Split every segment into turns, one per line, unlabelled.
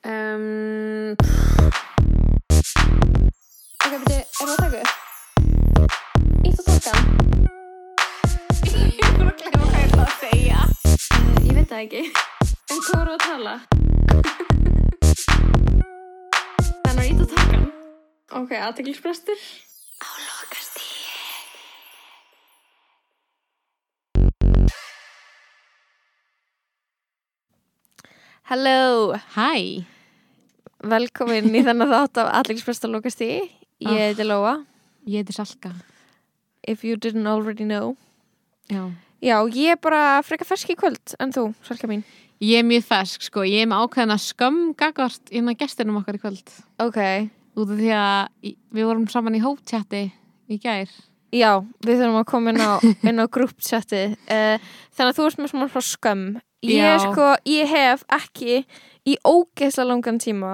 um, Ok, beti, er það að taka upp? Ítt og tólkan
Ég er bara að glemma hvað ég ætla að segja.
uh, Ég veit það ekki En hvað voru að tala? Þannig að ítt og tólkan Ok, aðteglisbrestur
Á lokastíði.
Hello
Hæ.
Velkomin í þennan þátt af aðteglisbrestur lókast í Ég
Ah.
heiti Lóa
Ég heiti Salka.
If you didn't already know
Já.
Já, ég er bara freka fersk í kvöld En þú, Salka mín
Ég er mjög fersk, sko. Ég er með ákveðina skömm gagvart innan gestinum okkar í kvöld.
Ok
Út af því að í- við vorum saman í hóptjatti í gær.
Já, við þurfum að koma inn á, inn á grúpsjatti uh, Þannig að þú ert með smá svona skömm ég, er
Já.
sko, ég hef ekki í ógeðslega langan tíma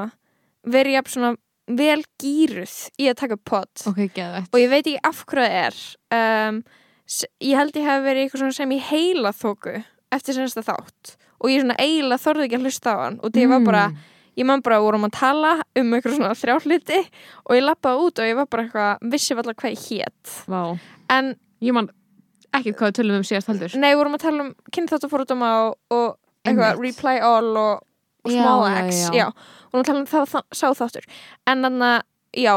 verið jafn svona vel gýruð í að taka pott
Ok, geðvægt.
og ég veit ekki af hverju það er um, s- ég held ég hef verið eitthvað svona sem ég heila þóku eftir senasta þátt og ég svona eiginlega þorði ekki að hlusta á hann og því ég var bara
Mm.
ég man bara að vorum að tala um eitthvað svona þrjá hluti og ég lappaði út og ég var bara eitthvað vissi allar hvað ég hét
Vá.
en
Ég man ekki hvað við tölum um síðast heldur.
nei, við vorum að tala um kynþáttafórdóma og, og eitthvað
Einmitt.
reply all og, og
Já,
small
já,
x
já.
já, og við vorum að tala um það, það sá þáttur en þannig að, já,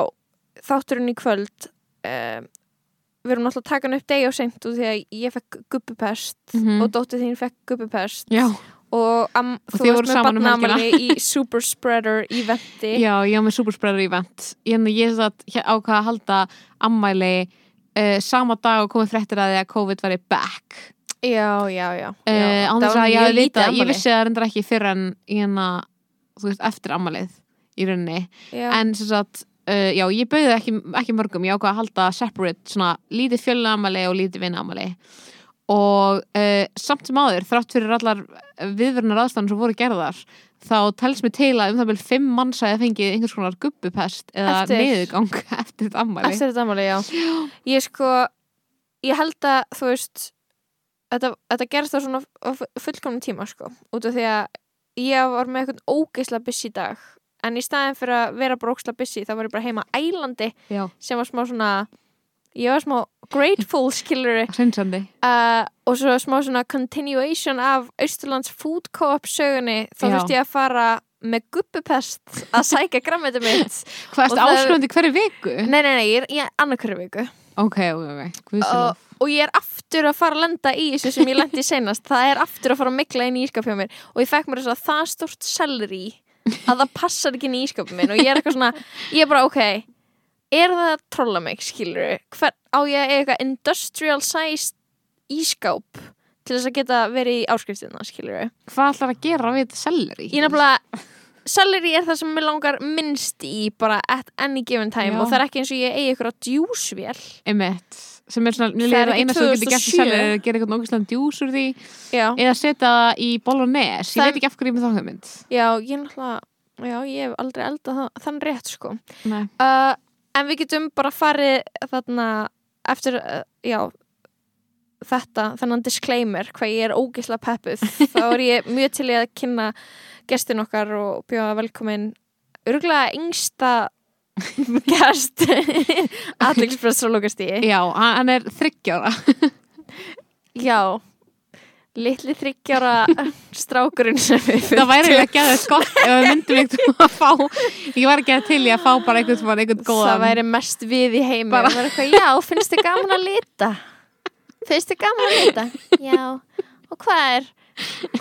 þátturinn í kvöld um, við erum náttúrulega að taka hann upp degi og seint og því að ég fekk gubbupest
Mhm.
og dóttir þín fekk gubbupest
Já.
og am, þú
þið voruð
varst með
saman um helgina.
barnaamæli í super spreader eventi
Já, ég var með superspreader event. Ég, ég satt hér- ákvað að halda ammæli uh, sama dag og komið fréttir að því að COVID væri back.
Já, já, já,
uh,
já. Það
án þess
var
að ég
mjög
hafi
lítið
vitað ég
afmæli.
vissi það reyndar ekki fyrr en hérna, þú veist, eftir ammalið í rauninni,
já.
en sem sagt uh, já, ég bauði ekki, ekki mörgum, ég ákvað að halda separate, svona lítið fjölunammali og lítið vinnamali og uh, samt sem áður, þrátt fyrir allar viðverðnar aðstæðan sem voru gerðar þá telst mér til að um það vel fimm manns að fengið einhvers konar gubbupest eða
Eftir.
niðurgang eftir þetta ammali
Eftir þetta ammali, já Ég sko, ég held að þú veist þetta, þetta gerst á svona á fullkomnum tíma sko, út af því að ég var með eitthvað ógeisla busy dag en í staðin fyrir að vera bara ógeisla busy þá var ég bara heima á ælandi
Já,
sem var smá svona ég var smá grateful skilur
hreinsandi
uh, og svo smá svona continuation af Austurlands food co-op sögunni þá
Já.
þurfti ég að fara með gubbupest að sækja grammetum mitt Og
Hvað erstu
það-
áskröndi hverju viku?
Nei, nei, nei, ég er, ég er annarkværi viku
Ok, ok, ok, hvað
og, og ég er aftur að fara að lenda í þessu sem ég lendi í seinast Það er aftur að fara að mikla inn í ískapjá mér Og ég fekk mér þess að það stórt selri að það passar ekki inn í ískapjá minn Og ég er eitthvað svona, ég er bara ok Er það að trolla mig, skilur Hver, Á ég að eiga eitthvað industrial size ískáp til þess að geta verið í áskriftina, skilur
hvað ætlar að gera við þetta selleri?
Ég nefnilega Celery er það sem mér langar minnst í bara at any given time
Já.
og það er ekki eins og ég eigi ykkur á djúsvél
Einmitt, sem er svona, mér
Það er
líður að
ekki
eina sem þú getur gert í
2007.
selleri er að gera eitthvað nógislega djús úr því
Já,
eða setja það í bolognese,
Það-
ég veit ekki af hverju ég er með þá hugmynd
já ég náttúrulega Já, ég hef aldrei eldað það, þann rétt sko
Nei.
uh, En við getum bara farið þarna eftir, uh, já þetta, þennan disclaimer hvað ég er ógisla peppuð þá er ég mjög til í að kynna gestin okkar og bjóða velkomin örgulega yngsta gest aðlingspress frá lókastíi
Já, hann hann er þryggjára
Já Littli þryggjara strákurinn sem við
Það
fundum
væri eiginlega að geða skott ef við myndum eitthvað að fá Ég var ekki að til í að fá bara einhvern tímann einhvern góðan
Það væri mest við í heimi
Bara-
bara... eitthvað, Já, finnst þið gaman að lita? Finnst þið gaman að lita? Já, og hvað er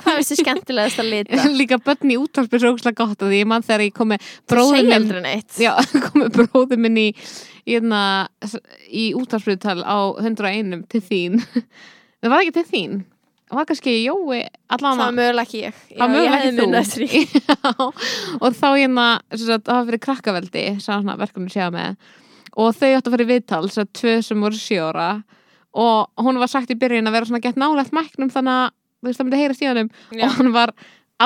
hvað finnst þið skemmtilegast að lita?
Líka börn í útvarpi er svo ógslag gott að því ég mann þegar ég komi bróðum
Segja
minn
aldrei neitt
Já, komið bróðum minn í, í, hérna- í útarfriðtal á 101 til þín. Það var ekki til þín. Það var kannski Jói
Það
allan
var mögulega ekki ég Já,
Það
ég
mögulega
hefði
ekki þú.
munið eftir því.
Já, og þá hérna, sem sagt, það var fyrir krakkaveldi, sá svona verkefni séða með. Og þau áttu að fara í viðtal, sem sagt, tvö sem voru sjóra. Og hún var sagt í byrjun að vera svona gett nálægt mæknum þannig að, þú veist, það myndi heyrast í honum.
Já.
Og hann var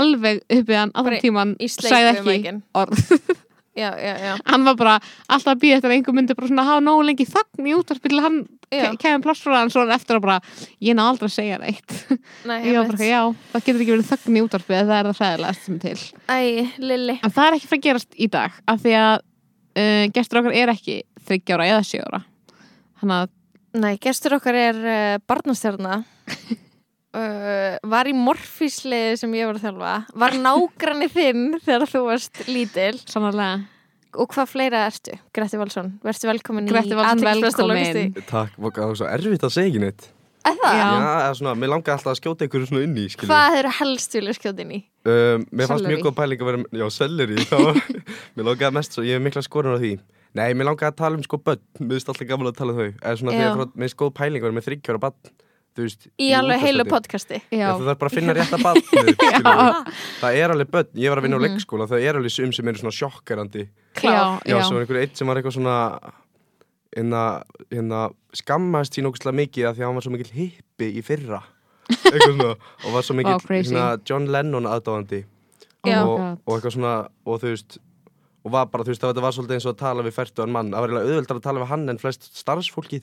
alveg uppið hann allan
Bara í-
tíman,
í sleik
sagði
við
ekki
mækinn.
orð.
Já, já, já
hann var bara alltaf að býða eftir að einhver myndi bara svona hafa nógu lengi þagn í útvarpi til hann
Já.
kemur plássfóran svona eftir að bara ég ná aldrei að segja neitt
Nei,
ég var bara,
einmitt.
eitthvað, já, það getur ekki verið þögn í útvarpið það er það hræðilegast sem er til
Æ, Lilli
en það er ekki fyrir að gerast í dag af því að uh, gestur okkar er ekki 30 ára eða 7 ára þannig að
Nei, gestur okkar er uh, barnastjarna uh, Var í morfísliði sem ég var að þjálfa Var nágranni þinn þegar þú varst lítil
sannarlega
Og hvað fleira ertu? Gretti Valsson, verðstu velkomin
Gretti Valsson,
í athyglisversta
velkomin.
logistík.
Takk, vá, það var svo erfitt að segja ekki neitt
Er það?
Já.
Já, eða svona, mér langaði alltaf að skjóta ykkur svona inn í, skilju
Hvað eru helst vilja skjóta inn í?
Um, mér fannst
Sellerí.
mjög góð pæling að vera, já, selleri, þá, mér langaði mest, svo, ég hef mikla skorun á því. Nei, mér langaði að tala um sko börn, mér finnst alltaf gaman að tala um þau, eða svona því
Já.
að frá, mér finnst góð pæling að vera með þryggjóra barn, þú veist.
Í alveg heilu
útvarpsþætti.
podcasti
Já,
já,
þú þarf bara að finna rétta barn, það er alveg börn, ég var að
Mhm.
vinna á leikskóla, það er alveg sum sem eru svona sjokkarandi.
Klár.
Já, svo var einhver eitt sem var eitthvað svona, hérna, hérna, skammast sín ógustlega mikið að því að hann var svo mikill hippi í fyrra, eitthvað svona, og var svo mikill,
crazy.
svona, John Lennon aðdáðandi
Já.
Oh my
og,
god.
og eitthvað svona og þú veist og var bara, þú veist, það var svolítið eins og að tala við færtugan mann, það var eiginlega auðveldar að tala við hann en flest starfsfólkið,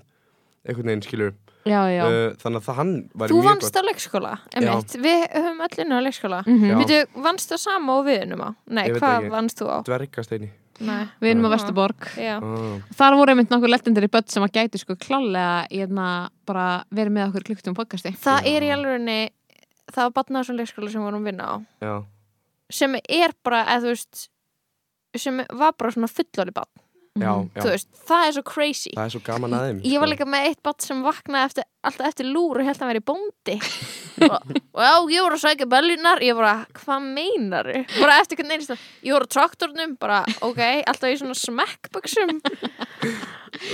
einhvern veginn skilur
já, já,
uh, þannig að það hann var
Þú
mjög
vannst á leikskóla, emitt Við höfum öll inn á leikskóla
Mhm.
Uh, Já.
Veitu, vannst þú sama og við unum á? Nei,
Ég veit
hvað
ekki.
vannst þú á?
dvergasteini
Nei,
við erum á
Já.
Vesturborg
já
ah.
þar voru einmitt nokkur leftindir í börn sem að gæti sko klálega í hérna bara verið með okkur klukkutum podcasti
Það
Já.
er í alvegurinni Það var batnað svona leikskóla sem við vorum að vinna á
já,
sem er bara, eða þú veist sem var bara svona fullorði batn
já, já,
Mhm. þú veist, það er svo crazy
það er svo gaman sko. aðeim
Ég var líka með eitt batn sem vaknaði eftir, alltaf eftir lúr og held að hann veri bóndi og, og já, ég voru að sækja bellunar ég bara, hvað meinar bara eftir hvernig einst ég voru á traktornum, bara, ok, alltaf í svona smekkbuxum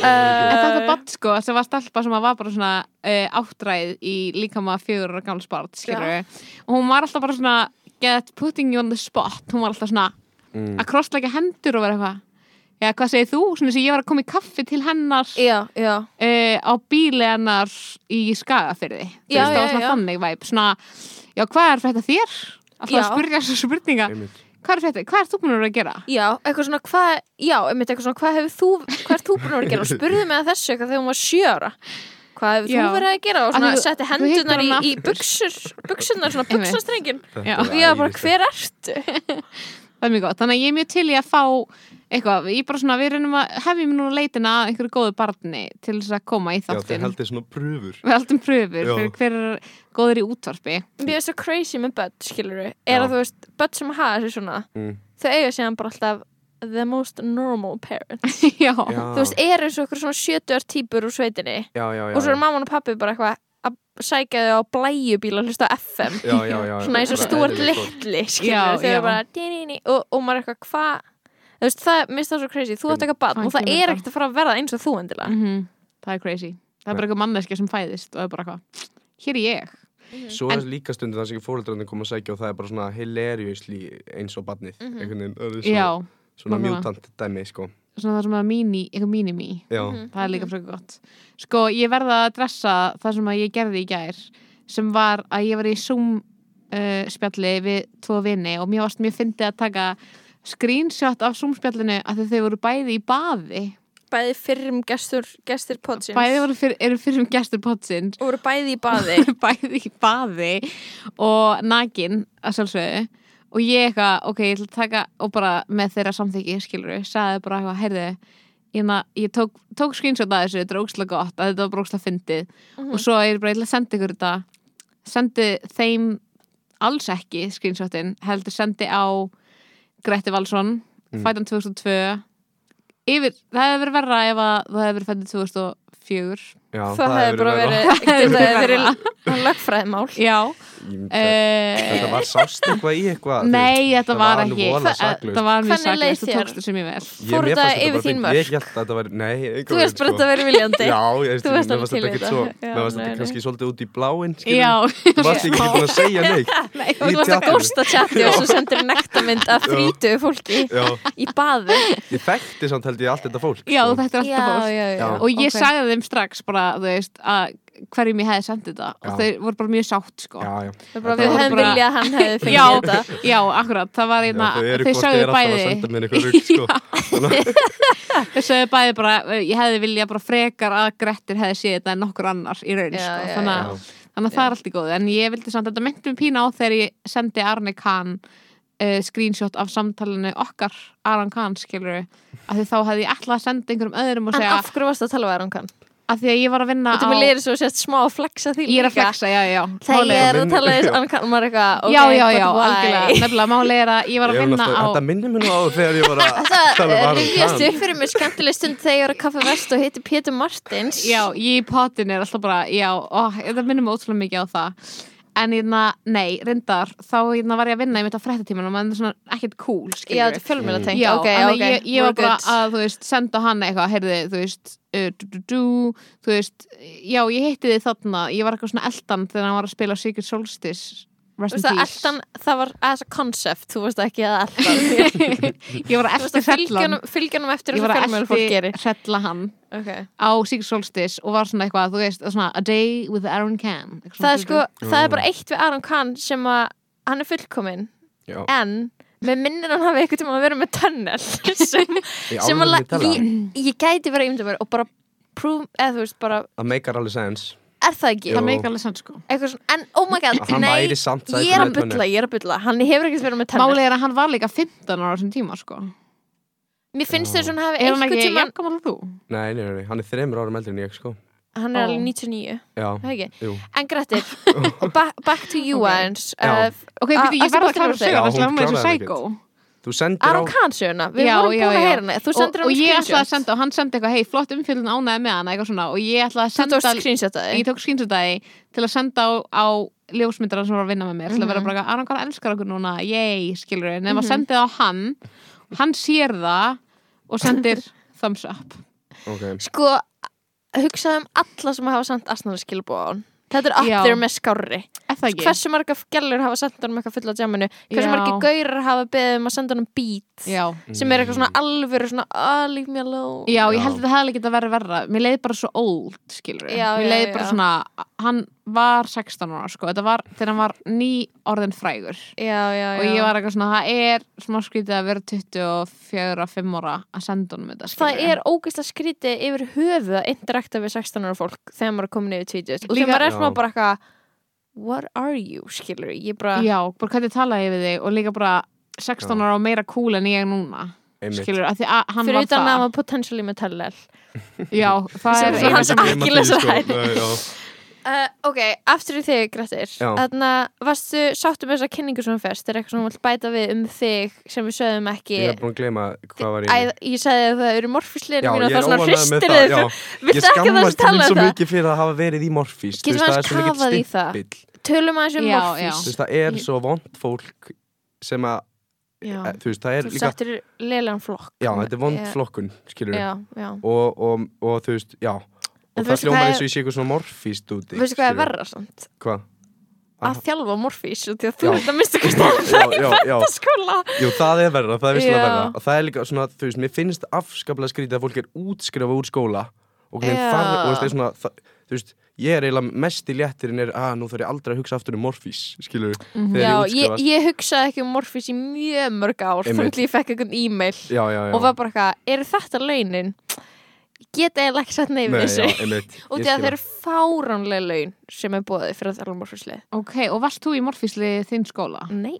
En
uh,
þetta bann sko sem var stelpa sem að var bara svona uh, áttræð í líkama fjögur og gamla spart og hún var alltaf bara svona get putting you on the spot hún var alltaf svona
mm.
að krossleika hendur og vera eitthvað Já, hvað segir þú? Svona sem ég var að koma í kaffi til hennar uh,
Já, já,
á bíli hennar í skagafyrði.
Já,
það var
já,
svona
já.
þannig væp. Svona, já, hvað er þetta þér? Alltaf að
Já.
spyrja þessu spurninga.
einmitt.
Hvað er þetta? Hvað er þú búin að vera að gera?
já, eitthvað svona hvað, já, einmitt eitthvað svona hvað hefur þú hvað er þú búin að vera að gera og spurði mig að þessu eitthvað þegar hún var sjöra hvað hefur
Já.
þú verið að gera og svona
Af því þú-
setti
þú hittir
hendunar í,
hana
í buxur buxurnar, svona
Einmitt.
buxastrengin
Þetta
Já.
er
og ég var bara,
æðislegt.
hver ertu?
Það er mjög gott. Þannig að ég er mjög til í að fá eitthvað. Ég bara svona, við reynum að hefjum núna leitina að einhverju góðu barni til þess að koma í
já, þeir
þáttin.
heldur svona pröfur
Við heldum pröfur
Já.
fyrir hver er góður í útvarpi.
Mér finnst það crazy með börn, skilur við er
Já.
að þú veist, börn sem hafa þessu svona
mm.
þau eiga síðan bara alltaf the most normal parent
Já.
já,
þú veist, eru svo okkur svona sjötuar típur úr sveitinni
já, já, já,
og svo er mamman og pappi bara eitthvað að sækja þau á blæjubíl og hlusta á FM
já, já, já,
svona eins og
bara
stúart
eðlilegt fólk.
litli
Já,
skilur, þau
já.
eru bara dýrýni, og, og maður er eitthvað hvað þú veist, það minnst það svo crazy, þú átt eitthvað
Fæ
barn og það
ekki
er
mynda.
ekkert að Mm. fara að verða eins og þú endilega
Mhm. Það er crazy. Það er bara eitthvað manneskja sem fæðist og það er bara eitthvað. Hér er ég.
Svo er líka stundir þar sem fóreldrarnir koma að segja og það er bara svona hilariously eins og barnið
Mhm.
einhvern veginn, það er svo-
Já.
svona
nákvæmlega.
mjútant dæmi, sko
Svona það sem að mini, eitthvað mini-me.
Já,
Mhm.
Það er líka frekar gott. Sko, ég verða að dressa það sem að ég gerði í gær sem var að ég var í Zoom uh, spjalli við tvo vini og mér varst mjög fyndið að taka screenshot af Zoom spjallinu af því þau voru bæði í baði.
bæði fyrrum gestur, gestir podsins
Bæði voru fyr, eru fyrir sem gestur potsins
og voru bæði í baði
bæði í baði og nakin að sjálfsögðu og ég eitthvað, ok, ég ætla að taka og bara með þeirra samþyggi, skilur sagði bara eitthvað, heyrðu ég, ég tók, tók screenshot að þessu, þetta er ógstlega gott að þetta var brókslega fyndið og svo er ég bara, ég ætla að senda ykkur þetta sendi þeim alls ekki screenshotin, heldur sendi á Gretti Valsson
Mm.
fætan 2002 yfir, það hefur verið verra ef að það hefur verið fætan 2004
já
það hefði
verið
bara
verra.
verið þetta
verið
hefði verið lögfræðmál
já
Ég myndi að-
eh,
uh,
Þetta var sást eitthvað í eitthvað þú
Nei,
veist,
þetta var
alveg
ekki
voðalega
það-
saklaust.
Það var mjög
Hvernig leið
saklaust, þú
þér?
tókst þessu mjög vel
Ég-
fór
mér
þetta
fannst bara
yfir þín
fínt.
mörk?
Ég held að þetta var, nei einhver
þú
veginn,
veist bara
sko.
þetta verið viljandi
Já, ég veist,
Þú varst
mér
alveg
varst
til í
þetta ekkert
þetta.
svo
Já,
Mér varst
nei,
þetta
nei.
kannski svolítið út í bláinn skilur.
Já,
Þú varst ekki ekki búin að segja neitt
Nei,
Í
þú varst að
tjaldinu.
gósta tjatti og svo sendir nektarmynd af
Já.
þrítuðu fólki
Já,
í baði
ég þekkti samt held ég allt þetta fólk
já
sko.
þetta er alltaf fólk
já,
Já.
Og ég
Ok.
sagði þeim strax bara, þú veist, að hverjum ég hefði sendið þetta og
Já.
þeir voru bara mjög sátt sko.
já, já.
Við bara-
Þetta
við
var
hefum
bara-
viljað að hann hefði fengið
Já.
þetta
Já, akkurat, það var einna,
Já, þau
þeir
eru hvort
sögðu
er alltaf að senda mér eitthvað
bæði
rugl, sko. Þannig-
þeir sögðu bæði bara, eh, ég hefði vilja bara frekar að Grettir hefði séð þetta en nokkur annar í raun,
Já,
sko,
já,
þannig,
já.
að- þannig að það er allt í góð en ég vildi samt, þetta myndi mér pína á þegar ég sendi Arne Kahn uh, screenshot af samtalinu okkar Aran Kahn, skilur að því þá hefði ég alltaf að senda einhverjum öðrum og
En
segja,
af hverju varst að tala við Aron Kahn?
að því að ég var að vinna
Þetta
á,
með lýri svo sést smá að flexa því
ég er að
líka.
flexa, já, já, já
Þegar
málið
ég
er-
er að tala við Aron Kahn og maður er eitthvað ok,
já, já, já,
but why?
algjörlega, nefnilega málið er að ég var að
Ég er
vinna
náttúrulega-
á
Þetta minnir mér nú á þegar ég var að tala um
Þetta
Aron
rifjast
Kahn.
eh, upp fyrir mér skemmtileg stund þegar ég var að kaffa vest og heiti Pétur Martins
Já, ég í potin er alltaf bara, já, ó, það minnum mig ótrúlega mikið á það. En hérna, nei, reyndar, þá hérna var ég að vinna í mitt á fréttatímanum, en það er svona ekkert cool,
Já,
skilur
þetta er fjölmjöla tengt
Já,
ok,
en
ok,
ég, ég var
we're
bara
good.
að, þú veist, senda hann eitthvað, heyrði, þú veist, uh, du, du, du, þú veist, já, ég hitti þið þarna, ég var eitthvað svona eldan þegar hann var að spila Secret Solstice, rest
Þú
in
veist að
peace.
eldan, það var as a concept Þú veist ekki að eldan
ég var að
Þú veist
eldi
að
hrellan,
fylgjanum, fylgjanum eftir
ég
eins
var
og
að
fjölmjöla fólk
eldi
gerir
hrella hann
okay.
á Secret Solstice og var svona eitthvað, þú veist, svona a day with Aaron Can. eitthvað svona
Það er
dúdú.
sko, það er bara eitt við Aron Kahn sem að hann er fullkominn
Já.
en með minnir hann hafi eitthvað tíma að vera með tunnel sem,
Í
sem að
alvöru
la-
tala.
ég, ég gæti vera ímynda mér og bara prove, eða þú veist bara
Það meikar alveg sens
er það ekki
Jú.
Það meikar alveg sann sko
eitthvað svona, en oh my god,
Að Hann
nei
væri samt
ég er að bylla, ég er að bylla, hann hefur ekkert verið með tunnel
Málið er að hann var líka 15 ára á þessum tíma sko
mér finnst
Já.
þess að hann hafi
Er hann
eitthvað
ekki
tíma
jafngammal og þú?
Nei, nei, nei, nei, hann er þreymur árum eldri en ég sko
hann er
Ó.
alveg 99,
Já,
það ekki
jú
en grættir, og ba back to you
Ok.
aðeins
Já.
uh,
Ok,
A-
býtti, ég
Ásta
verða Ah, að um
Björk
klára
Gunnarsdóttir.
sögur Það
ah, Já, hún
slá með þessu
kláraði það
psycho og,
Þú sendir
Aron
á
Kahn söguna, við
Já,
vorum
já,
búin að
já.
heyra hana þú sendir
og
hann
ég ætlaði að
screenshot
senda og hann sendi eitthvað hei, flott umfjöldun ánæði með hana eitthvað svona og ég ætlaði að
þú
senda
tókst screenshotaði
ég tók skynsutaði til að senda á, á ljósmyndara sem var að vinna með mér til að vera bara, Aron hvað elskar okkur núna, yey skilur við, nema mm
Mhm.
sendið á hann hann sér það og sendir thumbs up
Ok,
Sko, hugsaðu um alla sem hafa sendt asnara skilbúið á hann Þetta er
Já.
allir með skárri
Er það ekki?
Hversu marga gellur hafa sendt honum eitthvað fulla djáminu Hversu
Já.
margi gaurar hafa beðið um að senda honum beat
Já
Sem er eitthvað svona alvöru svona oh, Leave me alone
Já, ég
Já.
held að það hefði ekki að vera verra Mér leiði bara svo old, skilur
Já,
Mér
já,
leiði
já.
bara svona, hann var 16 ára, sko, þetta var þegar hann var ný orðin frægur
já, já,
og ég var eitthvað svona, það er smá skrítið að vera 24, 5 ára að senda honum þetta, skilur
Það er ógeðslega skrítið yfir höfuð að interakta við 16 ára fólk þegar maður er komin yfir tvítið og
Líka-
þegar maður er svona
Já.
bara eitthvað What are you, skilur ég bara
Já, bara hvernig talaði ég við þig og líka bara 16
Já.
ára og meira cool en ég núna
einmitt
skilur, af því að hann
Fyrir
var
utan að
það
hafa potentially með tellel
Já, það
Sem
er
svona
eina
hans
sem
Ég gleyma því,
Achilles
sko.
ræður.
Nei, já.
Uh, ok, aftur í þig, Grettir
Já.
Þannig varstu sáttu með þessa kynningu sem þú fyrst Er eitthvað sem hún vill bæta við um þig sem við sögum ekki
Ég er búin að gleyma hvað var
Æ,
ég
Ég sagði að það eru morfíslir
Já,
mín og
ég
það
er
svona
óanægð með
hristir
það já.
þig Við
Ég
þekka það sem
skammast mín
tala
svo
um það
mikið fyrir að hafa verið í morfís
Getum við aðeins kafað í það? Tölum aðeins um
Já,
Þú
morfís
veist, það er svo vond fólk sem að,
Já,
e, þú veist, það er
þú
líka
settir leilan flokk
Já, þetta er vond
Já.
flokkun, skilur
Já, já
og, og, og þú veist, já
En
og
þú
það
veist hvað
hljómar
er-
eins og ég sé eitthvað svona morfíst úti
Veistu hvað er
skilurðu.
verra samt?
Hvað?
Að
Aha.
þjálfa morfís og því að
Já.
þú ert að mista hvað stafn
Já, já, já,
skóla
jú, það er verra, það er visslega
Já.
verra og það er líka svona, þú veist, mér finnst afskaplega skrítið að fólk er útskrifað úr skóla og, hvernig
Já.
farði, og það er svona, það, þú veist ég er eiginlega mest í léttirinn er að nú þarf ég aldrei að hugsa aftur um morfís skilur,
Mhm. Já,
þegar ég
ég,
útskrifast
ég hugsaði ekki um morfís í mjög mörg ár
Einmitt.
Þannig að ég fekk eitthvað e-mail
já, já, já.
og var bara eitthvað, eru þetta launin? Ég get eiginlega ekki sett neyfið
Nei,
þessu
já, einmitt,
og því
ég
að
skil
það eru fáránlega laun sem er bóðið fyrir að um þjálfa morfíslið
Ok, og varst þú í morfísli þinn skóla?
Nei,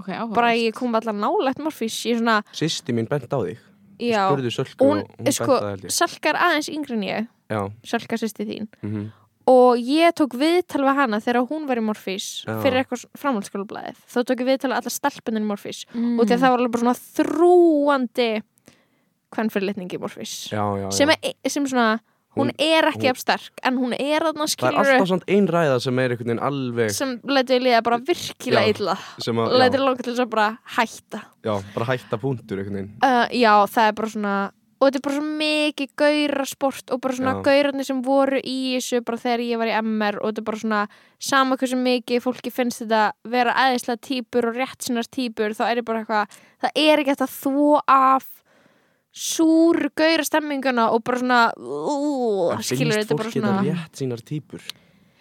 Ok, áhugavert.
bara ég kom allar nálægt morfís ég svona,
Systir mín bent á þig, ég
já
spurði sölku
hún,
og hún
sko,
bent á það held ég
salkar aðeins yngri en ég
Já,
salkar sýsti þín
mm
og ég tók viðtal við hana þegar hún var í morfís
Já.
fyrir eitthvað framhaldsskólablaðið þá tók ég viðtal við alla stelpuninn í morfís
mm.
og því að það var alveg bara svona þrúandi hvern í morfís
já, já, já.
sem, er, e, sem svona, hún,
Hún-
er ekki
hún-
af sterk en hún er þarna
það er
skilur
alltaf svona ein ræða sem er einhvern veginn alveg sem,
sem lætur ég liða bara virkilega
Já.
illa
að, já,
lætur langa til þess að bara hætta
já, bara hætta punktur einhvern veginn
uh, já, það er bara svona og þetta er bara svo mikið gaurasport og bara svona
Já.
gaurarnir sem voru í þessu bara þegar ég var í MR og þetta er bara svona sama hversu mikið fólki finnst þetta vera aðeinslega típur og rétt sinnar típur þá er ég bara eitthvað, það er ekki hægt að þvo af súr gauðra stemminguna og bara svona ú,
En
skilur
finnst
þetta bara
fólk þetta
svona
rétt sínar týpur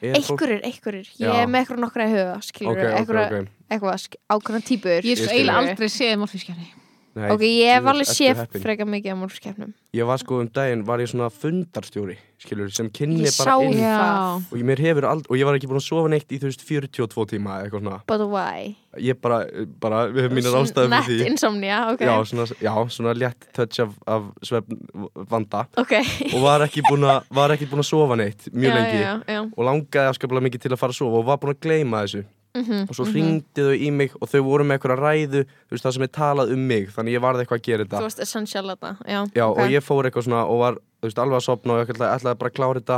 Er fólk-
einhverjir, einhverjir, ég
Já.
er með eitthvað nokkra í huga skilur
Ok,
okay,
ok,
eitthvað,
ok
eitthvað sk- ákveðna típur
Ég er
Ég
svo
skil.
eiginlega aldrei séð morfískjarni
Nei,
ok, ég
þú
hef alveg
ertu
séð
heppin.
freka mikið á málskeppnum
Ég var sko um daginn, var ég svona fundarstjóri skilur, sem kynni
ég sá
bara inn
Já.
það,
og ég, mér hefur aldrei, og ég var ekki búin að sofa neitt í þú veist 42 tíma eða eitthvað svona
but why
ég bara, bara, við hefum mínar ástæðum
nett
fyrir því
insomnia, ok,
já, svona, já, svona létt touch af, af svefn vanda
ok
og var ekki búin að, var ekki búin að sofa neitt mjög
já,
lengi
já, já.
og langaði afskaplega mikið til að fara að sofa og var búin að gleyma þessu
Mhm,
og svo mm
mhm.
þau í mig og þau voru með eitthvað ræðu þú veist, það sem er talað um mig þannig ég varði eitthvað að gera þetta
þú varst essential þetta, já,
Já,
ok.
og ég fór eitthvað svona og var, þú veist, alveg að sopna og ég ætlaði, ætlaði bara að klára þetta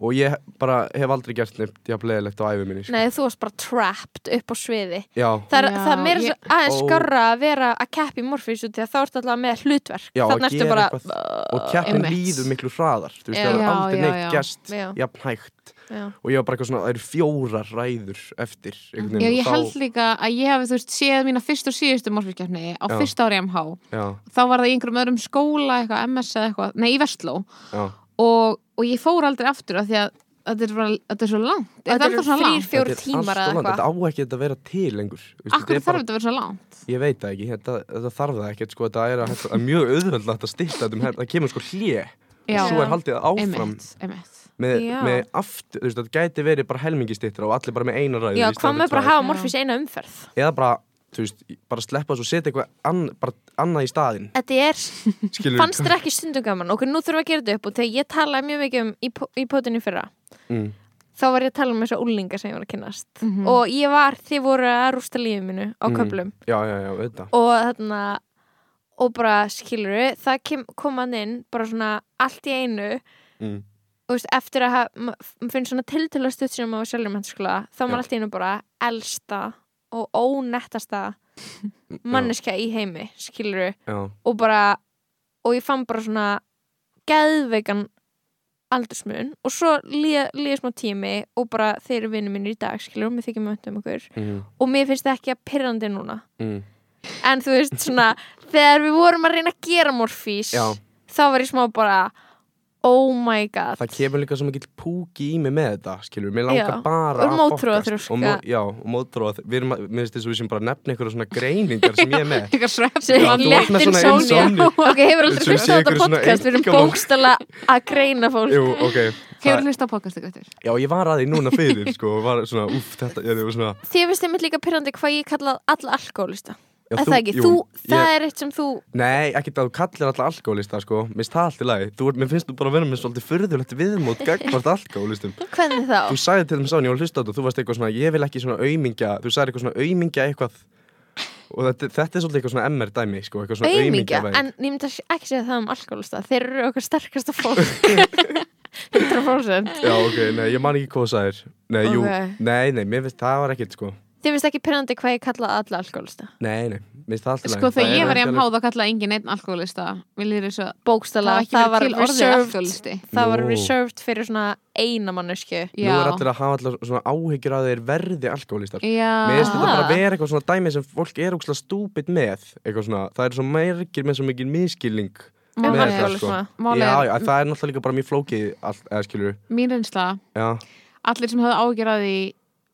og ég bara hef aldrei gert neitt jafnlegilegt á æfi minni sko.
nei, þú varst bara trapped upp á sviði
já,
Það er,
Já,
það er meira
ég-
svo aðeins
Ó.
skarra að vera að keppa í morfísu því að þá ertu alltaf með hlutverk
Já,
þannig
að
ertu
gera
bara
eitthvað. og keppin
einmitt.
líður miklu hraðar þú veist,
Já,
það er aldrei
já,
neitt
já.
gest
Já.
jafn hægt
já,
og ég var bara eitthvað svona, það eru fjórar ræður eftir einhvern
Já,
veginn,
ég
og
held líka að ég hafi, þú veist, séð mína fyrst og síðustu morfískjarni á
Já.
fyrsta ári MH
já,
þá var það í einhverjum öðrum skóla eitthvað, MS eða eitthvað, nei, í Vestló
já,
og, og ég fór aldrei aftur af því að þetta er, bara, þetta er svo langt Er
þetta
þetta
eru
ennþá svona
þrýr,
langt?
fjóru
Þetta er allt
tímar
of
eða
langt,
eitthvað
þetta á ekki þetta að vera til lengur Þú veist,
Akkur
þetta er
þarf þetta að vera svona langt?
ég veit það ekki, þetta, þetta þarf það ekkert sko, þetta er að, að mjög auðvöldlegt að stilla þetta um hérna, það kemur sko hlje
Já,
svo er haldið áfram
einmitt, einmitt
með,
Já.
með aftur, þú veist, þetta gæti verið bara helmingistittra og allir bara með eina ræðu
já,
í staðinn
hvað
fyrir
með bara að
tvær.
hafa
Já.
morfís eina umferð
eða bara, þú veist, bara sleppa þessu og setja eitthvað ann, bara annað í staðinn
þetta er,
skilur
fannst þér ekki stundum gaman ok, nú þurfum við að gera þetta upp og þegar ég talaði mjög mikið um í, po- í potinu fyrra
mm,
þá var ég að tala um þessu úlinga sem ég var að kynnast
Mhm.
og ég var, þið voru að rústa lífið minu á
Mhm.
köflum
já, já, já, auðvitað
og þarna og bara skilur það kem, kom hann inn bara svona allt í einu
mm,
og veist, eftir að hafa- ma- maður finnst svona tiltölu stutt sem maður sjálfur mennskóla þá er
Já.
maður alltaf einu bara elsta og ónettasta manneskja í heimi skilur
já,
og bara og ég fann bara svona geðveikan aldursmun og svo líða, líða smá tími og bara þeir eru vinnum mínir í dag skilur og mér þykir mjög um okkur
mm,
og mér finnst það ekki að pyrrandi núna
mm,
en þú veist svona þegar við vorum að reyna að gera morfís
Já.
þá var ég smá bara oh my god
það kemur líka svo mikill púki í mig með þetta skilur, mér langar
Já.
bara
Og
að
mótþróaþroska.
fokast. og mó, já, og mótróa við erum, að- mér finnst þess að við sem bara að nefna einhverja svona greiningar sem ég er með
Eitthvað svepp
Sem-
Já, þú ert með svona
Létt insomnia.
insomnia.
Ok, hefur aldrei
Sem sé
hlustað á
einhverju
þetta
svona
podcast Við erum
einkamál.
bókstala að greina fólk
Jú, ok
Hefur
það,
hlust á podcastið gættur?
Já, ég var aðeins núna fyrir, sko og var svona, úff, þetta, ég var svona
Þið finnst einmitt líka pyrrandi hvað ég kalla alla alkoholista
já,
Er Það ekki,
jú,
þú,
ég-
það er eitt sem þú
Nei, ekkert að þú kallir alltaf alkoholista sko Mér finnst það allt í lagi Þú, ert- Mér finnst þú bara að vera með svolítið furðulegt viðmót Gagvart alkoholistum
Hvernig þá?
Þú sagði til mig sáni, ég var að hlusta á þetta og Þú varst eitthvað svona, ég vil ekki svona aumingja Þú sagði eitthvað svona aumingja eitthvað Og þetta, þetta er svolítið eitthvað svona MR dæmi sko, Eitthvað svona
Auðmingja,
aumingja
en ég myndi ekki segja það um alkoholista Þeir eru okkur sterkasta fólk 100%
Já, ok, nei, ég man ekki hvað það er Nei, jú,
Ok.
nei, nei, mér finnst það var ekkert sko
Þið finnst ekki pyrrandi hvað ég kalla alla alkoholista
Nei, nei, mér finnst það allt í lagi
Sko
Það
þegar
er
ég var í
ekki
MH
alveg-
þá kallaði engin einn alkoholista Vil ég þess að það
Bókstala,
var ekki
það var
verið til orðið
reserved
alkoholisti
Það var
Nú.
reserved fyrir svona einamannuskju
Nú er
Já.
allir að hafa allar svona áhyggjur að þeir verði alkoholistar Mér
Ah.
Já,
finnst þetta bara vera eitthvað svona dæmi sem fólk er ógslag stúpid með eitthvað svona, það er svo mergir með svo mikið miskilning
Um
með
Málið
þetta
er-
sko
alkoholisma
málið
Já, já,
er,
það er náttúrulega líka bara mjög flókið all, eða skilur,
mín reynsla
já,
allir sem höfðu ágjör að því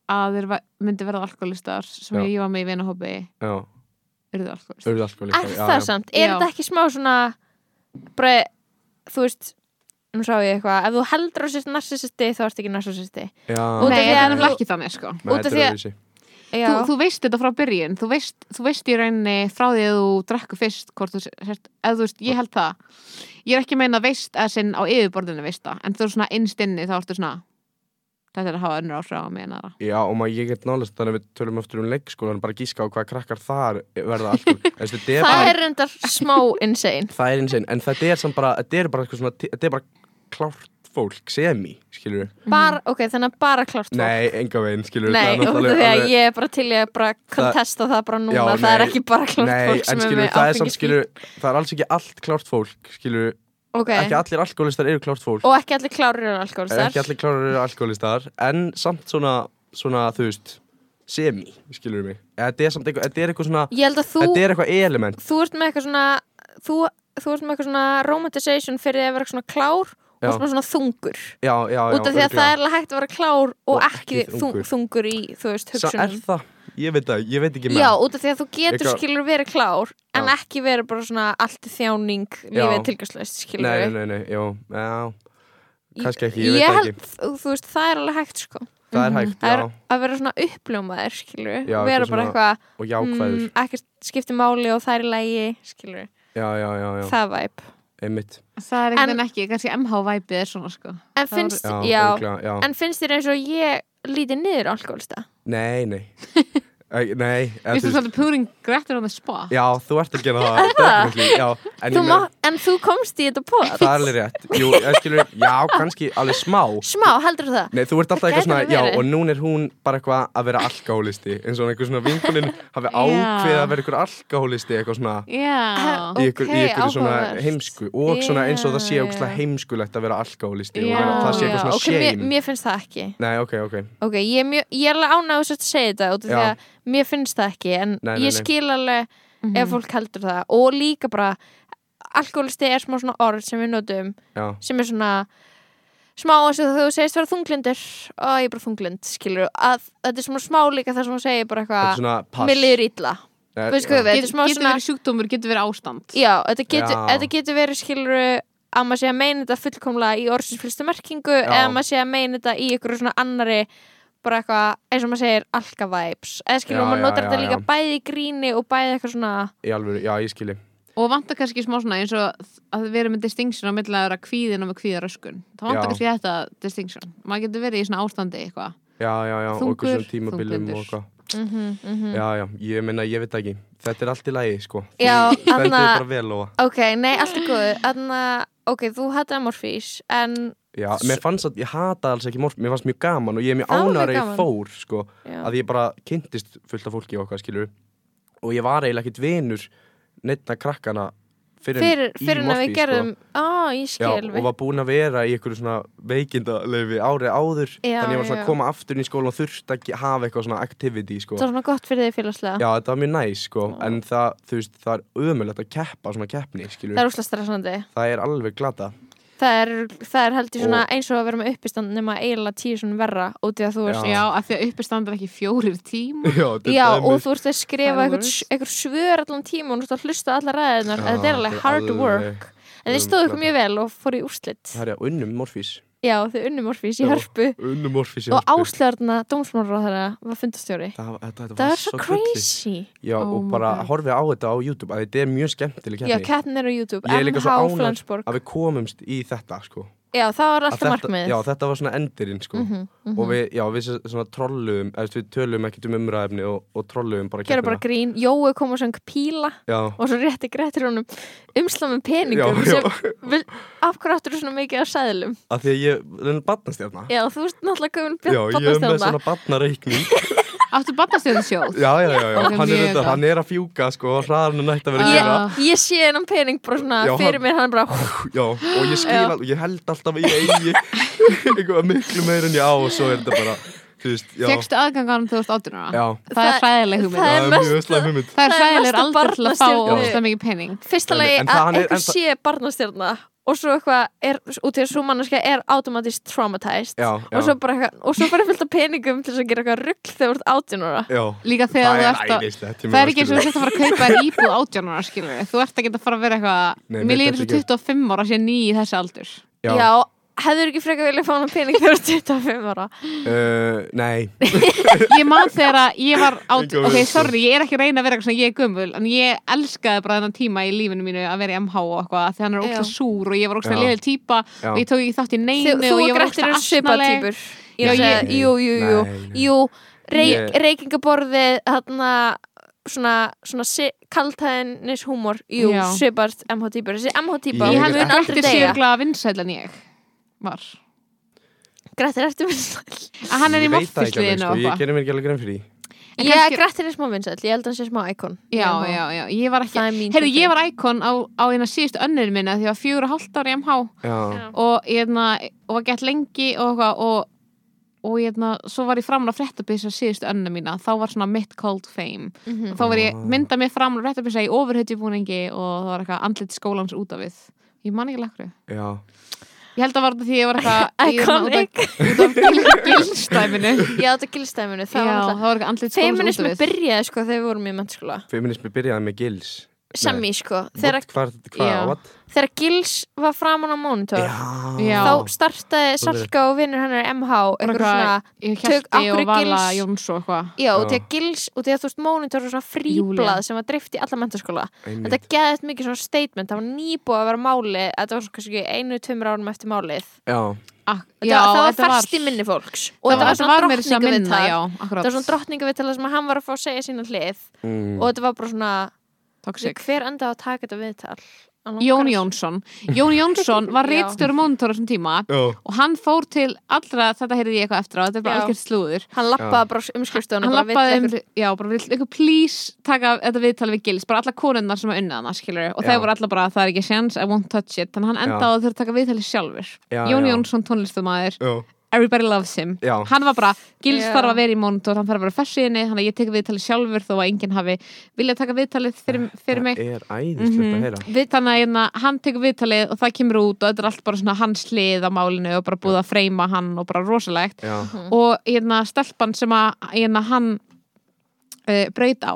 að þeir va- myndi verða alkoholistar sem
Já.
ég var með í vinahópi
já,
eruðu alkoholistar
auðvitað sko líka
Er
já,
það
já.
samt? Er
Já.
þetta ekki smá svona bara, þú veist nú sá ég eitthvað, ef þú heldur á sérst narsisisti þá ertu ekki narsisisti
Já,
Út af
Nei,
því
það
að-
er nefnilega ekki þannig sko
Nei,
út af
þetta er
því að-
öðruvísi.
Já,
þú, þú veist þetta frá byrjun þú veist, þú veist í rauninni frá því að þú drekku fyrst hvort þú sért, eða þú veist, ég held það ég er ekki að meina veist að sinn á yfirborðinu veist það, en þú er svona innstinni þá ertu svona þetta er að hafa önnur áhrif á mig en aðra
Já, og maður, ég get nálega þannig að við tölum aftur um leikskólan bara gíska á hvað krakkar þar verða alkohol Þessi, þetta er
það
bara,
er reyndar smá insane
það er insane, en þetta er samt bara, þetta er bara eitthvað svona, þetta er bara klárt fólk semi, skilur
bara, ok, þannig að bara klart fólk
Nei, enga veginn, skilur
Nei, út af því að ég er bara til ég að bara kontesta það bara núna,
Já,
það er
nei.
ekki bara klart
Nei,
fólk
en
sem er
skilur,
með
það er samt,
áfengis
skilur, það er alls ekki allt klárt fólk, skilur,
Ok,
ekki allir alkoholistar eru klárt fólk,
og ekki allir klárir en alkoholistar
ekki allir klárar eru alkoholistar, en samt svona, svona, þú veist, semi, skilur mig. Þetta er samt eitthvað, þetta er eitthvað svona,
Ég held að þú,
þetta er eitthvað element.
þú ert með eitthvað svona þú þú ert með eitthvað svona romantisation fyrir að vera svona klár
Já.
og svona, svona þungur
já, já, já
út af því að það er alveg hægt að vera klár og,
Og
ekki,
ekki
þungur.
þungur.
þungur í, þú veist,
Svo er
hugsunum
það, ég veit það, ég veit ekki með
Já, út af því að þú getur
Eitthvað-
skilur verið klár en
Já.
ekki verið bara svona allt í þjáning
Já.
lífið tilgjörsleist skilur
Nei,
við
nei, nei, nei, já, já
Ég-
Kannski ekki, ég veit það
held,
ekki
þú veist, það er alveg hægt sko
Það er hægt,
það er
já,
að vera svona uppljómaður skilur við,
Já,
vera
eitthvað
bara
svona
eitthvað
og jákvæður
mm, ekkert skipti máli og það er í lægi skilur við,
Já, já, já, já,
það væp
einmitt
það er
En-
einhvern veginn ekki, kannski MH-væpið er svona sko
en
Það voru-
finnst,
Já,
já,
örugglega, já.
en finnst þér eins og ég lítið niður á alkoholista
Nei, nei Æ,
Við
Nei, eða þú
erum
veist-
svolítið púring grættur á það spá
Já, þú ert að gera það definitely, Já, en
þú
ég
má,
með
en þú komst í þetta pot
Það er alveg rétt Jú, ég skilur, já, kannski alveg smá
smá, heldur það
Nei, þú ert alltaf
Það gæti
eitthvað svona,
alveg
já,
verið.
og núna er hún bara eitthvað að vera alkohólisti eins og einhver svona vinkunin hafi
Já.
ákveðið að vera eitthvað alkohólisti eitthvað svona
Já
Ó,
í ykkur, í
Ókei,
ykkur svona
áhugavert.
heimsku og svona eins og það sé
Já,
yeah.
já.
heimskulegt að vera alkohólisti
Já,
og vera- það sé eitthvað svona
Ah, ok, mér,
shame
mér finnst það ekki
Nei, ok, ok,
ok, ég er, mjög, ég er alveg ánægðis að segja þetta út af því
Já.
að mér finnst það ekki en
Nei, nei,
ég
nei.
skil alveg
Mhm.
ef fólk heldur það og líka bara alkoholisti er smá svona orð sem við notum
já,
sem er svona smá eins og þú segist vera þunglindur og ég er bara þunglind, skilur að þetta er svona smá líka þar sem hún segir bara
þetta er
eitthvað
svona pass
milliður illa,
Nei,
veist hvað
já.
við þetta er smá
Getur
svona,
verið sjúkdómur, getur verið ástand
já, þetta getur,
Já.
þetta getur verið skilur að maður sé að meina þetta fullkomlega í orðsins fylgstu merkingu
Já.
eða maður sé að meina þetta í ykkur svona annari bara eitthvað, eins og maður segir alka vibes, eða skilur
Já,
maður
já,
notar
já,
þetta líka
já.
bæði í gríni og bæði eitthvað svona
Í alvöru, já, ég skilji
Og vantar kannski smá svona eins og að vera með distinction á milli að vera kvíðin og með kvíðaröskun Það vantar
Já.
kannski þetta distinction Maður getur verið í svona ástandi eitthvað
Já, já, já, og
Þungur,
okkur svona tímabilum
þunglindur.
og eitthvað
mm
Já, já, ég meina, ég veit það ekki Þetta er allt í lagi, sko
Já,
Þetta er
þarna-
bara vel og
ok, nei, allt er góð þannig að, ok, þú hætti amorfís en
Já, mér fannst að ég hata alls ekki morf Mér fannst mjög gaman og ég er mjög
Það var mjög
ánar að ég
gaman.
fór, sko
Já.
að ég bara kynntist fullt af fólki og okkar, skilur Og ég var eiginlega ekkit vinur neittna krakkana Fyrir,
fyrir,
í
fyrir en að
Morphe,
við
sko.
gerðum á, ég
Já,
skil
og var búin að vera í einhverju svona veikindaleifi árið áður
Já,
þannig ég var svona
já.
að koma aftur inn í skóla og þurfti að ge- hafa eitthvað svona activity sko.
það var svona gott fyrir þig félagslega
Já, þetta var mjög næs sko, en það, þú veist, það er ömulegt að keppa svona keppni, skilur
það er úslega stressandi
Það er alveg glata
það er, það er held ég svona
Og-
eins og að vera með uppistand nema eiginlega tíu svona verra út í að þú
Já.
veist
Já, af því að uppi standar ekki fjórir tíma
Já,
Já, og þú ert að skrifa
Það er
eitthvað,
worst.
eitthvað svör allan tíma og þú ert að hlusta á allar ræðinar
Já,
þetta er alveg
þetta er
hard
alveg-
work en þið
alveg
stóðu ykkur
glatað.
mjög vel og fóru í úrslit
Það er já, unnum morfís
Já, þau unnum orfís í
Já.
hörpu
Unnum morfís
og áslöðarna dómsmálar á þeirra var fundastjóri
Það, þetta, þetta
Það
var
er svo
gullið.
crazy
Já,
Oh
og
my
bara
God.
horfið á þetta á YouTube að þetta er mjög skemmtileg
Já,
keppni
keppnin er á YouTube,
Ég er líka
MH
svo ánægð
Flensborg
að við komumst í þetta sko.
Já, það var
Að
alltaf
þetta,
markmiðið
Já, þetta var svona endurinn sko. og við, já, við s- svona trolluðum eða, þú veist, við tölum ekkert um umræðefni og, og trolluðum bara
gera
keppnina.
bara grín, Jói kom og sang píla
já,
og svo rétti Gretur honum umslá með peningum
Já, já.
sem, vil, af hverju áttur svona mikið af sæðlum
að því að ég, þannig barnast hérna
já, þú veist náttúrulega
Já,
gömul
ég er með
bjarnastjálna
svona barnareikning
Áttu barnastjórnsjóð
Já, já, já, já.
Ok,
Hann, er
mjög
þetta,
gott.
hann er að fjúka sko, og hraðan er nætt að vera að
Ég-
gera
ég sé hennan pening bara svona
Já,
fyrir
hann-
mér hann bara
Já, og ég skil
Já.
alveg, ég held alltaf að ég eigi eitthvað miklu meir en ég á og svo er þetta bara, þú veist, já
Fjöxtu aðgangan þú ert áttunara
Já,
Það er
Það-
fræðileg
það
hugmynd
er
það er
mest-
mjög slæm hugmynd
Það er
það er
fræðileg
mesta
aldur til að fá
barnastjörnu.
óslega mikið pening
fyrsta
En-
lagi
en
að
það- en
einhver
það-
sé barnastjálna og svo eitthvað er, út í þessu manneskja er automatist traumatized
Já, já.
og svo bara eitthvað, og svo bara fyllt af peningum til þess að gera eitthvað rugg þegar þú ert átjánóra
Já,
Líka þegar
það
þú
er
ert að
æðislegt ég
Það er
meina,
ekki eins og þú
skilur.
sett að fara að kaupa þér íbúð átjánara skilur við. Þú ert að geta að fara að vera
Nei,
eitthvað
mér
Mér líður
dettur
svo
ekki
25 ára sé ný í þessi aldur
já,
Já,
hefur ekki frekar vilja fá hann pening þegar þú ert 25 ára
uh, nei
Ég man þegar að ég var át
Enga
Ok,
veist.
sorry, ég er ekki að reyna að vera eitthvað svona ég er gömul En ég elskaði bara þennan tíma í lífinu mínu að vera í MH og eitthvað af Því hann er ókslega
Já.
súr og ég var ókslega
Já.
liðil típa
Já.
Og ég tók ekki þátt í
Þau-
neinu
þú
og
og
ég var
Grettir eru svipa
asnaleg.
típur
Já,
ég
ég-
segi, jú, jú, jú,
Nei, nei.
jú reik,
Ég-
reykingaborðið þarna svona, svona si kaltæðinis húmor, jú,
Já.
svipart MH típur, þessi MH típa,
Ég
Ég
hún
held
er
að
mun aldrei
Grettir sé
degja
örugglega vinsæll en ég var.
Grettir, ertu vinsæll?
Að hann er í
Ég veit það ekki alveg,
morfisliðinu
sko,
og
Ég
eitthvað
gerir mér ekki alveg grein fyrir því
En
Já,
kannski-
Grettir er smá vinsæll, ég held að hann sé smá íkon
Já, já, já, ég var ekki
Það er mín
Heyrðu,
tilfinning.
ég var íkon á, á eina síðustu önnur minna því að fjögur og hálft ára í MH
Já,
og, ég, hérna, og var gett lengi og, eitthvað og, og hérna, svo var ég framan á fréttabisa síðustu önna mína, þá var svona mitt cold fame
Mhm.
og þá var ég
Ah.
myndað mér framan á fréttabisa í ofurhetjubúningi og það var eitthvað andlit skólans út af við ég man ekki lakru
já,
ég held að var þetta því ég var eitthvað ég var
Iconic.
út af gilstæminu
Já, þetta gilstæminu, það var
Já,
alltaf
það var eitthvað andlit skólans út
Feminismi
af við
byrjaði sko þegar við vorum í mennskóla
feminismi byrjaði með gils
Sami sko, þegar,
What, hvað, hvað,
Já.
what?
þegar Gils var framan á monitor
Já.
Þá startaði Salka og vinnur hennar MH
Bara
eitthvað svona
ég
tök- af
hérti og
hverju
vala
gils-
Jóns og eitthvað
Já, og
Já.
því að Gils, og því að þú veist monitor var svona fríblað
Júlía.
sem var dreift í alla menntaskóla Þetta
Einmitt.
geðist mikið svona statement, það var nýbúið að vera máli Þetta var svona kannski einu, tveimur árum eftir málið
já,
Ak-
Þetta- Það var færst í minni fólks Og
það
þetta var
var,
svona
var mér sem
drottningaviðtal
minna, já,
Þetta
akkurat
var svona drottningavitala sem hann var að fá að segja sína hlið
mm,
Og þetta var bara svona
Toxic.
Hver endaði að taka þetta viðtal? Hann langar-
Jón Jónsson Jón Jónsson var
Já.
reitstjóri mónitor á þessum tíma
já,
og hann fór til allra, þetta heyrði ég eitthvað eftir á þetta er bara
Já.
algjört slúður
Hann lappaði bara um skrifstofuna
hann
bara vill
lappaði um,
einhver-
já, bara vill eitthvað please taka þetta viðtal við Gils, bara alla konunnar sem var unnað hann, skilur, og
Já.
þeir voru alla bara það er ekki sjans, I won't touch it, þannig að hann
Já.
endaði á að þurfa að taka viðtali sjálfur
Já,
Jón
já.
Jónsson tónlistamæður,
já,
everybody loves him
já,
hann var bara, Gils
Já.
þarf að vera í mónitor hann þarf að vera fessiðinni, þannig að ég tek viðtalið sjálfur þó að enginn hafi viljað taka viðtalið fyrir, fyrir mig
það er æðislegt
Mhm.
að heyra
Við, þannig að hérna, hann tekur viðtalið og það kemur út og þetta er allt bara svona hans hlið á málinu og bara búið að freyma hann og bara rosalegt
já,
Mhm.
og hérna stelpan sem að hérna, hann uh, braut á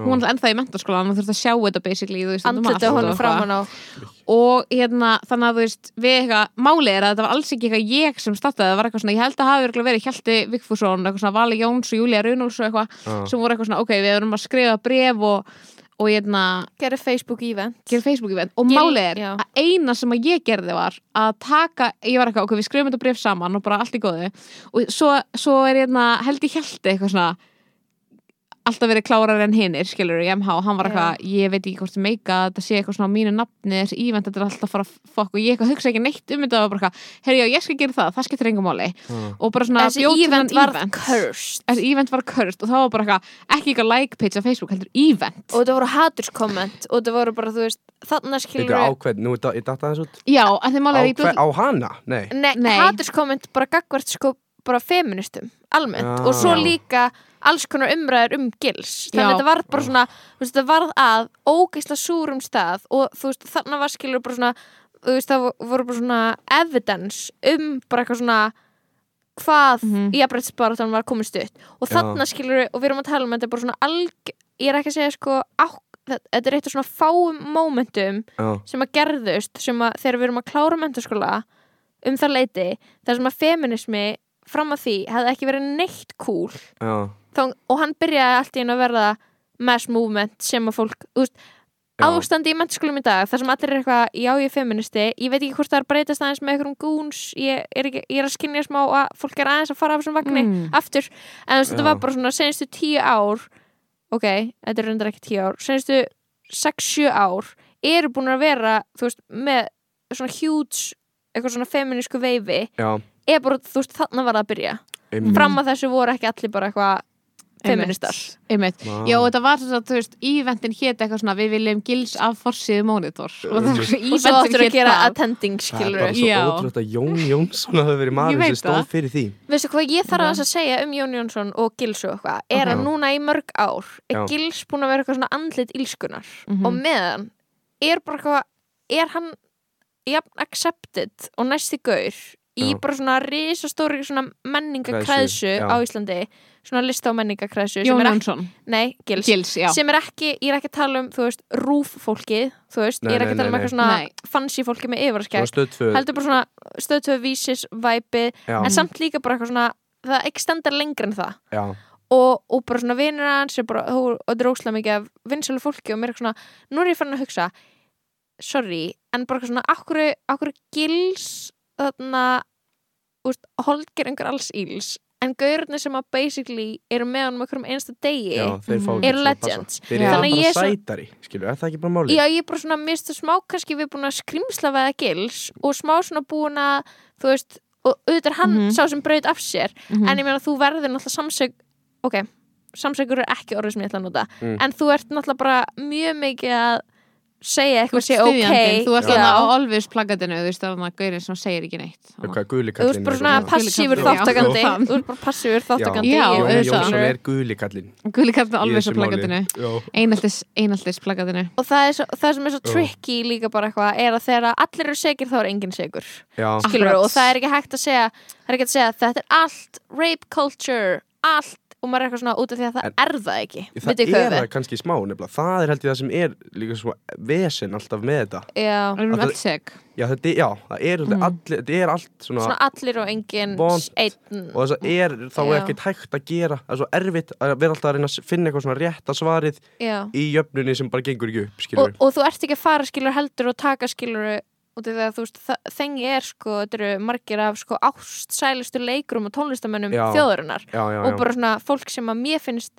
hún er ennþá í mentaskóla hann þurfti að sjá þetta basically þú veist, þetta var
Andlitið á
allt
honum
og
fram
eitthvað.
hann á
og hérna þannig að þú veist við eitthvað, málið er að þetta var alls ekki eitthvað ég sem startaði, það var eitthvað svona, ég held að hafi örugglega verið Hjalti Vigfússon, eitthvað svona Vali Jóns og Júlia Runuls og eitthvað,
já,
sem voru eitthvað svona ok, við erum að skrifa bref og, og hérna,
Gerði Facebook event
gera Facebook event og
Ég-
málið er
já.
að eina sem að ég gerði var að taka, ég var eitthvað, ok, við skrifum þetta bref saman og bara allt í góðu og svo, svo er hérna, held ég hjalti eitthvað svona alltaf verið klárar en hinnir, skilur í MH og hann var eitthvað, ég veit ekki hvort sem meika þetta sé eitthvað svona á mínu nafni, þessi ívent þetta er alltaf að fara að fokk og ég eitthvað hugsa ekki neitt um þetta og var bara eitthvað, herri já, ég skal gera það, það skiptir engum máli
já,
og bara svona
Þessi
bjó til
event
þennan
var cursed
þessi event var cursed og það var bara eitthvað, ekki eitthvað like page á Facebook, heldur event
Og þetta voru haturskomment Og þetta voru bara, þú veist, þarna skilur
þetta er ákveð, nú er da- ég datt aðeins út
já, en þeim málega er ég bjó
Ákveð-
til
um
á hana, nei
Nei,
Nei.
haturskomment bara gagvart sko bara feministum, almennt
Já.
og svo líka alls konar umræður um gils þannig að
Já.
þetta varð bara svona þú veist, þetta varð að ógeisla súrum stað og þú veist, þarna var skilur bara svona þú veist, það voru bara svona evidence um bara eitthvað svona hvað mm
Mhm.
-hmm. jafnbrettsbaratan var komið stutt og
Já.
þarna skilur við, og við erum að tala um þetta er bara svona alg, ég er ekki að segja sko á, þetta þetta er eitt af svona fáum momentum
já,
sem að gerðust sem að þegar við erum að klára mentaskóla um það leiti þar sem að feminismi fram að því hefði ekki verið neitt cool
já,
Þá, og hann byrjaði allt í einu að verða mass movement sem að fólk þú veist,
Já.
ástandi í mentaskólum í dag þar sem allir er eitthvað, já ég er feministi ég veit ekki hvort það er að breytast aðeins með einhverjum gúns ég er, ekki, ég er að skynja smá að fólk er aðeins að fara af þessum vagni
Mm.
aftur en þú veist,
Já.
þetta var bara svona senstu tíu ár ok, þetta er reyndar ekki tíu ár senstu 6-7 ár eru búin að vera, þú veist, með svona huge, eitthvað svona feminísku veifi,
já,
er bara, þú veist, þannig var það að byrja
einmitt.
fram að þessu voru ekki allir bara eitthvað feministar
einmitt,
Vá.
einmitt. já og þetta var þess að þú veist íventin hétt eitthvað svona við viljum gils af forsíðu mónitor og það var svona
og svo áttur
íventin
að
hétt
gera
það
attending,
Það er
skilur
bara
við
svo
Já.
ótrúlegt að Jón Jónsson hafi verið
Ég
maður
veit
sem stóð
það.
fyrir því
veistu hvað ég þarf
Já.
að að segja um Jón Jónsson og Gils og eitthvað, er
Ok.
að núna í mörg ár er
Já.
Gils búin að vera eitthvað svona andlit ílskunar
Mhm.
og meðan er bara eitthvað, er hann jafn accepted og næsti gaur í
Já.
bara svona risastóri svona
Kræsu,
menningakræðsu
já.
á Íslandi svona lista og menningakræðsu sem
Jón
er ekki,
Jónsson,
nei, Gils,
gils, já
sem er ekki, ég er ekki að tala um þú veist, rúf fólkið, þú veist
Nei,
ég er ekki
nei,
að tala um
nei,
eitthvað
nei.
svona
Nei.
fancy fólkið með yfarskegg
Svona stöð tvö
heldur bara svona stöðtöð vísis, væpi
já,
en samt líka bara eitthvað svona það extendar lengra en það
já,
og, og bara svona vinur hans er bara, hú, og þetta er óslega mikið af vinsölu fólki og mér er eitthvað svona, nú er ég farin að hugsa sorry, en bara eitthvað svona akkur, akkur gils þarna úst, holger einhver alls íls en gaurarnir sem að basically eru með honum okkur um einsta degi
já, þeir fá
Mhm.
ekki
Mm, eru
svo að passa.
legends
Þeir
Já.
eru
Þannig að ég
bara
er svo-
sætari, skilju, er það ekki bara máli?
Já, ég er bara svona, mér stu smá kannski við búin að skrimsla veða gils og smá svona búin að, þú veist, og auðvitað er hann
Mhm.
sá sem braut af sér,
Mhm.
Mm.
en ég meina þú verður náttúrulega samsök, ok, samsökur er ekki orðið sem ég ætla að nota,
Mm.
en þú ert náttúrulega bara mjög mikið að segja
Þú
eitthvað
ert
sé ok
styðjandinn, þú ert
já.
þarna á Olvis plakatinu, þú veist þarna gaurinn sem segir ekki neitt.
Eitthvað guli
Þú ert
kallinn
bara svona
eitthvað.
passífur
Já.
þáttakandi
Já.
Þú ert bara passífur þáttakandi
Já,
í-
auðvitað.
Jón Jónsson er guli kallinn
Gulli kallt með
í
Olvis
þessu
á plakatinu.
máli. Já.
Einaldis, einaldis plakatinu.
Og það, er svo, það sem er svo
Já.
tricky líka bara eitthvað er að þegar að allir eru segir þá er enginn segur
Já,
skilur
Akkurat.
og það er ekki hægt að segja það er ekki hægt að segja þetta er allt rape culture, allt og maður er eitthvað svona út af því að það
En-
er það Ah, ekki
það er það kannski smá nefnilega Það er held ég það sem er líka svo vesen alltaf með þetta
Já,
Það erum
Að
öll seg.
Já, þetta, er- já það er, mm. allir, þetta er allt svona,
svona allir og enginn
Vont.
einn
og þess að er þá er
Mm. Já.
ekkert hægt að gera það er svo erfitt að vera alltaf að reyna að finna eitthvað svona rétta svarið
Já
í jöfnunni sem bara gengur ekki upp, skilur
og, og þú ert ekki að fara skilur heldur og taka skilur út af því að þú veist, það- þengi er sko, þetta eru margir af sko ástsælustu leikurum og tónlistamönnum
Já.
þjóðarinnar
Já, já, já,
og bara svona fólk sem að mér finnst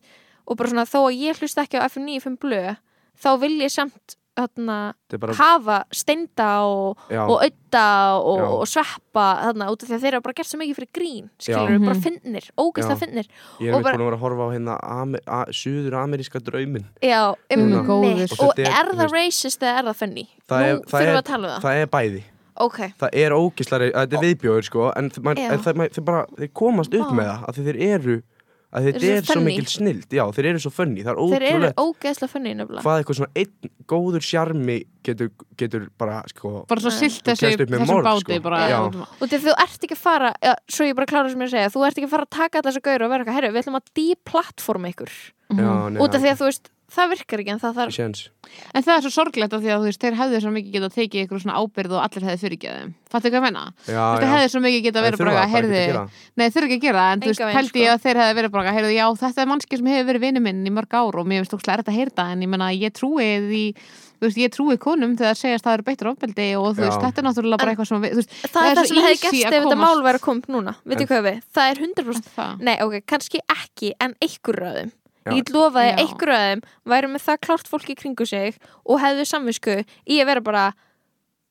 og bara svona þó að ég hlusta ekki á FM95 blöð þá vil ég samt þarna,
þetta er bara
hafa steinda og,
já,
og ödda og,
Já.
og sveppa þarna út af því að þeir eru bara gert svo mikið fyrir grín skilur
Já.
bara finnir, ógæslega
Já.
finnir
Ég er
og
einmitt
bara-
búin að vera að horfa á hérna Amer- a- suður-ameríska draumin
já, um
Guð minn góður.
og
Og þetta er-
er
þú
það racist eða er það funny?
Það er-
nú
það
þurfum við
er-
að tala um það,
Það er bæði
ok
Það er ógislari, þetta er viðbjóður sko En, þ- maður-
Já.
en það, maður- þeir, bara, þeir komast upp
Vá.
með það af Því þeir eru að
Þeir
Þetta
eru
er
svo
svo
funny.
mikil snild Já, þeir eru svo funny Það er
Þeir eru
ótrúlega
ógeðslega funni nefnilega
Hvað eitthvað svona einn góður sjarmi getur, getur bara sko
Bara svo
Nei.
silt
Þú
þessu,
kemst upp með
þessum
morð,
báti
sko.
bara.
Já.
Já.
Og þegar þú ert ekki að fara, ja, svo ég bara klára sem ég að segja Þú ert ekki að fara að taka þessu gaur og vera eitthvað Herru, við ætlum að deplatforma ykkur
Mhm.
Já, nei,
Mhm. Út af því að þú veist, það virkar ekki en það þarf
Sjens
En það er svo sorglegt af því að þú veist, þeir hefðu svo mikið getað tekið ykkur svona ábyrð og allir hefðu fyrirgeðum. Fattu hvað ég menna?
Já,
Þú veist, þeir
já
hefðu svo mikið getað verið bara að herði, nei þeir eru ekki að gera það, en þú
Engan
veist,
veginn,
pældi ég
sko.
að þeir hefðu verið bara að herði, já þetta er mannski sem hefur verið vinnu minn í mörg ár og mér finnst tókslega erfitt að heyrta, en ég menna ég trúi því, þú veist, ég trúi konum þegar það segjast að það eru beittur ofbeldi og þú
Já.
veist, þetta er náttúrulega bara eitthvað sem, við- þú veist,
Það
er
er það
svo
sem hefði
easy
gerst
að
ef þetta
komast.
mál væri að koma núna Vitið
En-
hvað við, það er 100%
það.
Nei, ok, kannski ekki, en einhver ræðum
Já.
Ég lofaði
Já.
að einhver ræðum væri með það klárt fólki kringu sig og hefðu samvisku í að vera bara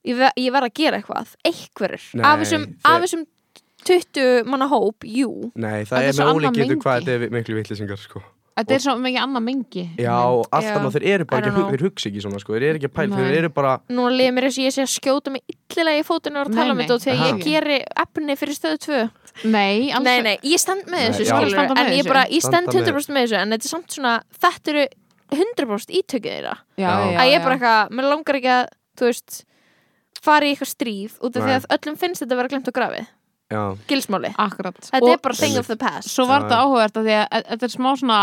ég, ver, ég verð að gera eitthvað, einhverjur
Nei,
af þessum,
þeir-
af þessum 20 manna hóp, jú
Nei,
Þetta
það
er
er
svo
með
annað
ólíkindu
mengi.
hvað þetta er miklu vitlýsingar sko
Þetta er svo mikið annað mengi.
Já, og allt
Já.
annað, þeir eru
I
bara
don't
ekki, að hu-
know.
þeir hugsa ekki svona sko Þeir eru ekki að
Nei.
pæla, þeir eru bara
Núna liðið mér þess að ég sé að skjóta mig illilega í fótinu og vera að tala
Nei,
um þetta og
nei.
þegar ég
Aha.
geri efni fyrir stöðu 2
Nei, alls
Nei, nei, ég stend með
Nei,
þessu
já.
skilur,
Standa með
en ég
þessu.
bara, ég
Standa
stend
með.
100% með þessu en þetta er samt svona, þetta eru 100% ítökið þeirra
Já,
Já.
já,
að ég
já.
bara eitthvað, mér langar ekki að þú veist, fara í eitthvað stríð út af því
Nei.
að öllum finnst þetta að vera glemt á grafið
Já,
gilsmáli,
Akkurat.
þetta
Og-
er bara thing of the past
svo var
Já,
þetta
já.
áhugavert að því að að- þetta er smá svona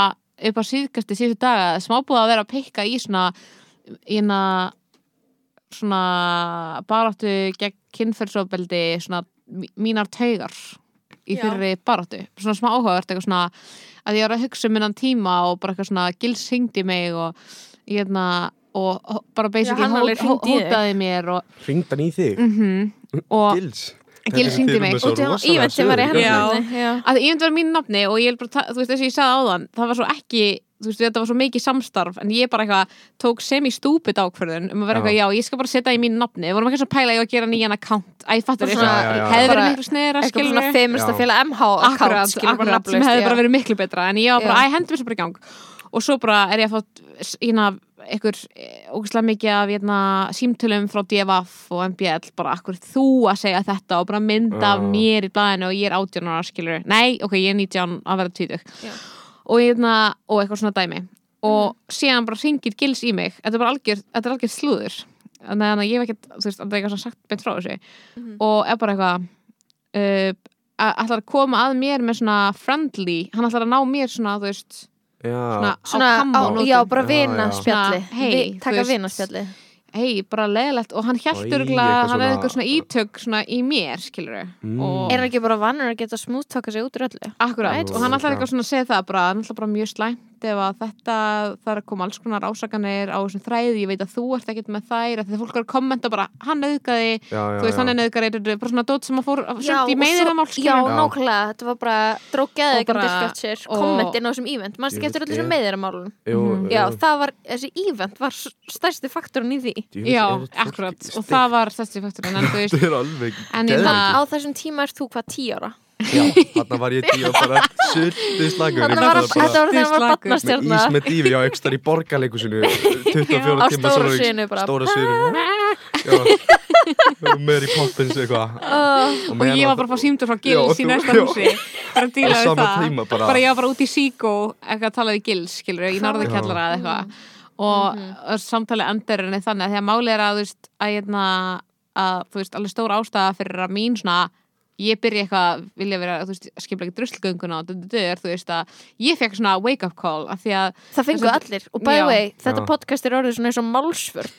upp á síðkasti síðustu daga smá búið að vera að pikka í svona ína svona baráttu gegn kynferðsofbeldi svona mí- mínar taugar í
Já.
fyrri baráttu svona smá áhugavert eitthvað svona að ég var að hugsa um minnan tíma og bara eitthvað svona gils hringdi í mig og hérna og hó- bara basically
hann alveg
hó- hó-
hringdi í þig.
hótaði mér og,
hringdan í þig
mm og
Gils
Gils hringdi í mig.
út af því að íventið var í
Já.
henni Já.
að ég myndi vera mín nafni og ég er bara, ta- þú veist, þess að ég sagði áðan það var svo ekki, þú veist, þetta var svo mikið samstarf en ég bara eitthvað tók semi-stúpid ákvörðun um að vera
Já.
eitthvað, já, ég skal bara setja í mín nafni, við vorum ekki svo að pæla í að gera nýjan account, æ, fattur
Bara
ég
svona-
Já, já, já.
hefði verið
bara-
miklu sniður að
eitthvað
skilja
svona feminista
Já.
félag MH
akkurat,
account, skilur bara
akkurat, sem
nafnlaust,
hefði
já.
bara verið miklu betra en ég var bara,
Já.
æ, hendum þessu bara í gang og svo bara er ég að fá hérna, ína einhver ógæslega mikið af hérna, símtölum frá DFF og MBL bara akkur þú að segja þetta og bara mynda af
Já.
mér í blaðinu og ég er 18 ára skilur nei, ok, ég er 19 að vera
Já.
20
Mhm.
og, hérna, og eitthvað svona dæmi og síðan bara ringir gils í mig þetta er bara algjör, þetta er algjör slúður þannig að ég hef ekkert, þú veist, það er eitthvað svona sagt beint frá þessu
Mhm.
og er bara eitthvað uh, að- ætlar að koma að mér með svona friendly, hann ætlar að ná mér svona, þú veist, svona,
Já,
svona,
á
á,
kammanótum
já, bara
Já,
vina
já.
spjalli
Svona, hey,
Vi-
þú
taka
veist.
vina spjalli
hei, bara leðilegt og hann
Oj,
hjælt
eitthvað
örgulega, hann hefði
svona-
eitthvað svona ítök svona í mér, skilur
Mm.
og
er hann ekki bara vannur að geta smúttaka sig út úr öllu
akkurat,
Jú,
og hann ætlar
já.
eitthvað svona að segja það bara, hann ætlar bara mjög slæmt ef að þetta, það er að koma alls konar ásakanir á þessum þræði, ég veit að þú ert ekkert með þær, að þetta fólk er að kommenta bara hann auðgæði,
já, já
þú veist, hann er auðgæði bara svona dót sem að fór svolítið í meðina mál,
já,
skilur
Já.
nákvæmlega, þetta var bara drókjaði
Og
ekki um
bara-
diskjátt sér,
og-
kommentin á þessum ívent mannstu
Ég
getur
veit
öllu sem
ég.
meðir að málun
Jú,
Mhm.
já,
jú.
það var, þessi ívent var s- stærsti faktorinn í því
Djöfull,
Já,
er þetta fólk
akkurat, og
steikt.
það var þessi fakturinn, en þú veist
Þetta er alveg
En ég
geðveikt.
það-
á þessum tíma ert þú hvað, 10 ára
Já, þarna var ég tíu og bara
Þetta
Sultu slagur ég
var,
bara-
þetta var þegar hann var
slakur.
með
batnastjarna
ís með dífi á ekstar í borgarleikusinu 24
Á
tíma
stóra
sólarhrings-
sviðinu bara.
stóra sviðinu Já. Mary Poppins eitthvað
og ég var bara að fá símdur frá Gils
Já,
í næsta
já.
húsi bara að díla
Á
við
sama
það
tíma bara.
ég var bara út í Síkó eitthvað að tala við Gils, skilur ég, í norðakjallara eða eitthvað og mm samtalið endur en þannig að því að málið er að þú veist, að, hérna, að þú veist, alveg stór ástæða fyrir að mín svona ég byrja eitthvað að vilja vera, þú veist, skipla ekki druslgönguna og þetta er, þú veist, að ég fekk svona wake up call af því að
Það fengu allir og by the
Já.
way, þetta
Já.
podcast er orðið svona eins og málsvörn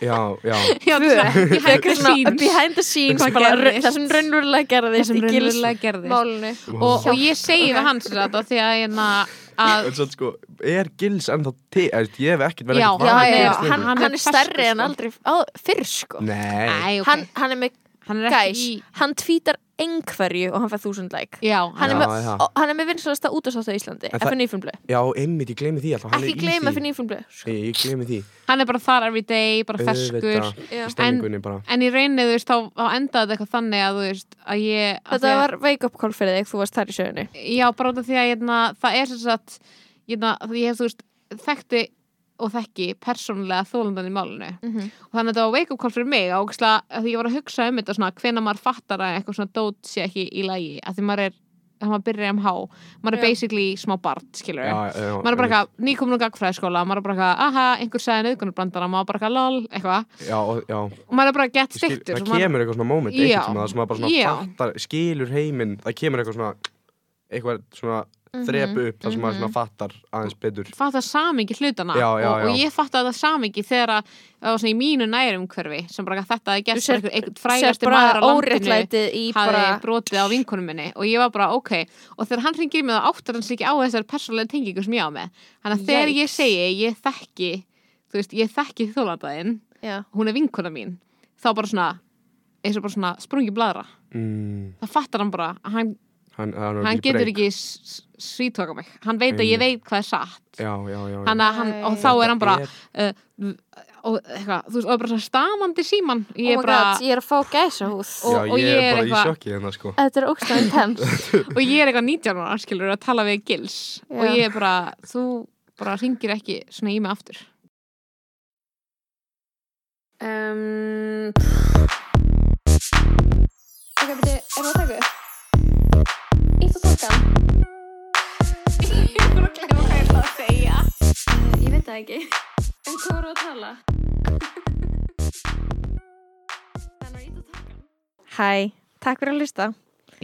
Já, já
já,
Tvö.
ég fekk
svona
scenes.
behind the scenes
Hvað
bara, ra-
gerðist?
það sem raunverulega
það
gerðist
sem
í
raunverulega gerðist
gilsmálinu
og, og ég segi við hans þetta því að, hérna, að
En svo sko, er Gils ennþá til eða, Ég hef ekkert verið
Já,
ekkert
Já,
vanur
já,
Gils
já,
Gils
lengur.
hann,
Hann er
hann er stærri
ferskur,
en
sko.
aldrei á, fyrr sko
Nei,
Æ, ok.
hann, hann er með,
hann er ekki
guys,
í
hann tvítar einhverju og hann fær þúsund like
já,
Hann er,
Já,
með,
já.
og hann er með vinsalasta útastáttu í Íslandi
En það-
FN Ífumblöð,
já, einmitt, ég gleymi því alltaf hann er Sko.
ekki
í
gleyma
því.
FN Ífumblöð
Nei, Ég gleymi því
hann er bara þar every day, bara ferskur
Auðvitað,
Já.
í stemningunni bara
en í reyni, þú veist, þá, þá endaði þetta eitthvað þannig að þú veist, að ég að
Þetta
því að,
var wake up call fyrir þig, þú varst þar í sögunni
já, bara út af því að hérna, það er sem sagt hérna, því ég hef, þú veist, þekkti og þekki persónulega þólandan í málinu
Mhm.
og þannig að þetta var wake up call fyrir mig og því ég var að hugsa um þetta svona hvena maður fattar að eitthvað svona dót sé ekki í lagi að því maður er, að maður byrjar um há maður er
Já.
basically smá barn, skilur
Já, já, já,
maður er bara
einmitt.
eitthvað, nýkomin úr gagfræðskóla maður er bara eitthvað, aha, einhver sagði nöðgunarbrandara maður er bara eitthvað, lol, eitthvað
Já, og- já
og maður er bara gett
Ég skil-
styktur
það kemur eitthvað svona moment
Já.
eitthvað tíma, það sem maður bara svona
Já.
fattar, skilur heiminn það kemur eitthvað svona eitthvað svona þrep
Mhm,
upp það sem maður svona fattar aðeins betur
fatta samingi hlutana
Já, já,
og, og
já.
ég fatta þetta samingi þegar að það var svona í mínu nærumhverfi sem bara eitthvað, þetta er
Þú
gert
sérð-
bara einhver- einhver
Sér
frægasti
bara
maður á landinu
óréttlætið í
hafði
bara
brotið á vinkunum minni og ég var bara ok og þegar hann ringir í mig þá áttar hann sig ekki á þessar persónulega tengingu sem ég á með þannig að þegar ég
Yikes.
segi ég þekki þú veist, ég þekki þólandaðinn
Já.
hún er vinkuna mín þá bara svona, eins og bara svona sprungi bladra
mm,
það fattar hann bara að hann,
hann, hann, er
hann
í
getur
break.
ekki svítóka mig hann veit að ég veit hvað er satt
já, já, já, já.
hann, að hann, og þá
Þetta
er hann bara
er-
uh, og eitthvað, þú veist, og er bara svona stamandi síman ég
Oh my
er bara,
god, ég er að fá gæsa húð
og-
já,
og
ég,
ég
er
er
bara í
eitthvað-
sjokki hérna sko
Þetta er ógstæðan tens
og ég er eitthvað 19 ára skilur að tala við gils
Já.
og ég er bara, þú bara ringir ekki svona í mig aftur um,
Ok, beti, er það að taka upp? Ítt og tókan Ég er búin að glemma hvað ég ætla að segja Ég veit það ekki En hvað voru að tala? Hæ, takk fyrir að hlusta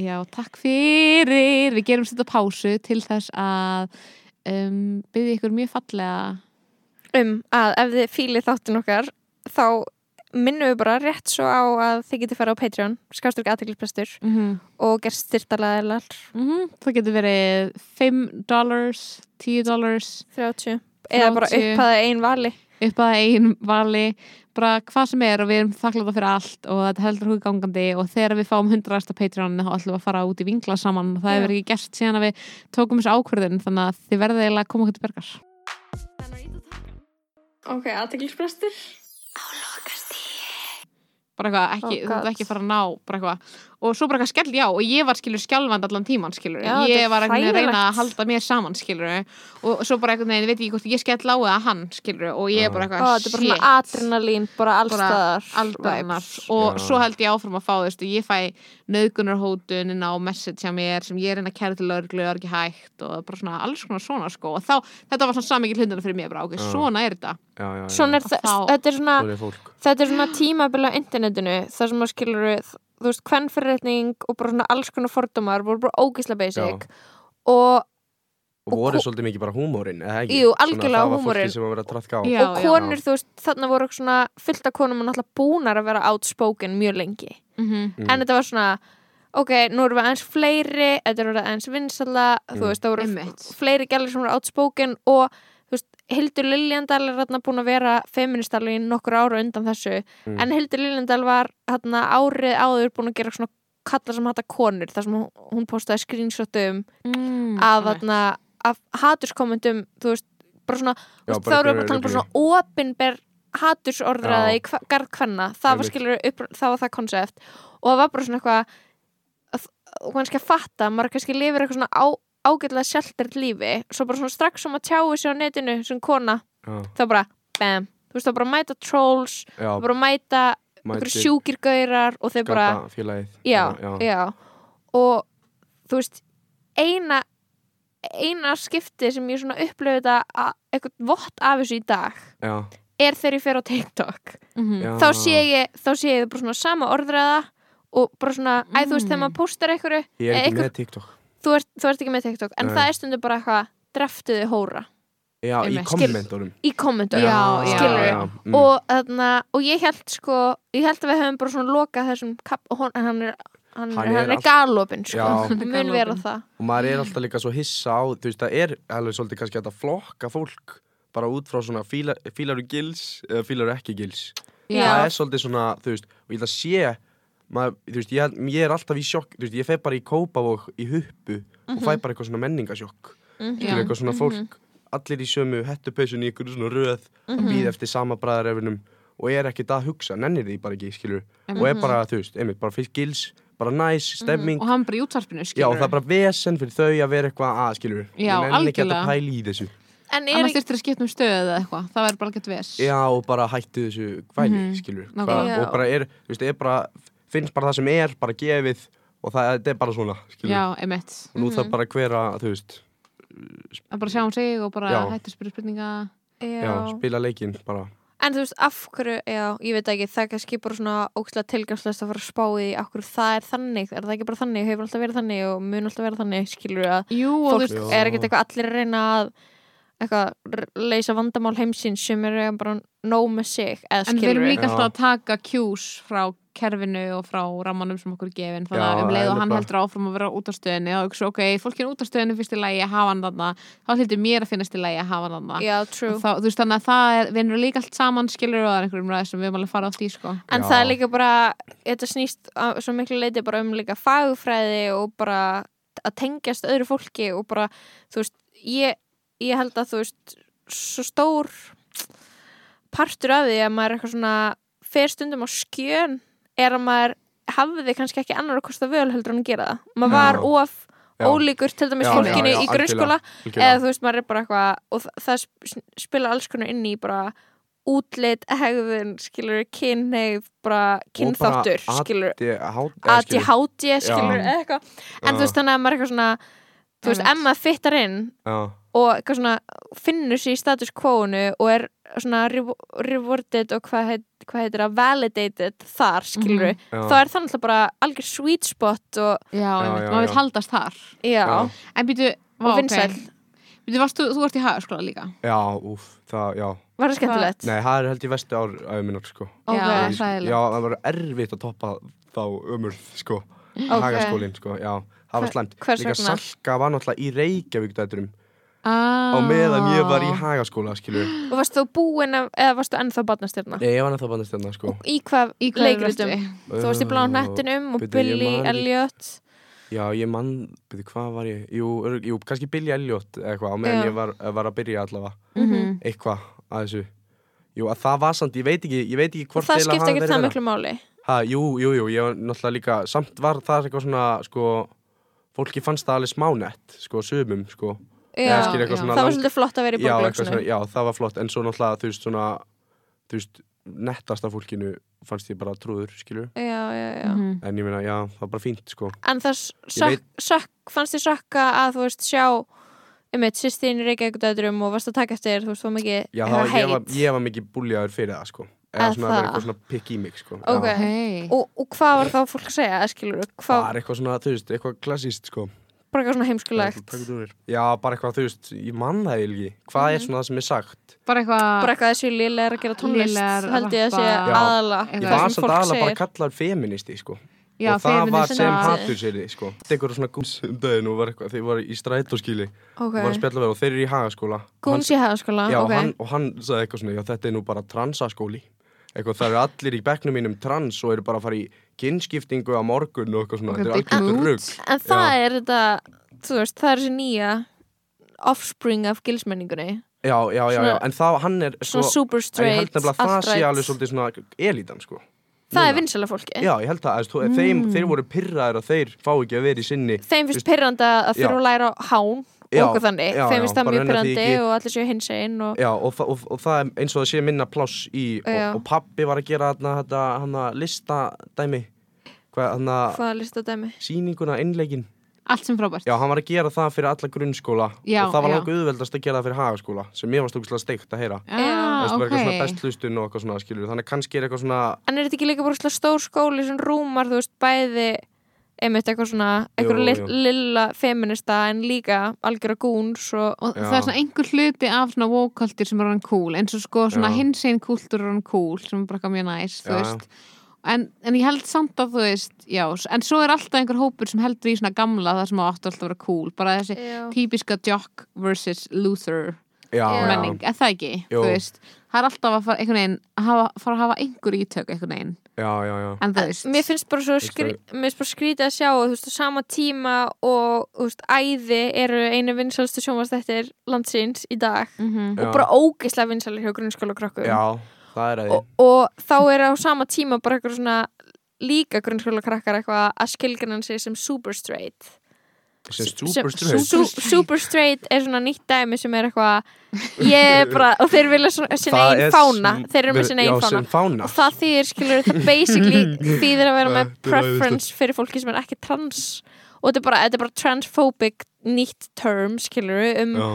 já, takk fyrir við gerum þetta pásu til þess að um, byrði ykkur mjög fallega
Um að ef þið fílið þáttin okkar Þá minnum við bara rétt svo á að þið getið fara á Patreon Skástur ekki aðteglisprestur
mm -hmm.
Og gerst styrtalaðilar
Mhm. það getur verið 5 dollars, 10 dollars
30 Eða bara
30.
upphæða ein vali
upp að eigin vali bara hvað sem er og við erum þakkláta fyrir allt og þetta heldur hugið gangandi og þegar við fáum hundraðasta Patreon þá ætlum við að fara út í vingla saman og það
Já.
hefur ekki gerst síðan að við tókum þessu ákvörðin þannig að þið verðið eiginlega að koma okkur til bergar
Ok, aðteglisprestur
bara eitthvað,
Oh,
ekki, þú
God.
ert ekki að fara að ná bara eitthvað, og svo bara eitthvað skell já og ég var skilur skjálfand allan tíman skilur
Já, þetta
ég
er
var einhvern veginn að reyna
hræðilegt.
að halda mér saman skilur og svo bara einhvern veginn, ég veit ekki hvort ég skell á eða hann skilur og ég
Já.
bara eitthvað
Mm. Ó, þetta er bara svona adrenalín, bara
Bara
allstaðar
albanar
Vibes.
og
Já.
svo held ég áfram að fá þú veist, ég fæ nöðgunarhótuninn á message hjá mér sem ég er enn að kæra til örglu og er ekki hægt og bara svona alls konar svona sko og þá, þetta var svona samikið hlundina fyrir mér bara ok,
Já.
svona er þetta
já, já, já,
Svona er
Og
það,
þá-
þetta er svona
Svona er fólk
þetta er svona tímabili á internetinu þar sem maður skilur við, þú veist, kvennfyrirretning og bara svona alls konar fordómar voru bara ógislega basic og,
og
Og
voru
ko-
svolítið mikið bara húmórin eða ekki?
Jú,
Svona,
algjörlega
það var
húmórinn.
fólki sem var verið að traðka á
Já.
og konur, þú veist, þarna voru svona fullt af konum og náttúrulega búnar að vera outspoken mjög lengi,
mm
en þetta var svona ok, nú erum við aðeins fleiri þetta er orðið aðeins vinsala,
Mm.
þú veist, það voru
Einmitt.
fleiri gælir sem voru outspoken og þú veist, Hildur Liljandal er hérna búin að vera feministal í nokkur ára undan þessu
Mm.
en Hildur Liljandal var hérna árið áður búin að gera svona kalla sem hata konur þar sem hún- hún postaði screenshotum
mm,
af,
einmitt.
þarna, af haturskommendum þú veist, bara svona
Já,
þú veist,
bara
þá erum við bara að
einhverju
tala um bara
rugli.
svona opinber hatursordraða
Já.
í hva- garð kvenna það var
Einmitt.
skilur upp, það var það konsept og það var bara svona eitthvað að- og kannski að fatta, maður kannski lifir eitthvað svona á, ágætlega sjaltert lífi svo bara svona strax sem að tjáu sig á netinu sem kona,
já,
þá bara bam, þú veist þá bara mæta trolls þá
já,
bara mæta
mæti
einhverju sjúkir gaurar og þeir bara
skapa félagið
já,
já,
já, og þú veist eina eina skipti sem ég svona upplöfu þetta að- eitthvað vott af þessu í dag
já,
er þegar ég fer á TikTok
Mhm.
já.
Mm. þá sé ég, þá sé ég bara svona sama orðræða og bara svona, æ þú veist þegar
Mm.
maður póstar einhverju,
ég er ekki
einhver-
með TikTok
þú ert, þú ert ekki með TikTok en
Nei.
það er stundu bara eitthvað dreftuði hóra
já, í
Einmitt.
kommentunum
í kommentum
Já, já,
skilurðu?
já, mm.
og, þarna, og ég held sko ég held að við höfum bara svona lokað þessum kap, og hon, hann er, hann,
Hann
hann
er
hann er
allt-
galopin
Já.
sko,
Hann
er
mun vera
galopinn.
það
og maður er alltaf líka svo hissa á þú veist, það er alveg svolítið kannski hægt að flokka fólk bara út frá svona fíla, fílaru gils eða fílaru ekki gils það
Já.
er svolítið svona, þú veist, og ég ætla að sé maður, þú veist, ég, ég er alltaf í sjokk þú veist, ég fæ bara í Kópavog í huppu og fæ bara eitthvað svona menningasjokk
Mhm.
Mhm.
til
Já. Mhm.
eitthvað svona fólk allir í sömu hettupeysun í einhverju svona röð að býða eftir sama bræðarefinum og er ekkert að hugsa, nennir því bara ekki, skilur og er bara, þú veist, einmitt, bara fyrst gils bara næs, stemming
Mhm. og hann bara í útvarpinu
Já,
skilur
og það er bara vesen fyrir þau að vera eitthvað að, skilur við.
Já,
Ég nenni ekki hægt að
algjörlega.
pæla í þessu.
en er
annars þurftir að skipta um stöðu eða eitthvað það verður bara gett ves
Já, og bara hættu þessu kvæli, mm
Mhm,
skilur við.
nákvæmlega.
Hvað- Og bara er, þú veist, er bara, finnst bara það sem er, bara gefið og það þetta er bara svona, skilur
já
við.
einmitt
Og nú
Mhm.
þarf bara hver að, þú veist,
að bara sjá um sig og bara
Já.
hættu að spyrja spurninga
já.
já, spila leikinn bara.
en þú veist af hverju, já, ég veit ekki það er kannski bara svona ókslega tilgangslöst að fara að spá í af hverju það er þannig, er það ekki bara þannig hefur alltaf verið þannig og mun alltaf verið þannig skilur við að
jú og þú
fólk
veist
Já.
er ekkert eitthvað allir að reyna að eitthvað r- leysa vandamál heimsins sem er eiginlega bara nóg með sig eða
en við
skilur
erum
við
líka
Já.
alltaf að taka cues frá kerfinu og frá rammanum sem okkur er gefin þannig
Já,
að um leið og hann
eðlilega.
heldur áfram að vera út af stöðinni og hugsa ok, fólk er út af stöðinni fyrst í lagi að hafa hann þarna þá hlýttur mér að finnast í lagi að hafa hann þarna
já, true
Og þá, þú veist þannig að það er, við erum líka allt saman skilur og það er einhverjum ræðis sem við erum alveg að fara á því sko.
en
Já.
það er líka bara, þetta snýst að- svo miklu leiti bara um líka fagfræði og bara að tengjast öðru fólki og bara, þú veist ég, ég held að þú veist svo stór partur af því að maður er eitthvað svona fer stundum á skjön er að maður hafði kannski ekki annar að kosta völ heldur en að gera það maður var
Já.
of
Já.
ólíkur til dæmis
Já,
fólkinu
já, já,
í grunnskóla eða
Algjörlega.
þú veist maður er bara eitthvað og þa- það sp- spila alls konar inn í bara útlit, hegðun, skilur kynneið, bara kynþáttur
bara
skilur,
Ég- há- eða, skilur við.
ADHD skilur,
Já.
eða eitthvað en þú veist þannig að maður er eitthvað svona þú veist,
Einmitt.
ef maður fittar inn
Já,
og eitthvað svona finnur sér í status quo-unu og er svona revo- rewarded og hvað heit, hvað heitir það, validated þar
Mhm.
skilur,
já.
þá er það náttúrulega bara algjör sweet spot og
Já, einmitt,
já,
maður
já.
vil haldast þar
já,
Já.
En býtu, vá,
og
ok.
vinsæl,
Býtu, varst, þú, þú ert í hagaskóla líka
Já, úf, það, já.
var það skemmtilegt
Nei, það er held ég vestu ár æfuminar, sko.
Ok.
Já,
Ég-
sæðilega
Já, það var erfitt að toppa þá ömurð, sko
Ok.
Hagaskólinn, sko, já, það var
Hver-
slæmt
hvers
Líka
vegna?
Salka var náttúrulega í Reykjavík dætturum
ah.
Á meðan ég var í Hagaskóla, skilur við.
og varst þú búinn af- eða varst þú ennþá barnastjörna
Nei, ég var náttúrulega bandast þarna, sko Um,
í hvað
Í hverju
leikritum
varstu?
þú varst í bláum hnettinum og
Bíddu, ég
Billy
man ekki.
Elliot
Já, ég mann, byrju, hvað var ég? Jú, örg, jú kannski Billy Elliot eða eitthvað Á meðan
Já.
ég var, var að byrja allavega
Mhm.
Eitthvað að þessu Jú, að það var samt, ég veit ekki, ég veit ekki
og
hvort
það
eiginlega
skipti
hafi
ekki
verið
það
verra.
miklu máli
Ha, jú, jú, jú, ég var náttúrulega líka samt var það eitthvað svona, sko fólki fannst það alveg smánett, sko, sumum, sko
já,
skilur eitthvað
já.
svona
það var
lang-
svolítið flott að um vera í
já, eitthvað svona,
borglöksinu
já, það var flott, en svo náttúrulega, þú veist, svona þú veist, nettasta fólkinu fannst ég bara trúður, skilur
já, já, já
Mhm.
en ég meina, já, það var bara fínt, sko
en það sökk,
veit-
sökk, fannst þið sökka að þú veist sjá um eitt sýstin í Reykjavíkudæðurum og varst að taka eftir þú veist það mikið
já, það
eitthvað
var, ég, var,
heit.
ég var mikið búljaður fyrir það, sko eða
Að
svona að vera
það?
eitthvað svona pikk í mig, sko
Ok.
já,
Hey.
og, og hvað var þá fólk að segja, skilur hvað,
bara eitthvað svona, þú veist, eitthvað klassíst, sko
bara eitthvað svona
Bara
heimskulegt
eitthvað takk úr þér. já, bara eitthvað, þú veist, ég manna það eiginlega ekki hvað er svona það sem er sagt
Bara eitthvað
bara eitthvað þessi liðlega er að gera tónlist
Lélegar
held ég að sé
rappa.
Já.
aðala
Ég
Ég
Það
var
sem
samt
fólk
aðalega bara
segir.
kallar feministi sko.
já,
og það var
feminist-
sem
feminista.
hattur sér þið sko. Þegar svona gúms um daginn og var eitthvað, þeir voru í strætóskíli okay. og var að
ok,
spjalla við og þeir eru í hagaskóla
gúns í hagaskóla
Já, og
Ah, ok,
hann, og hann sagði eitthvað svona, já þetta er nú bara transaskóli eitthvað, það eru allir í bekknum mínum trans og eru bara að fara í kynskiptingu á morgun og eitthvað svona,
Ok,
þetta
big
er
mood.
algjörður rugg
en það er þetta þú veist, það er þessi nýja offspring af gilsmenningunni
Já, já, já, já,
Svona-
en það, hann er
svona
sko,
super
en ég held
straight,
nefnilega að það sé
alt-right.
alveg svolítið svona elítan sko
það er
Núna.
vinsala fólki
Já, ég held það, þú, mm. þeim, þeir voru pyrraðir að þeir fá ekki að vera í sinni
þeim
Veist-
finnst pyrrandi að
Já.
þurfa að læra á hán og
Já,
okkur þannig,
já, já,
þeim finnst það
bara
mjög
nenna því
pyrrandi
ekki.
og allir séu hins einn og
Já, og, þa- og, og það er eins og það sé minna pláss í og,
Já.
og pappi var að gera hana, hana, hana listadæmi hvað, hana,
hvaða listadæmi
sýninguna, innleikin
allt sem frábært
Já, hann var að gera það fyrir alla grunnskóla
Já,
og það var
já.
langt auðveldast að gera það fyrir hagaskóla sem mér var stókslega steikt að heyra
Já,
ah,
Það var
ok
eitthvað svona best hlustun og eitthvað svona skilur þannig að kannski er eitthvað svona
en er þetta ekki líka bara svona stór skóli sem rúmar, þú veist, bæði einmitt eitthvað svona, eitthvað
Jú,
li
jú.
lilla feminista en líka algjöra gúns og,
og
Já.
það er svona einhver hluti af svona woke-kultur sem er hann cool eins og sko svona
Já.
hinsinn kultúr er hann cool sem er bara eitthvað mjög næs þú
Já, já.
veist en, en ég held samt að þú veist já, s- en svo er alltaf einhver hópur sem heldur í svona gamla það sem á aftur alltaf að vera cool bara þessi
Já.
típiska jock versus Luther
Já,
Já.
menning, er það ekki?
Jú.
þú veist, það er alltaf að fara einhvern veginn að hafa, fara að hafa einhver ítök einhvern veginn,
já, já, já,
en þú veist
mér finnst bara svo skrí, mér finnst bara skrítið að sjá þú veist, á sama tíma og þú veist, æði eru einu vinsalstu sjónvastættir landsins í dag
Mhm.
og bara ógeðslega vinsalir hjá grunnskóla krakkum
já, það er að
og, og þá er á sama tíma bara eitthvað svona líka grunnskóla krakkar eitthvað að skilgrannan sig sem super straight
sem
sem-
super stress
Su super straight er svona nýtt dæmi sem er eitthvað ég er bara, og þeir vilja svona- sinna
Það
einn
er
fána
sem-
þeir eru með sinna einn
Já,
fána
sem fána
og það þýðir, skilur, það basically þýðir að vera með
Þetta er æðislegt.
preference fyrir fólki sem er ekki trans og þetta er bara, þetta er bara transphobic nýtt term, skilur, um
Já,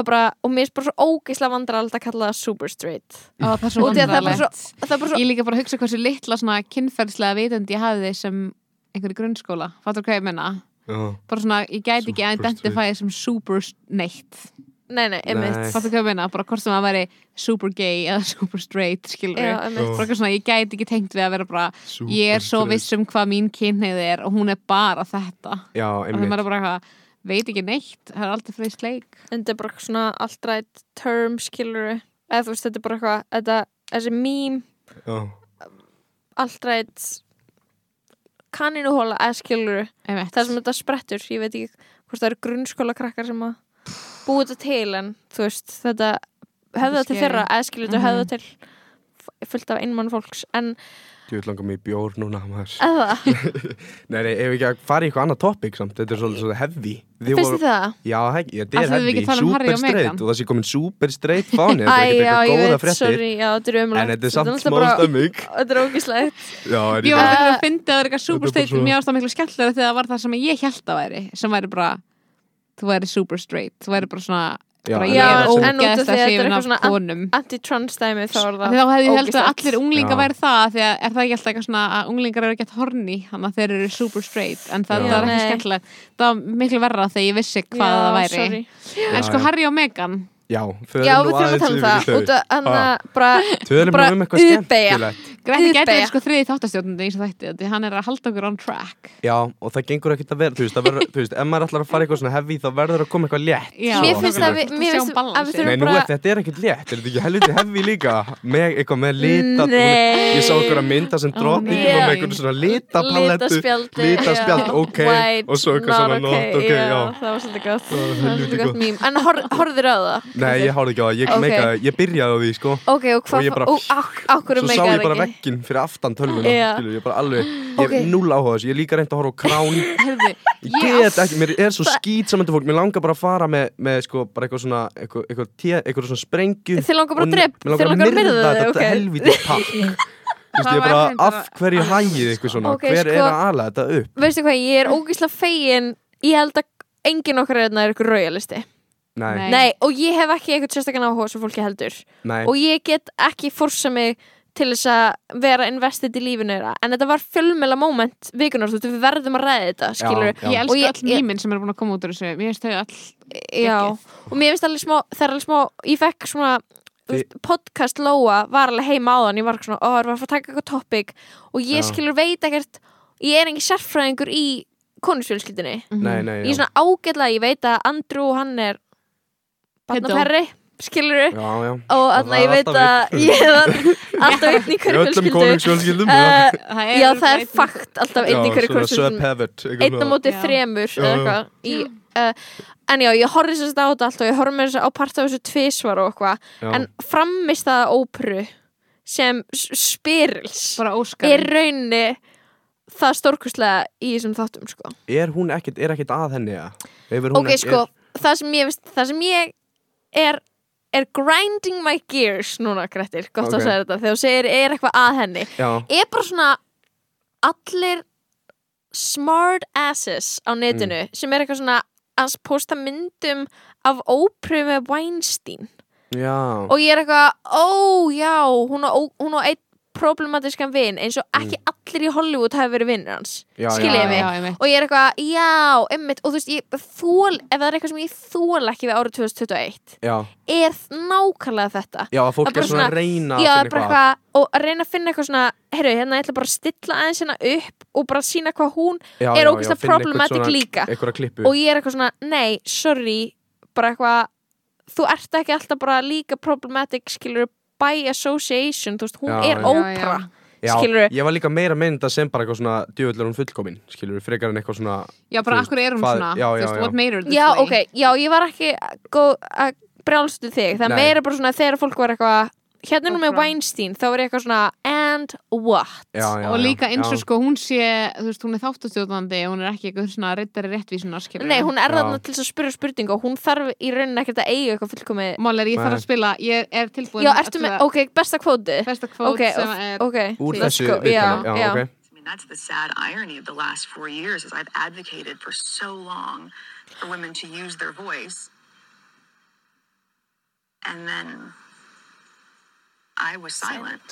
að bara, og mér er bara svo ógeislega vandrald að kalla það super straight
Ó, það er svo
og því að það er bara svo-
vandrarlegt
það er bara svo
ég líka bara hugsa hversu litla svona kynferðslega vitandi ég hafði sem einhverju grunnskóla, fattur hvað ég menna
já,
bara svona, ég gæti ekki að
Super
identifæja sem super s- neitt,
Nei, nei, einmitt
Nei.
fattur hvað ég menna bara hvort sem að væri super gay eða super straight skilur
Já,
við,
einmitt
bara eitthvað svona, ég gæti ekki tengt við að vera bara,
super
ég er svo
stress.
viss um hvað mín kynneið er og hún er bara þetta
Já,
og það
einmitt
er bara eitthvað, veit ekki neitt það er aldrei fyrir sleik
En þetta er bara svona allt rætt term, skilur eða þú veist, þetta er bara eitthvað þetta, þessi mím,
Já,
allt rætt kanninuhóla, eða skilur
Einmitt.
það sem þetta sprettur, ég veit ekki hvort það eru grunnskóla krakkar sem að búi þetta til en þú veist, þetta höfða
er
til
scary.
þeirra, eða skilur þetta
Mhm.
höfða til f- fullt af einmann fólks en
djúið langar mig í bjór núna maður
eða,
Nei, nei, ef við ekki að fara í eitthvað annað topic samt, þetta er svolítið svolítið heavy Þið
finnst þið það?
Já, hek, já,
Ætlum
þetta er
við
heavy,
ekki að tala um Harry og
super straight
Meghan?
og það sé komin super straight fáni, þetta
Æ,
er ekkert
já, ég
eitthvað góða
veit,
fréttir
sorry, já, þetta er umlægt
En þetta er samt smá stömmig
Þetta er ógislegt
Já, en
Ég
ég
var
Eh,
alltaf að finna að vera eitthvað super
Þetta er
straight
bara svona-
Mér varst það miklu skemmtilega þegar það var það sem ég held að væri sem væri bara þú væri super straight, þú væri bara svona
Já,
bara
en
ég
það
er
er það sem-
en út af því að
ógeðast að
þetta er
séfin
eitthvað
af
svona an-
konum
anti-trans dæmi þá er
Af því
það
Þá hefði ég held að
ógeðslegt.
allir um unglingar
Já.
væri það af því að er það ekki alltaf eitthvað svona að unglingar eru gett horni þannig að þeir eru super straight en það,
Já.
það er ekki
Nei.
skemmtilegt það var miklu verra þegar ég vissi hvað
Já,
það væri
sorry.
en sko
já.
Harry og Meghan
Já,
Já, við þurfum að tala um það út af hann
Ha.
að bara
Tölum
bara
nú um eitthvað
uppeygja.
skemmtilegt
Greti gæti
Uppeygja.
verið sko þriði þáttastjóðnandi eins og þætti því hann er að halda okkur on track
Já, og það gengur ekkert að vera, þú veist, það verður- þú veist, ef maður ætlar að fara í eitthvað svona heavy þá verður að koma eitthvað létt
Já.
mér finnst
skilur.
að við mér
Sjáum
finnst að
balansinn.
við
Nei,
þurfum
nú
bara
er þetta er ekkert létt, er þetta ekki helviti hefði líka með eitthvað með lita
Nei.
Ég sá okkur að mynda sem
Ó,
drotningum
nei.
með eitthvað svona litapalettu
litaspjaldi
litaspjald,
já.
ok,
White,
og svo eitthvað
not
svona not, ok,
já,
já.
það var svolítið gott
Það var
það var
helviti
svolítið gott mím en hor- horfðir á það
Nei, ég hárði ekki á það, ég,
Ok.
meikaði, ég byrjaði á því, sko
ok, og
Og
hvað
ég bara-
og ak- af hverju
Svo sá
meikar
ég bara
það ekki
vegginn fyrir aftan tölvuna
Já.
skilur, Ég bara alveg, ég
Ok.
er núl áhuga á þessu Ég er líka reynd að horfa á krán
Heyrðu,
Ég get ekki, mér er svo skýt samöndu fólk Mér langar bara að fara með, með sko, bara eitthvað svona Eitthvað, eitthvað, te- eitthvað svona sprengju
Þið langar bara að
og-
drep- þið
Mér langar
langar að
að myrða
myrða þig,
þetta
ok.
okay. helvítið pakk Þú veist,
Það
ég
var
bara,
reyndar-
af hverju hægið ykkur svona
Ok,
Hver
sko-
er að ala þetta upp?
veistu hvað, ég er ógíslega fegin ég held að engin okkar hérna er eitthvað rauðalisti
Nei,
Nei.
nei,
Nei, og ég hef ekki eitthvað sérstakann áhuga sem fólki heldur og ég get ekki forsa mig til þess að vera investið í lífinu þeirra en þetta var fjölmela moment vikunar, þú veist, við verðum að ræða þetta skilur,
Já.
Ég
Og
elsku
ég-
öll
ég-
mýmin sem er búin að koma út úr þessu Mér finnst þau all
já, og mér finnst alveg smá, það er alveg smá ég fekk svona, þú veist, podcast Lóa var alveg heima á þann, ég var svona ó, er var að fara að taka eitthvað topic og ég
Já.
skilur veit ekkert, ég er engin sérfræðingur í konusfjölskyldinni
nei, nei
ég er svona ágætlega, ég veit að Andrew, hann er barnaperri, skilur
Já, já
og þannig
Og það
að
er
ég veit
alltaf
að
einn.
ég var alltaf einn í
Í
hverju
öllum
fjölskyldu
konungsfjölskyldum
Uh,
Það
já, það er
einn-
fakt alltaf einn í hverju
Söp
kvöldsvöldum
hefett
einn á móti
Já.
þremur eða
Já, já.
eitthvað í, uh, en já, ég horfði sérst á þetta allt og ég horfði mér þess að á part af þessu tvisvar og eitthvað en framist það óperu sem s- spyrils
bara óskar
er raunni það stórkustlega í þessum þáttum sko.
Er hún ekkert, er ekkert að henni að?
ok sko, það sem ég veist það sem ég er er grinding my gears núna Grettir, gott
Ok.
að segja þetta þegar þú segir er eitthvað að henni
Já,
er bara svona allir smart asses á netinu sem er eitthvað svona að posta myndum af ópröfu með Weinstein
já,
og ég er eitthvað, ó já hún á, ó- hún á einn problematískan vin eins og ekki allir í Hollywood hafi verið vinnur hans
já,
skil ég mig.
já, já,
og ég er eitthvað, já, emmitt og þú veist, ég þól, ef það er eitthvað sem ég þól ekki við árið 2021
já,
er nákvæmlega þetta
já, að
Það er
fólk
bara
er svona
svona-
að reyna að
já,
finna
bara eitthvað, og að reyna að finna eitthvað svona herru, hérna, ég ætla bara að stilla aðeins hérna upp og bara sína hvað hún
Já, já,
er
já,
ógeðslega
finna einhvern
problematic
svona-
líka.
Einhverja klippu
og ég er eitthvað svona, nei, sorry bara eitthvað, þú ert ekki alltaf bara líka problematic, skilur by association, þú veist, hún
Já,
er
já.
ópera
Já,
skilurðu?
ég var líka meira mynda sem bara eitthvað svona djöfullur hún fullkomin, skilur við, frekar en eitthvað svona
já, bara
Þú veist,
akkur er hún
hvað-
svona
já,
þú
já,
veist,
já.
what made her this
já,
way
ok, já, ég var ekki góð að brjálstu þig, það er
Nei.
meira bara svona þegar fólk var eitthvað, hérna er hún með
Ópera.
Weinstein, þá var ég eitthvað svona, and what
já, já,
og
já,
líka eins og
já.
sko hún sé þú veist, hún er þáttastjóðandi hún er ekki eitthvað svona reyttari réttvísunar skilur
Nei, hún er
Já.
þarna til þess að spyrja spurninga og hún þarf í rauninni ekkert að eiga eitthvað fullkomið
mál er ég þarf
Nei.
að spila ég er tilbúin
Já, ertu með, ok, besta kvóti
besta kvót
Ok,
sem er
ok,
úr
let's
þessu
go,
viðtali,
já, já.
ok.
I mean, that's the sad irony of the last four years is I've advocated for so long for women to use their voice. And then I was silent.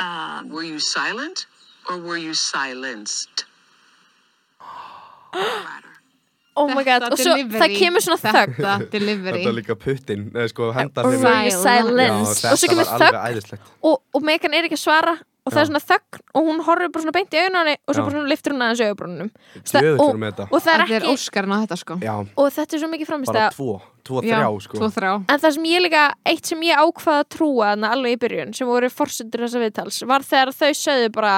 Um,
Were you silent or were you silenced?
the latter.
Oh my god,
Þetta
og svo
delivery,
það kemur svona þögg
þetta delivery
Þetta er líka puttinn, eða sko hendar
Were you
Silence.
silenced?
Já,
Og svo
þetta
kemur
var
þögg
alveg æðislegt
og, og Megan er ekki að svara og það er
Já.
svona þögg og hún horfir bara svona beint í augunni og svo
Já.
bara svona liftur hún aðeins augabrúnunum
Djöfull
og,
erum við þetta.
og það er
þetta er
ekki,
óskarinn á þetta sko
Já,
og þetta er svo mikið
bara
framist
tvo, tvo, þrjá sko
tvo þrjá
En það sem ég líka, eitt sem ég ákvaða að trúa þannig alveg í byrjun, sem voru forsendur þessa viðtals, var þegar þau sögðu bara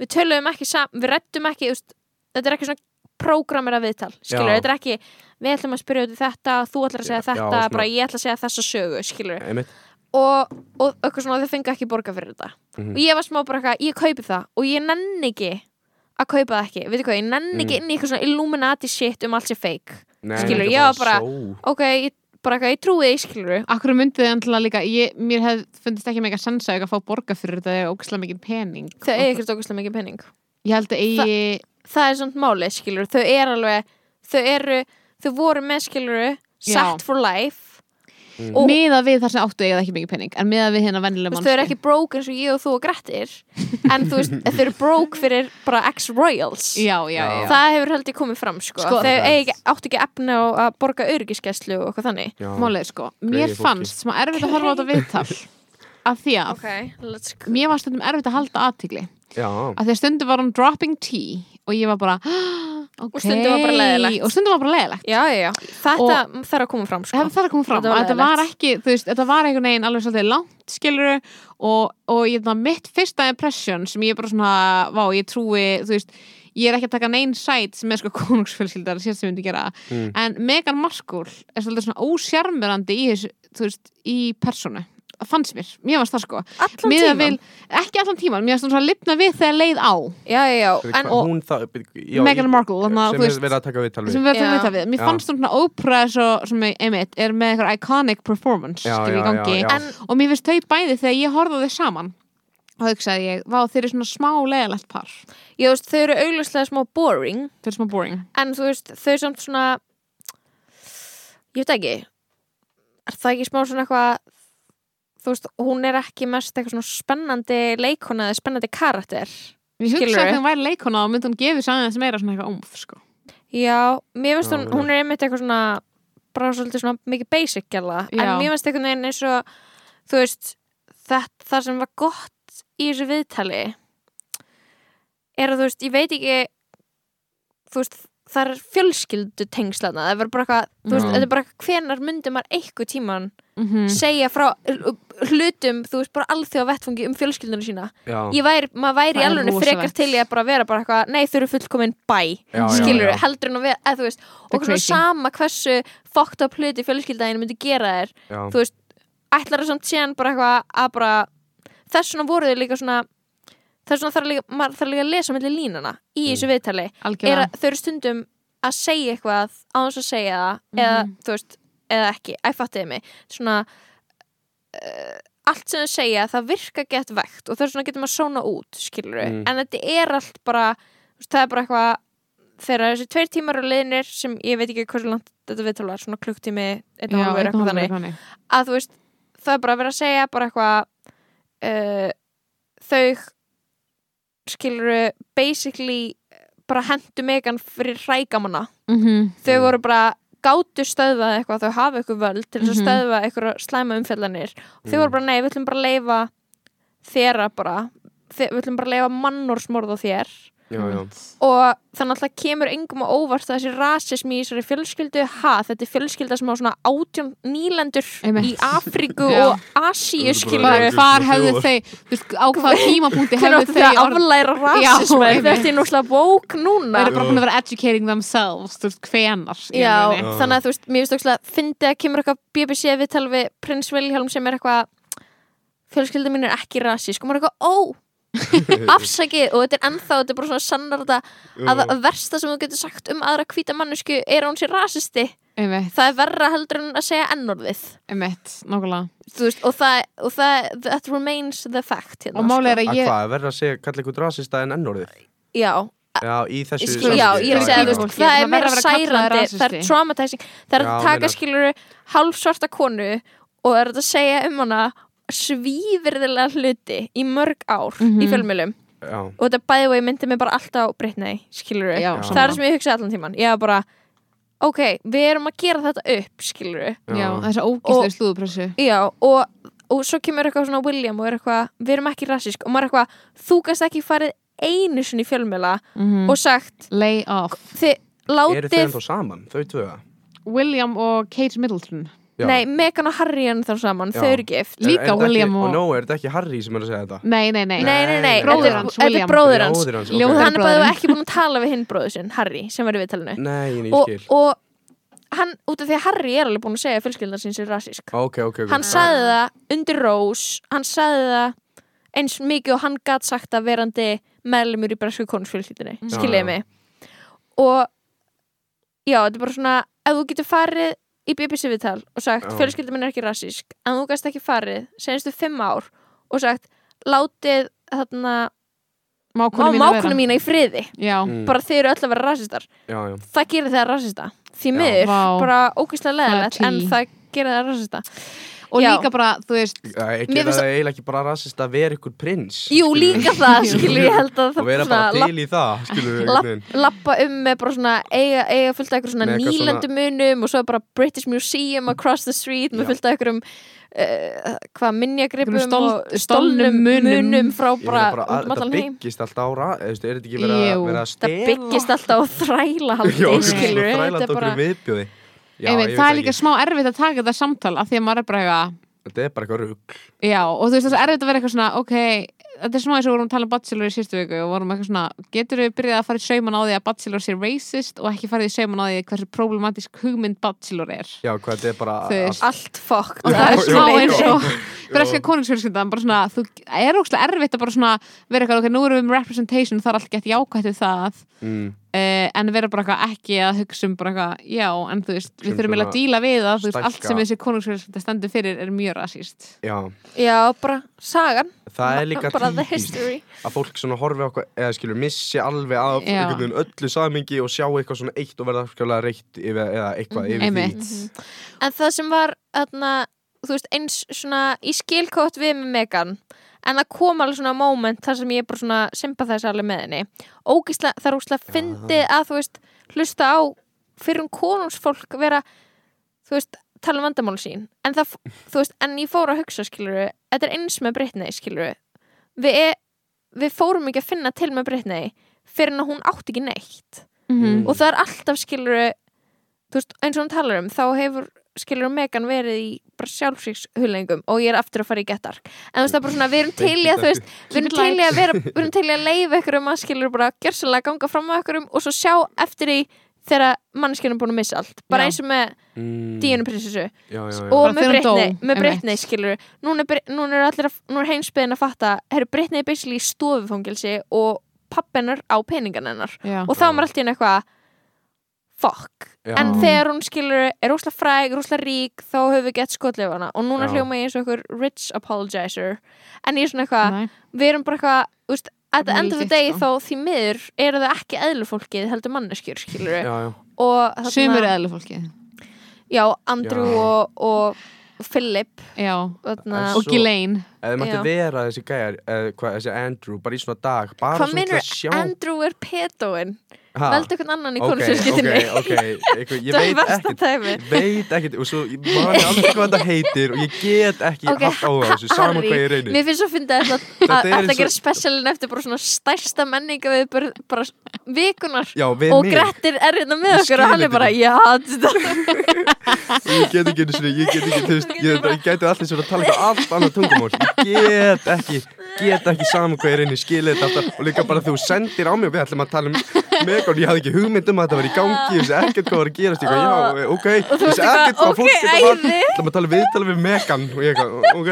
við töluðum ekki saman, við rettum ekki úst, þetta er ekki svona prógramir að viðtal, skilur,
Já.
þetta er ekki við ætlum að spyrja út í þetta, þú ætlar að segja
Já, já,
þetta,
svona-
bara ég ætla að segja þessa sögu, skilur,
Einmitt,
og, og eitthvað svona þau fengu ekki borga fyrir þetta
Mhm.
og ég var smá bara eitthvað, ég kaupi það og ég nenni ekki að kaupa það ekki, veitu hvað, ég nenni ekki
Mhm.
inn í eitthvað svona Illuminati shit um allt sem fake
Nei,
skilur,
þetta
ég var bara,
só.
ok, ég, bara eitthvað, ég trúi því, skilur
Akkur myndið endla líka, ég, mér hef fundist ekki mega sensa að fá borga fyrir þetta eða ógislega mikið pening.
Þau eigi ekkert ógustlega mikið penning
Ég held að eigi,
Það er svona máli, skilur Þau er alveg, þau eru Þau voru með, skilur,
Já.
set for life og-
miða við þar sem áttu eiga það ekki mikið pening, en miða við hérna vennilega
Þú veist,
mann.
Þau eru ekki broke eins og ég og þú og Grettir En þú veist, þau eru broke fyrir bara ex-royals
Já, já,
Já.
já.
Það hefur heldur komið fram, sko,
Sko-
Þau eigi, ekki- áttu ekki efni á að borga öryggiskeslu og eitthvað þannig
Já.
Málið, sko, mér
Greyið fólki.
fannst sem að erfitt að horfa á þetta viðtal. Af því að,
Ok, let's go
mér var stundum erfitt að halda aðtigli.
Já,
Af því að stundum var hún dropping tea og ég var bara, ok.
stundum var bara leiðilegt.
Og stundum var bara leiðilegt.
Já, já, já, þetta þarf að koma fram, sko
Það þarf að koma fram
Þetta
að
var
þetta var ekki, þú veist, þetta var einhvern veginn alveg svolítið langt, skiluru og, og ég, það, mitt fyrsta impression sem ég bara svona, vá, ég trúi þú veist, ég er ekki að taka neinn sæt sem er sko konungsfjölskyldar, síðan sem ég myndi gera
Mm.
en Megan Markle er svolítið svona ósjarmurandi í þessu, þú veist, í personu, Það fannst mér, mér varst það sko
Allan
Miðað
tímann.
við, ekki allan tíman, mér varst svona að lifna við þegar leið á
Já, já, já,
fyrir
en
hvað- hún það já,
Meghan
í-
Markle, þannig að þú
Sem er
veist-
verið að taka viðtal við
sem við ætlum
Já.
að vita við, mér
Já.
fannst svona ópera svo, sem ég, einmitt, er með eitthvað iconic performance
Já,
skilur í
já, já,
gangi
já.
En
og mér finnst þau bæði þegar ég horfði á þau saman og hugsaði ég, vá þeir eru svona smá leiðalegt par þeir
ég veist, þau eru augljóslega smá boring
eru smá boring
en þú veist, þau samt svona ég veit ekki er það ekki smá svona eitthvað þú veist, hún er ekki mest eitthvað svona spennandi leikona eða spennandi karakter
ég hugsaði
Skilurðu?
að þeim væri leikona og myndi hún gefið sann aðeins meira svona eitthvað ómf sko.
já, mér finnst
Já,
hún,
vel.
hún er einmitt eitthvað svona bara svolítið svona mikið basic gæla en
Já.
mér finnst einhvern veginn eins og þú veist, þetta, það sem var gott í þessu viðtali er að þú veist, ég veit ekki þú veist það er fjölskyldu tengslana það verður bara eitthvað, þú veist,
Já.
þetta er bara eitthvað hvenar myndi maður eitthvað tíman
mm
segja frá hlutum, þú veist, bara alþjóða vettfungi um fjölskyldunum sína
já,
ég væri, maður væri í
Það er
alveg frekar
rosalegt.
til ég að bara vera bara eitthvað, nei þau eru fullkomin bæ
Já, já,
skilur
já.
heldur en að vera, eða þú veist
er
og svona
crazy.
sama hversu fokkt á hluti fjölskyldaðinu myndi gera þér
já,
þú veist, ætlar það samt síðan bara eitthvað að bara þess vegna voru þau líka svona þess vegna þarf líka, maður þarf líka að lesa mellir línana
Mm.
í þessu viðtali er
algjörlega
að þau eru stundum að segja eitthvað á þess að segja það eða
Mhm.
þú veist, eða ekki, æfattiði mig svona uh, allt sem þau segja, það virka gett vekt og þess vegna getur maður svona út skilur við,
Mhm.
Mm.
en þetta er allt bara þú veist, það er bara eitthvað þegar þessi tveir tímar eru liðnir sem ég veit ekki hversu langt þetta viðtala var, svona klukktími einn og
Já,
hálfur
einn og
eitthvað
hálfur,
þannig
þannig.
að þú veist, það er bara að vera að segja bara eitthvað uh, þau skiluru basically bara hendu megan fyrir hrækamanna
Mhm,
þau
Mm.
voru bara gátu stöðvað eitthvað þau hafa eitthvað völd til þess að
Mhm.
stöðva eitthvað slæma umfjallanir þau
Mm.
voru bara nei, við ætlum bara að leifa þéra bara Þe- við ætlum bara að leifa mannorsmorð á þér
já, já,
og þannig alltaf kemur engum á óvart að þessi rasismi í þessari fjölskyldu ha, þetta er fjölskylda sem á svona átjón nýlendur í
Einmitt.
Afríku
Já.
og Asíu
Þetta er bara
skilur
Hvar,
Lengur
hvar
en
hefðu
þrjú ár.
þau þú veist, á hvaða
hver
tímapunkti hefðu
áttu
þau
þegar
orð-
aflæra
Já,
rasismi
einmitt.
þetta er náttúrulega bók
þau
núna
eru bara búin að vera educating themselves þú veist, hvenar í
Já,
rauninni.
þannig að þú veist, mér finnst ókslega fyndi að kemur eitthvað BBC við tala við prins Vilhelm sem er eitthvað fjölskylda mín er ekki rasísk og maður er eitthvað, ó, afsakið og þetta er ennþá, þetta er bara svona sannar þetta að að versta sem þú getur sagt um aðra hvíta mannesku er að hún sé rasisti
einmitt,
það er verra heldur en að segja ennorðið
einmitt, nákvæmlega
Þú veist, og það, og það that remains the fact hérna,
og málið er
sko.
að
að
ég
hvað, verður að segja, kalla ykkur rasista en ennorðið
já,
já, í þessu
Ég
Sko, já,
skil-
samhengi.
já,
ég er að
já,
segja þú
já.
veist, það
Fólki,
er
það verður
meira
að vera kallaður
særandi það er
rasisti.
traumatizing, það er
Já,
að taka
meinar.
skiluru hálfsvarta konu og er að segja um hana svívirðilega hluti í mörg ár í
Mhm.
fjölmjölum
já,
og þetta bæði og ég myndi mig bara alltaf á Britney skiluru,
Já,
það er
sammála.
það sem ég hugsaði allan tíman ég var bara, ok, við erum að gera þetta upp skiluru
já,
já,
þessi
Og-
ógæslu slúðupressu
Já, og, og svo kemur eitthvað svona William og er eitthvað, við erum ekki rassísk og maður er eitthvað, þú gast ekki farið einu sinni í fjölmjöla
Mm.
og sagt
lay off
þið
eru þau
látið,
ennþá saman, þau tvö já,
William og Kate Middleton
nei, Megan og Harry er þá saman,
Já.
þau eru gift
Líka
Er þetta
William
ekki,
og-
og no, er þetta ekki Harry sem er að segja þetta
nei, nei, nei,
Nei, nei, nei,
Nei,
þetta
bróðir
er-
hans,
þetta er
William.
bróður hans
Bróðir hans, ok.
og
Ljóðan-
hann er
Bróðir.
bara ekki búin að tala við hinn bróður sinn, Harry, sem verður við talinu
nei, nei,
og,
ég skil
og hann, út af því að Harry er alveg búin að segja að fjölskyldan sín sér rassísk
ok, ok, ok
hann sagði það undir rós hann sagði það eins mikið og hann gat sagt að verandi meðlumur í bresku konusfjölskyldinni
Já,
Mm. já.
skiljiði mig og já, þetta er bara svona ef þú getur farið í BBC viðtal og sagt,
Já.
fjölskyldin minn er ekki rassísk en þú gast ekki farið, senstu fimm ár og sagt, látið þarna, má
mákunum
mákunum mína í friði
já,
Mm,
bara þeir eru öll að vera rassistar
já, já,
það gerir það rassista, því miður
Vá.
bara ógeðslega leðilegt,
Það er
en
tea.
það gerir það rassista
og
Já.
líka bara, þú veist
ég
Mér
geta
finnst-
það eiginlega ekki bara rasist að vera ykkur prins
Jú,
skilur við.
líka það, skilur ég held að
og
það
vera bara
svona
til í það, skilur við
lapp-
einhvern veginn.
lapp- lappa um með bara svona eiga, eiga fullt af einhver svona
Með eitthvað
nýlendu munum og svo er bara British Museum across the street með
Já.
fullt af einhverjum uh, hvað minjagripum
Einhverjum stól-
og
stólnum munum.
frá
Ég
bara,
meina
bara út
að-
um
þetta
allan heim
byggist alltaf á ra eða, þú veist, er þetta ekki verið að
Jú.
vera að
það
stela
byggist alltaf á þræla
Já,
haldi,
okkur
skilur
skilurðu,
þetta
svona þrælat
er
okkur
bara
viðbjóði Já,
einmitt,
ég veit
það er
ekki.
líka smá erfitt að taka þetta samtal af því að maður er bara eitthvað
Þetta er bara eitthvað rugg
já, og þú veist það er erfitt að vera eitthvað svona ok, þetta er smá eins og við vorum að tala um Bachelor í sístu viku og vorum eitthvað svona, getur við byrjað að fara í sauman á því að Bachelor sé racist og ekki farið í sauman á því hversu problematísk hugmynd Bachelor er
Já, hvað þetta er bara
Þú
allt-
veist.
allt fokkt
og það er
Já,
smá
já,
eins
já.
og breska konungsfjölskyndan bara svona, þú er ókslega erfitt að bara svona vera eitthvað, ok, nú erum við með representation það er allt gett jákvætt við það
mm,
uh, en vera bara eitthvað ekki að hugsa um bara eitthvað, já, en þú veist,
Sem
við þurfum eiginlega
svona
að díla við að þú veist,
stækka.
allt sem þessi konungsfjölskynda stendur fyrir er mjög rasíst
Já,
já, bara sagan
það er líka
bara the
típist
history
að fólk svona horfi á okkur eða skilur missi alveg af
Já.
einhvern veginn öllu samingi og sjá eitthvað svona eitt og verða skjálega reitt yfir, eða eitthvað yfir
Mm, einmitt,
En það sem var þarna, þú veist, eins svona í skilkótt við með Megan en það kom alveg svona moment þar sem ég bara svona sympathize alveg með henni Ógislega, það er ógislega fyndið að þú veist, hlusta á fyrir um konungsfólk vera þú veist, tala um vandamál sín en það, þú veist, en ég fór að hugsa skiluru, þetta er eins með Britney skiluru við, e- við fórum ekki að finna til með Britney fyrir en að hún átti ekki neitt
Mm.
Mhm.
og það er alltaf skiluru þú veist, eins og hún talar um þá hefur skiluru Megan verið í bara sjálfsvíkshulengum og ég er aftur að fara í gettark en þú veist það er bara svona, við erum til í að þú veist við erum
Keep it
til í að vera, við erum til í að leifa ykkur um að skiluru bara gjörsalega ganga fram á ykkur um og svo sjá eftir í þegar manneskjörnum búin að missa allt bara
Já.
eins og með
mm,
Díunu prinsessu
já, já, já.
og
Bara
með
þegar hún dó,
Britney, með
einmitt.
Britney skilur núna er, Brit- núna er allir að, núna er heimsbyðin að fatta herru Britney er basically í stofufangelsi og pappennar á peningan hennar
já,
og þá er maður alltaf inn eitthvað fuck,
Já.
en þegar hún skilur er rúslega fræg, rúslega rík þá höfum við gett skotlið hana og núna
Já.
hljóma ég eins og einhver rich apologizer en ég er svona eitthvað,
Nei.
við erum bara eitthvað þú veist, at the
Bara
end of the
legit,
day
sko.
þá því miður eru það ekki eðlufólkið heldur manneskjur skilur
já, já.
og þarna-
sumur eðlu fólki
já, Andrew
Já.
og, og Philip
já,
þarna,
En
og
Svo-
Ghislaine
Eða þið mætti
Já.
vera þessi gæjar, eða hvað, þessi Andrew, bara í svona dag, bara
hvað
svona til
minnur
að sjá.
Andrew er pedoinn
Ha?
veldu hvern annan í
Ok,
konusfjölskyldinni
Ok, ok, ok, ég
það er
veit
versta
ekkert,
tæmi
ég veit ekkert, og svo, ég man aldrei hvað þetta heitir og ég get ekki
Ok,
haft áhuga á þessu, saman
Harry,
hvað ég reynir.
Mér finnst svo fyndið að þetta að
Þetta er
þetta
eins og-
gera specialin eftir bara svona stærsta menninga við bara, bara vikunar
Já, við
og
mig,
Grettir er hérna með
Ég
okkur og hann
skil
er bara,
þetta.
já, þetta
ég get ekki einu sinni, ég get ekki, þú veist, ég, ég geti allir svona að tala eitthvað allt annað tungumál, ég get ekki, get ekki saman hvað ég reynir, skilja þetta alltaf og líka bara þú sendir á mig og við ætlum að tala um megan, ég hafði ekki hugmynd um að þetta var í gangi, ég vissi ekkert hvað var að gerast, ég eitthvað, já, ok, ég
þú varst
vissi
eitthvað,
ekkert hvað fólk
ok,
geta var,
æði.
ætlum að tala viðtala við megan og ég eitthvað, ok,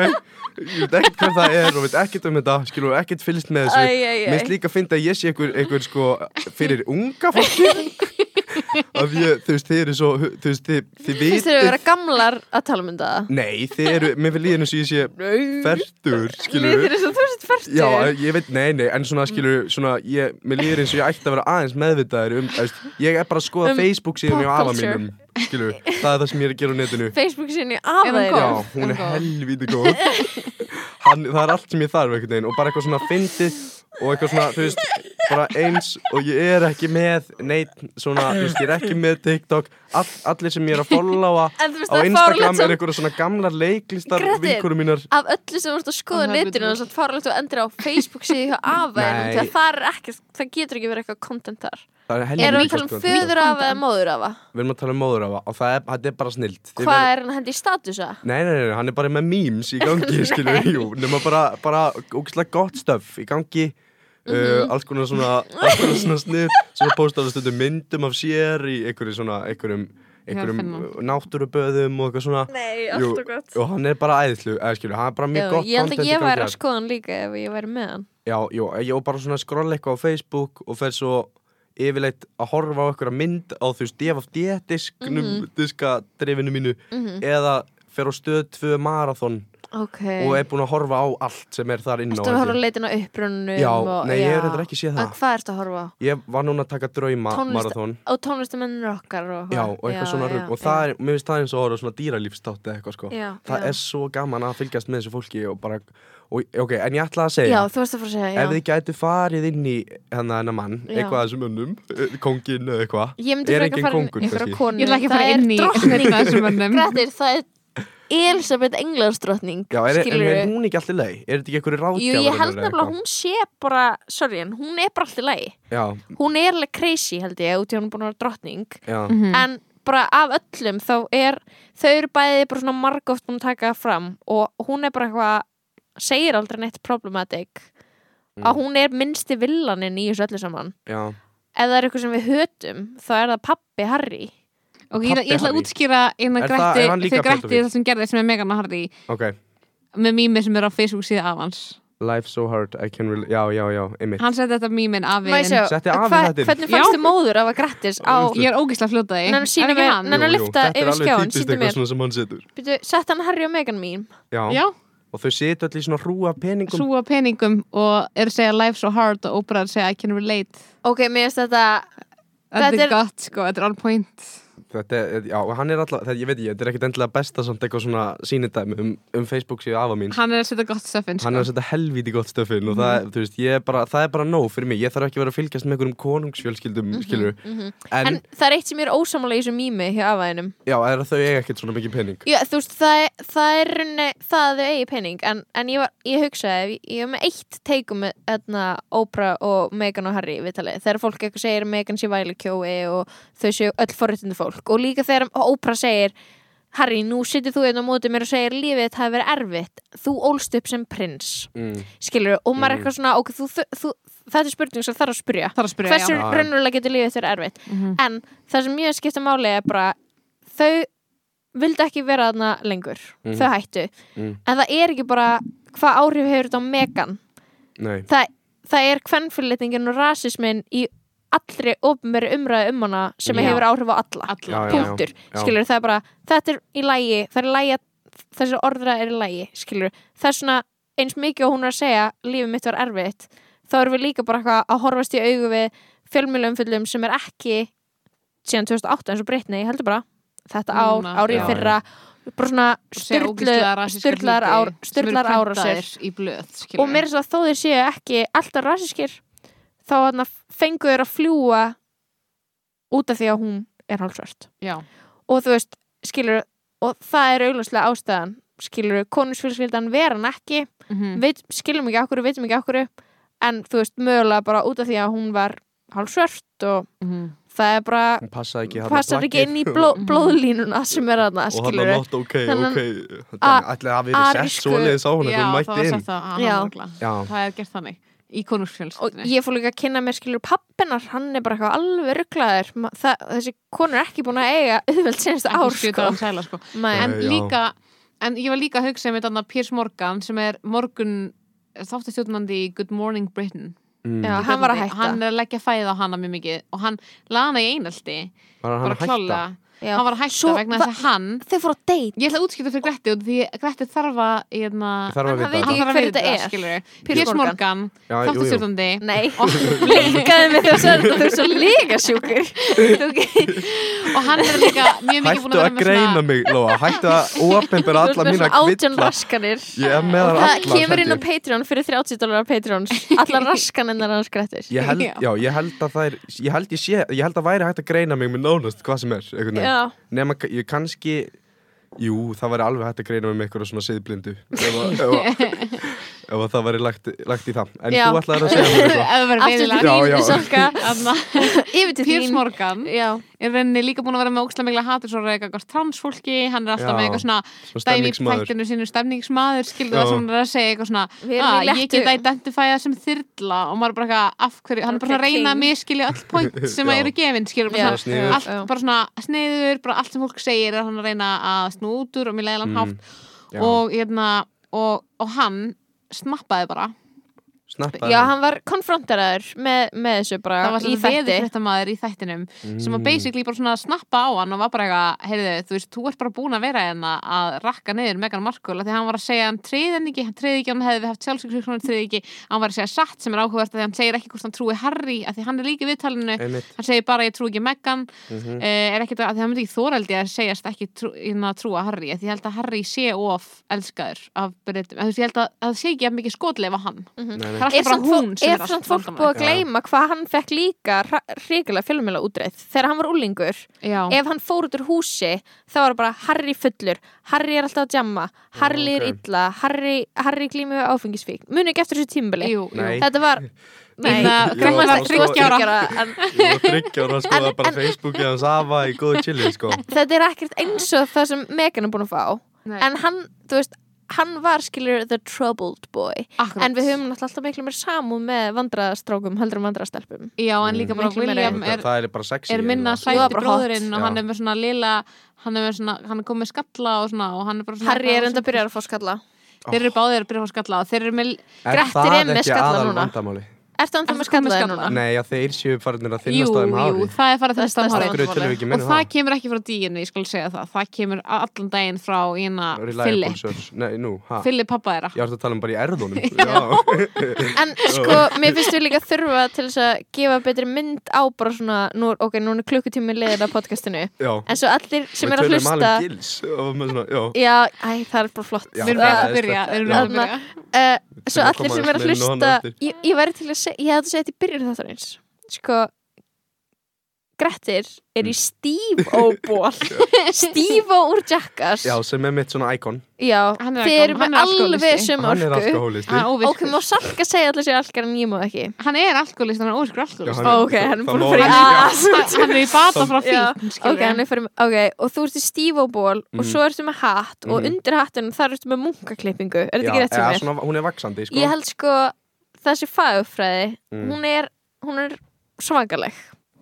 ég veit ekkert hvað það er og veit ekkert um þetta, skilja, ekkert fylgst
Æ,
með þessu,
æ, æ.
Mér finnst líka að finna að ég sé einhver, einhver sko fyrir unga fólki að ég, þú veist, þið eru svo þú veist, þið,
Þú veist
þið
þeir eru að
vitið
vera gamlar að tala um þetta
Nei, þið eru, mér finnst líðinu sem ég sé fertur, skilur
Mér finnst þú sett fyrst
Já, ég veit, nei, nei, en svona,
Mm.
skilur svona, ég, mér líður eins og ég ætti að vera aðeins meðvitaður um, þú veist, ég er bara að skoða
Um
Facebook síðan á
pop
afa
culture.
mínum, skilur það er það sem ég er að gera á netinu
Facebook sinni
Er hún
aðeir
Já,
góð?
hún
Er
er
góð.
helvíti góð Hann, Það er allt sem ég þarf einhvern veginn og bara eitthvað svona fyndið og eitthvað svona, þú veist, bara eins og ég er ekki með neitt svona, þú veist, ég er ekki með TikTok all, allir sem ég er að followa
En þú veist,
á
það er fáránlegt
Instagram
samt.
er einhverja svona gamlar leiklistar
Grettir.
vinkurum mínar
Af öllu sem vorst að skoða
Það er
netinu
hlutur.
og satt farlegt og endur á Facebook síðu hjá aðeir
Nei.
því að það er ekki, það getur ekki verið eitthvað content þar
Það er
Erum við að
helvíti
tala
gott
um
content.
föður afa eða móður afa?
Við erum að tala um móður af og það er, þetta er bara snilt Þið
Hvað
verð-
er hann hendi í statusa?
Nei, nei, nei, nei, hann er bara með memes í gangi, skilur við, jú, nema bara, bara ógislega gott stöf í gangi,
Mhm.
uh, alls konar svona, alls konar svona snið, svona postar það stundum myndum af sér í einhverju svona, einhverjum, einhverjum
finna.
uh, náttúruböðum og eitthvað svona.
Nei,
Jú, og hann er bara æðislu, eða skilur, hann er bara mjög
Já,
gott
ég held að
content í
ég
gangi
væri að sko-
þar.
skoða hann líka ef ég væri með hann
Já, jú, ég var bara svona að skrolla eitthvað á Facebook og fer svo yfirleitt að horfa á einhverja mynd á þú veist, DFD disknum,
Mhm.
diskadrifinu mínu, eða fer á stöð 2 marathon
ok
og er búin að horfa á allt sem er þar inn á
Eh. ertu að horfa
þessu.
að leitin á upprunnu
Já, nei, ég hef reyndar ekki séð það.
hvað ertu að horfa á?
Ég var núna að taka drauma
Tónlist-
marathón
á tónlistamennir okkar og,
Já, og eitthvað svona rugg og það er, mér finnst það eins og að horfa á svona dýralífstátt eða eitthvað sko
Já,
Það
já.
er svo gaman að fylgjast með þessu fólki og bara, og, ok, en ég ætla að
já,
segja
þú varst að fara að segja
Ef
já.
þið gætu farið inn í hennar hennar mann,
Já.
eitthvað að þessum önnum, eh, kónginn eða eitthvað
ég myndi
er
frekar
enginn
fara inn-
kóngur,
einhverja
kannski?
konu
ég ætla ekki að
Það er
fara inn í
drottning.
hérna þessum mönnum
Grettir, það er Elisabeth Englandsdrottning
Já, er, en
skilurðu.
er hún ekki alltaf leið? Er þetta ekki einhverju ráðgjafar?
Jú, ég held nefnilega að hún sé bara sorry, en hún er bara alltaf lægi
Já,
hún er alveg crazy held ég út í að hún er búin að vera drottning
já,
en bara af öllum þá er þau eru bæði bara svona margótt búin að taka það fram og hún er bara eitthvað segir aldrei neitt problematic að
Mm.
hún er minnsti villaninn í þessu öllu saman
já
ef það er eitthvað sem við hötum þá er það pappi Harry
og ég, ég ætla að
Harry.
útskýra innan
Er það-
Gretti
er hann líka
þegar Gretti
pedofíll?
það sem gerði sem er Megan og Harry
Ok,
með mými sem er á Facebook síða af hans
life so hard, I can really, já, já, já, einmitt
hann setti þetta mímin af
Má ég sjá,
Setti
hva-
afinn þetta inn.
hvernig fannst
Já.
þið móður af að grættis á
ég er ógislega fljótaði
Nei, sýnum
er ekki
við-
hann?
nei, En að
Jú, jú,
lyfta
þetta er
yfir
alveg
skjáinn,
típist
sýndu mér.
eitthvað svona sem hann setur
Býtu, sett hann Harry og Meghan mín
Já,
já,
og þau sita öll í svona hrúa peningum
súa peningum og er að segja life so hard og óbræðar segja I can relate
ok, mér finnst þetta Þetta er-
þetta er gott sko, þetta er on point
Þetta er, já, og hann er alltaf, þetta, ég veit ég, þetta er ekkit endilega besta samt eitthvað svona sýnidæmi um, um Facebook síðu afa mín
hann er að setja gott stöfin
Hann er
sko.
að setja helvíti gott stöfin og
Mhm.
það, þú veist, ég er bara, það er bara nóg fyrir mig Ég þarf ekki að vera að fylgjast með einhverjum konungsfjölskyldum, mm En,
Mhm, en það er eitt sem ég er ósamála í þessu mými hjá afæðinum
já, er að þau eiga ekkert svona mikið pening
Já, þú veist, það, er- það er runni, það að þau eigi pening en, en ég, var, ég hugsaði, ég, ég er með eitt teikum með hérna, Oprah og Megan og Harry viðtalið, þegar fólk eitthvað segir að Megan sé vælikjói og þau séu öll forréttindi fólk og líka þegar Oprah segir Harry, nú sittir þú einn á móti mér og segir lífið þetta hafi verið erfitt, þú ólst upp sem prins
mm.
skilur, og maður er eitthvað svona ok, þú, þú, þú, þetta er spurning sem þarf að spyrja
Þarf að spyrja,
hversu
já.
Já, já.
raunverulega getur lífið þetta er erfitt
Mhm.
en það sem mjög skipta máli er bara þau vildu ekki vera þarna lengur
Mhm.
þau hættu,
Mhm.
en það er ekki bara hvað áhrif hefur þetta á megan
Nei,
það, það er kvennfyrirlitingin og rasismin í allri ofnveri umræðu um hana sem
Já.
hefur áhrif á alla
alla
Já, já, já.
punktur, skilur, það er bara þetta er í lægi, það er í lægi þessi orðra er í lægi, skilur það er svona eins mikið og hún er að segja lífið mitt var erfitt, þá erum við líka bara eitthvað að horfast í augu við fjölmjölumfyllum sem er ekki síðan 2008 eins og breytni, ég heldur bara þetta ár,
Núna,
árið
já,
fyrra bara svona styrlu styrlar ár, styrlar árásir
í blöð
og mér er svo að þó þeir séu ekki alltaf rasískir þá þarna fengu þeir að fljúa út af því að hún er hálfsvört
já,
og þú veist, skilur og það er augljóslega ástæðan skilur, konusfjölskyldan vera hann ekki
mhm,
við skilum ekki okkur, veitum ekki okkur en þú veist, mögulega bara út af því að hún var hálfsvört og
mhm.
það er bara,
hún passaði ekki þarna
passar ekki
plaggið.
inn í bló, blóðlínuna sem er hann,
Og hann var
skilur
nátt, ok,
Þennan
ok Þannig ætli að hafi verið sett
arísku-
svoleiðis á hún
já,
Þegar hún
það var
mætti inn
sagt það, að
Já.
hann var glað.
Já,
það er gert þannig í
og
konungsfjölstunni
ég fór líka að kynna mér skilur pappinar, hann er bara eitthvað alveg rugglaður, þessi konur er ekki búin að eiga auðveld senst ár sko.
sæla, sko.
Nei,
en
Nei, já.
líka en ég var líka að hugsa með þarna Piers Morgan sem er morgun þáttastjóðnandi í Good Morning Britain
mm.
Já, hann var að hætta
hann er að leggja fæða á hana mjög mikið og hann lana í einaldi
var hann
bara
að hætta
klálega,
Já.
hann var að hætta
Svo
vegna
va-
þess að hann
þau fór að date
ég ætla að útskipta fyrir Gretti og því Gretti þarf að hérna,
Ég þarf
En hann
að vita
veit
það.
ekki-
þarf að
hver
vita
þetta er.
skilurðu.
Piers
Piers
Morgan.
Morgan,
Já, jú, jú.
þáttastjórnandi
Nei, blinkaði mig þegar þú sagði þetta, þú er svo líka sjúkur
og hann er líka mjög mikið búin að
Hættu að
vera með
greina mig, Lóa Hættu að ópenbera alla mína
átjón
kvilla
raskanir
Ég er með þar
Það
alla
kemur inn á Patreon fyrir 30 dólarar Patreons Allar raskaninnar hans grættir
Ég held,
Já.
já, ég held að það er ég held, ég, sé, ég held að væri hægt að greina mig með nánast hvað sem er, einhvern
Já.
veginn nema, ka- ég kannski, jú, það væri alveg hægt að greina mig með eitthvað svona siðblindu ef, að- ef, að- ef að það væri lagt, lagt í það en
Já.
þú ætlaðir að segja mér
svona
eitthvað
eða verið
Aftur til
veiðilega
Já, já.
þín, Sokka Yfir til
Piers
þín
Morgan
Já,
er rauninni líka búin að vera með ókslega mikla hatur svo reyka eitthvað transfólki, hann er alltaf
Já,
með eitthvað svona
svona
dæmi í
stemningsmaður.
fættinu sínu stemningsmaður skildu
Já.
það sem hann er að segja eitthvað svona
Við erum í
"Ah, ég
léttu-
get að identifæja sem þyrla og maður bara eitthvað af hverju, hann er
Ok,
bara svona að reyna að
king.
miskilja öll point sem
Já.
að eru gefin skilur
Já.
bara
Svona
svona,
sniðugt.
allt
Já.
bara svona sniður bara allt sem fólk segir er hann að reyna að snú út úr og mér leiðilega
Mm,
mm. hátt
já.
og, hérna, og, og hann snappaði bara,
snappaði
já hann var konfronteraður með, með þessu bara
það
í
var svona
þætti
veðurfréttamaður í þættinum sem
Mm.
að basically bara svona snappa á hann og var bara eitthvað, heyrðu, þú veist, þú ert bara búin að vera hérna að rakka niður Megan Markle af því að hann var að segja hann treði hann ekki, hann treði ekki hann hefði haft sjálfsöksvík, hann treði ekki hann var að segja satt sem er áhugavert af því að hann segir ekki hvort hann trúi Harry, af því hann er líka í viðtalinu
Einmitt.
hann segir bara ég trú ekki Megan
Mhm.
uh, er ekkit að, af því hann myndi ekki þóraldi að segjast ekki trú, hérna, trúa Harry, af því ég held að Harry sé of elskaður af Bretum, þú veist, ég held að að það sé ekki að mikið skotleif á hann
Mhm.
Nei, nei.
Er
það er alltaf bara
samt
hún
fólk-
sem
er
er
samt
allt
fólk búið að
Já.
gleyma hvað hann fekk líka ríkilega fjölmjöla útreið þegar hann var úlingur
Já.
ef hann fór út úr húsi þá var það bara Harry fullur, Harry er alltaf að jamma Harry er
ok.
illa, Harry, Harry glími við áfengisvík, muni ekki eftir þessu tímbili
Jú, Hérna,
Nei.
jú.
þetta var
Ég meina,
þú
Grænland
varst-
var
þú varst
þriggja ára.
þriggja ára, en
Ég sko var þryggja ára að skoða
En-
bara
en-
Facebookið hans afa í góðu chili sko.
þetta er ekkert eins og það sem Megan er búin að fá
Nei.
en hann, þú veist, hann var skilur the troubled boy
Akkurat.
en við höfum náttúrulega alltaf miklu mér samúð með vandrastrákum, heldur um vandrastelpum
Já, en líka bara
Miklu meira
William er,
Það er bara sexy
er minna
Jú, það
sæti
er bara hot.
bróðurinn og
Já.
hann er með svona lila hann er, með svona, hann er komið skalla og svona og hann er bara svona
Harry er enda að byrja að fá skalla
þeir
Oh.
eru báðir að byrja að fá skalla og þeir eru með
Grettir er með skalla núna.
vandamáli?
Ertu hann
Ertu
það með
kominn með
skalla þér
skalla?
núna?
Nei, að þeir séu farinir
jú,
að þinnast á þeim
jú,
hafi
það er
Það
farið
er
að þinnast á
stærsta
þeim
Af hverju
hárið.
tölum við ekki
og
minna
það kemur ekki frá díinu, ég skal segja það það kemur allan daginn frá hérna
Reliable
Philip,
source. Nei, nú, hæ?
Philip pappa þeirra
Ég ætti að tala um bara í erðunum Já,
En sko, mér finnst við líka þurfa til þess að gefa betri mynd á bara svona, nú, ok, núna er klukkutími liðin af podcastinu
já
En svo allir sem
Við
er að
tölum
hlusta
alveg um gils og með svona, já
Já, æ, það er bara flott
Já,
við erum
það
bara
er
að byrja,
sterkt.
við erum bara að
Já.
byrja.
uh, Svo
Við
allir
komum
sem er að
aðeins meira inn á
hlusta
hana eftir.
Ég, ég væri til að segja, ég hefði að segja þetta í byrjun þetta eins Sko Grettir er
Mm.
í stífóból stífó úr Jackass
Já, sem er mitt svona íkon
Já,
Hann er
þið
alkó-
eru
hann
með
er
alveg
alkóhólisti.
sem
Hann er
orku
alkohólisti
Hann er
Ok,
óvirkur.
má salk að segja allir sér alkar en ég má ekki
Ah, Hann er alkoholist, hann er óvirkur
Já,
alkoholist
hann
Ó,
Ok, hann er
það
búin
má
að fara í
ekki- já.
aðsvöld
Hann er í bata frá
Já,
fín
ok, hann er fyrir, ok, og þú ert í stífóból og
Mhm.
svo ertu með hatt og
Mhm.
undir hattunum þar ertu með munkaklippingu er þetta ekki
Já,
rétt sem
eða
er?
svona, Hún er vaksandi, sko
Ég held sko þessi fagfræði
Mm.
hún, er, hún er svakaleg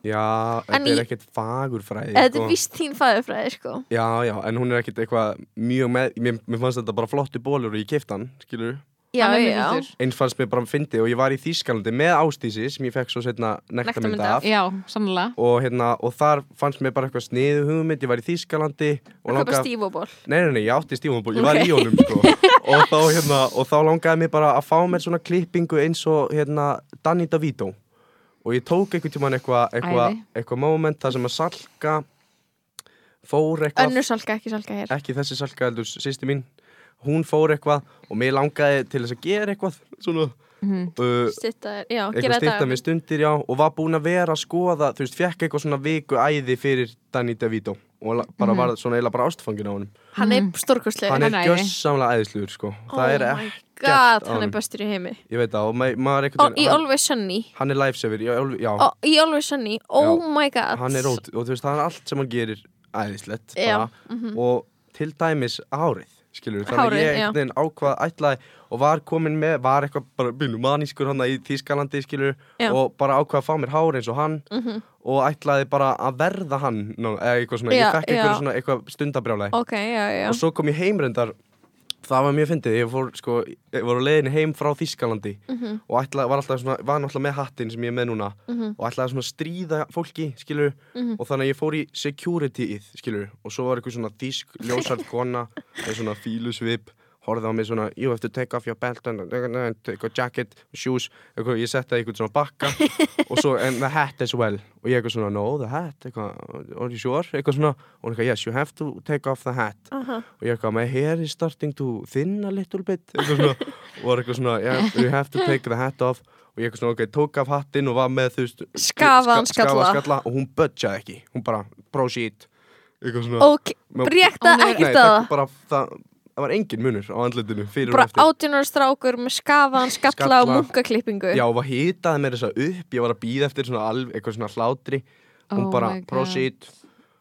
Já,
En
þetta er
í-
ekkert fagurfræði
eða þetta
sko.
er víst þín fagfræði sko
Já, já, en hún er ekkert eitthvað mjög með Mér, mér fannst þetta bara flottu bólur og ég keipt hann, skilur
Já,
Hann er mjög
já,
flottur.
Eins fannst mér bara fyndi og ég var í Þýskalandi með Ástísi sem ég fekk svo setna nektarmynd
Nektarmynd af.
af
Já, sannlega
og, hérna, og þar fannst mér bara eitthvað sniðu hugmynd, ég var í Þýskalandi og
hvað
langaði
bara stífóból
Nei, nei, nei, ég átti stífumból, ég var
Ok.
í honum sko. og, þá, hérna, og þá langaði mér bara að fá mér svona klippingu eins og hérna, Danny DeVito og ég tók einhvern tímann eitthvað eitthva,
Æði.
eitthva moment þar sem að salka fór eitthvað
önnur salka, ekki salka hér
ekki þessi salka heldur sýsti mín hún fór eitthvað og mér langaði til þess að gera eitthvað svona uh,
Stitta, er- já,
eitthvað
Mhm. gera
stýta með
þetta
stundir já og var búin að vera að skoða þú veist, fekk eitthvað svona viku æði fyrir Danny DeVito og la-
Mhm.
bara var svona eiginlega bara ástfangin á honum
hann er stórkostleg
hann
Hann
er
er æði.
gjössamlega æðisluður sko. það er
Eh, oh my
ekki
god,
á
hann er
honum.
bestur í heimi
ég veit það, og ma- maður
Ó,
er einhvern
í
hann,
Always Sunny
hann er lifesaver, já, Olvi- já
Ó, í Always Sunny, oh my god
hann er rót og þú veist, það er allt sem hann gerir æðislegt
Já, mhm.
bara, og til dæmis hárið skilur, þannig
Hárið,
að
já.
ég einhvern veginn ákvað ætlaði og var komin með, var eitthvað bara bínu manískur hann í Þískalandi skilur
Já. Mhm.
og bara ákvað að fá mér hárið eins og hann og ætlaði bara að verða hann ná, eða eitthvað svona,
Já,
ég fekk
já.
eitthvað, svona, eitthvað stundabrjálæði
ok, já, já,
og svo kom ég heim reyndar það var mjög fyndið, ég fór sko ég var á leiðinni heim frá Þískalandi og ætla, var alltaf svona, var náttúrulega með hattin sem ég er með núna og ætlaði svona að stríða fólki, skilur, og þannig að ég fór í security-ið, skilur, og svo var eitthvað svona þísk, ljósart kona með svona fílusvip, horfði á mig svona you have to take off your belt and take your jacket, shoes, eitthvað, ég setti eitthvað svona bakka, og svo and the hat as well, og ég eitthvað svona no, the hat, eitthvað, are you sure, eitthvað svona, og hún eitthvað, yes, you have to take off the hat og ég eitthvað, my hair is starting to thin a little bit eitthvað svona, og var eitthvað svona yeah, you have to take the hat off og ég eitthvað svona, ok, tók af hattinn og var með þú veist
Skafaðan
ska- skafaðan
skalla.
skalla og hún budgeaði ekki, hún bara proceed, eitthvað svona
ok,
Má-
rétta
Hún er-
ekki
Sko, Nei,
staða
það, bara, það, það var engin munur á andlitinu fyrir
bara
og eftir
átjónar strákur með skafaðan skalla
Skalla.
og munkaklippingu
já, og var hitaði mér þess að upp, ég var að býða eftir svona alv, eitthvað svona hlátri hún
Oh
bara
my God.
proceed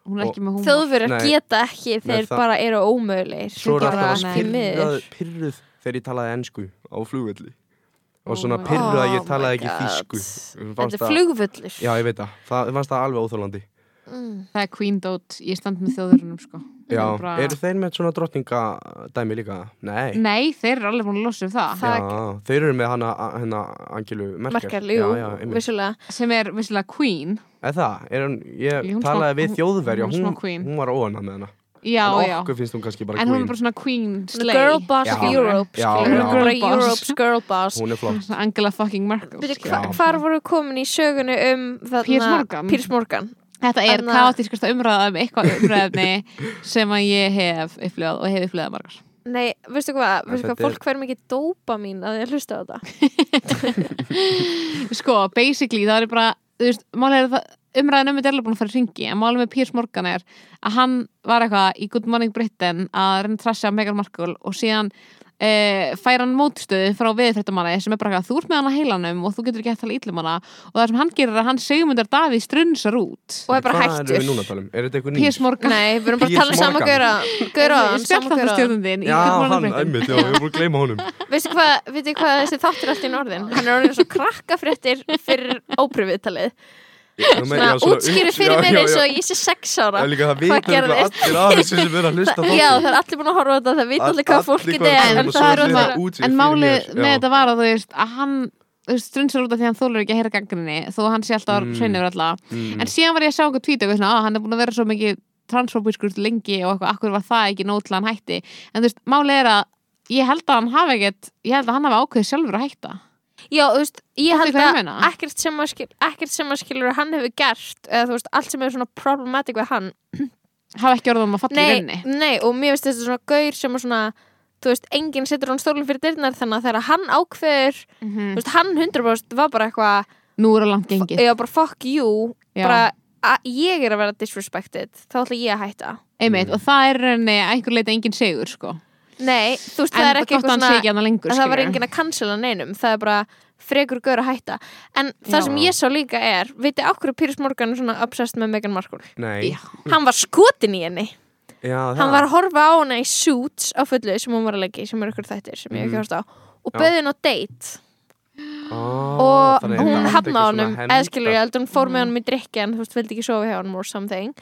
Hún er ekki með hún
þjóðverjar
Nei.
geta ekki þeir
það-
bara eru ómögulegir
svo er
Bara,
alltaf að
nei.
pyrrað, pyrruð þegar ég talaði ensku á flugvelli
Oh
og svona
my
pyrruð að
Oh
ég talaði
my
ekki
God.
þýsku Fannst
þetta er
það-
flugvöllur Mm,
Já, ég veit það. Það fannst það alveg óþálandi.
Mm, Það er Queen Dot, ég stand með þjóðverunum sko
Já,
Það er bara-
eru þeir með svona drottningadæmi líka? Nei.
Nei, þeir eru alveg búin að losa um það
Það-
Já, þeir eru með hana, hana Angelu Merkel.
merkar, jú,
Já, já, einmitt.
vissulega
sem er vissilega Queen
Eða það, er hún, ég
Jú, hún
talaði
smá-
við
hún-
þjóðverja,
hún
hún,
smá queen.
hún, var óanna með hana.
Já,
en
já
okkur finnst hún kannski bara
En hún
queen.
er bara svona Queen slay
girl boss
Já.
Europe
Já,
skilur,
já.
hún er bara
Girl boss.
Europe's girl boss
Hún er flott.
Svona Angela fucking Merkel sko.
Veitu,
skilur.
hva,
Já.
hvar voru komin í sögunu um þarna-
Piers Morgan.
Piers Morgan.
Þetta er
Anna-
kaotískasta umræða um eitthvað umræðni sem að ég hef upplifað og hef upplifað margar
Nei, veistu hvað, veistu
þetta
hvað,
er-
fólk hver mikið dópa mín að því að hlusta á þetta
Sko, basically, það er bara þú veist, málið er það, umræðan um þetta er alveg búin að fara í ringi, en málið með Piers Morgan er að hann var eitthvað í Good Morning Britain að reyna að trasja Megan Markle og síðan e, fær hann mótstöðu frá viðfréttamanni sem er bara eitthvað, þú ert með hann á heilanum og þú getur ekki hægt að tala ítlum hana og það sem hann gerir er að hann segumundar Davíð strunsar út
og er bara
Hvað erum við
hættur
núna að tala um? Er þetta eitthvað nýtt?
Piers Morgan
Nei, við erum bara að
Piers
tala um sama
Morgan.
gauðra gauðra, sama
Spjallþáttar
gauðra
stjórnundin í
Já,
Good Morning
hann,
Britain
einmitt, já, ég er búin að gleyma honum.
Veistu hvað, veitu hvað þessi þáttur er allt í norðin? Hann er orðin svo krakkafréttir fyrir ópröfiðtalið. Svona útskýri fyrir mér eins og ég sé sex ára.
Það er líka það
Hvað
vitur örugglega
gerðist?
allir af þessu sem verður að hlusta
Það-
þáttum.
Já, það er allir búin að horfa á þetta, það veit
All-
allir hvað
allir
fólkið
hvað
er.
það
En
en
Og
það
það
er
er
svo
orðin
fyrir-
rosa
útskýrt
en
fyrir
málið
mér, já.
með þetta var að þú veist að hann þú veist, strunnsar út af því að hann þólur ekki að heyra gaggrinni þó að hann sé alltaf mm.
Mm.
hreinu yfir alla
Mm.
en síðan var ég að sjá okkur tvítu og ég svona, að hann er búin að vera svo mikið transfóbískur lengi og eitthvað, akkur var það ekki nóg til að hann hætti en þú veist, málið er að ég held að hann hafi ekkert, ég held að hann hafi ákveðið sjálfur að hætta
Já, þú veist, ég
Fattu
held
hvað ég
að
meina?
ekkert sem að, skil, ekkert sem að skilur hann hefur gert, eða þú veist, allt sem er svona problematic við hann.
hafi ekki orðum að falla í
Nei,
rauninni
nei, og mér finnst þetta svona gaur sem er svona, þú veist, enginn setur hann stólinn fyrir dyrnar þannig að þegar hann ákveður, þú veist, hann 100% var bara eitthvað,
Mhm. nú er að langt gengið
ég var bara fuck you
Já.
bara að ég er að vera disrespected þá ætla ég að hætta
einmitt, og það er rauninni að einhver leita engin sigur sko.
Nei, þú veist,
en
það er ekki
gott að hann sé ekki hann lengur
að það var
skilurðu.
enginn að cancela neinum það er bara frekur gaur að hætta en það
Já.
sem ég sá líka er veitir okkur Pyrrhus Morgan er svona obsessed með Meghan Markle
Nei,
Já.
hann var skotin í henni
já,
hann var að horfa á hana í suits á fullu sem hún var að leggja í sem er ykkur þættir sem ég hef ekki hórst á og
Mm. Já.
bauði hann á date
oh,
og hún hafnaði honum eða skilur ég held hún fór með honum í drikki en þú veist, vildi ekki sofa hjá honum or something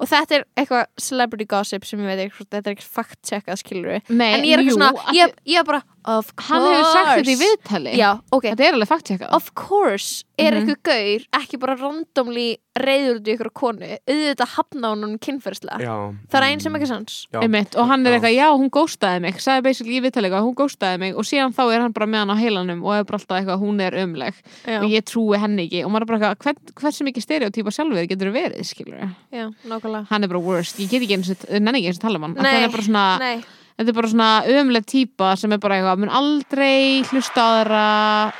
og þetta er eitthvað celebrity gossip sem ég veit ekki, hvort- þetta er ekki fact checkað skilur við
Nei,
en ég er ekki
jú,
svona,
af því-
ég, ég er bara of course
hann hefur sagt þetta í viðtali
já, ok,
þetta er alveg faktíka
of course er mm gaur ekki bara randomly reyður út í ykkur konu auðvitað hafna honum kynferðslega
Já
það er einn sem ekki sans
Já.
Einmitt, og hann er
Já.
eitthvað, já hún góstaði mig sagði basically í viðtali eitthvað, hún góstaði mig og síðan þá er hann bara með hann á heilanum og er bara alltaf eitthvað, hún er umleg
já,
og ég trúi henni ekki og maður er bara eitthvað, hvern, hversu mikið stereotýpa sjálfur getur verið, skilur
já nákvæmlega
hann er bara worst, ég get ekki eins og nenni ekki eins og tala um hann af því
Nei,
hann er bara svona,
nei,
þetta er bara svona ömuleg týpa sem er bara eitthvað, mun aldrei hlusta á þeirra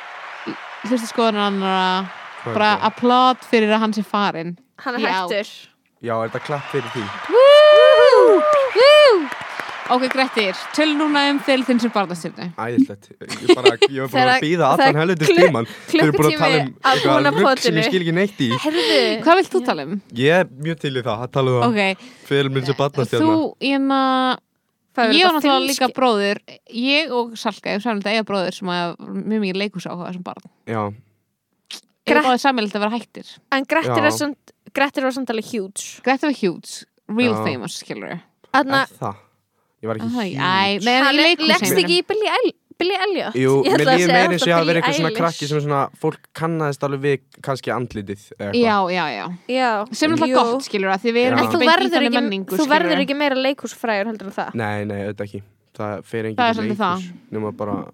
hlusta skoðan annara
Hvað er
bara
það?
applaud fyrir að hann sé farin
hann er
Já.
hættur
Já, er þetta klapp fyrir því?
ok, Grettir, töl núna um þeir þinn sem barðastjörnu
Æðislegt Ég bara, ég var bara
Þegar-
að býða allan
þegar
helvitis
klukk-
tíman Þau eru búin að tala um
klukkutími að búna
eitthvað rugg sem
potinu.
ég skil ekki neitt í
herðu
hvað vilt þú tala um?
Ég er mjög til í það, að tala um það
ok,
Fyrir minn sem batnast
þú, ég maður
Það er
ég
þetta
var
fylski-
náttúrulega líka bróður ég og Salka, ég sæmildi eiga bróður sem að mjög mikið leikus áhuga sem barn
Já,
ég
Gret-
var báðið sæmildi að vera hættir
En Grettir,
Já.
er samt, Grettir var samt alveg huge
Greta var huge, real
Já.
famous skilur
Þannig
er það Ég var ekki
Æ, nei,
að
í
hann
leikhúsi.
leggst ekki í Billy El- Billy Elliot
Jú,
Ég ætla
mér
að segja
líður meira eins
alltaf
og ég hafa verið
Billie
eitthvað svona
Eilish.
krakki sem er svona, fólk kannaðist alveg við kannski andlitið eða eitthvað.
Já, já, já
Já,
sem er
jú.
náttúrulega gott skilur að því við erum
Já.
En þú
ekki beint í
verður
þannig
ekki,
menningu
þú
skilurðu.
verður ekki meira leikhúsfræður heldur en það
Nei, nei, auðvitað ekki Það fer enginn
Það er
í
svolítið
leikhús Nefna bara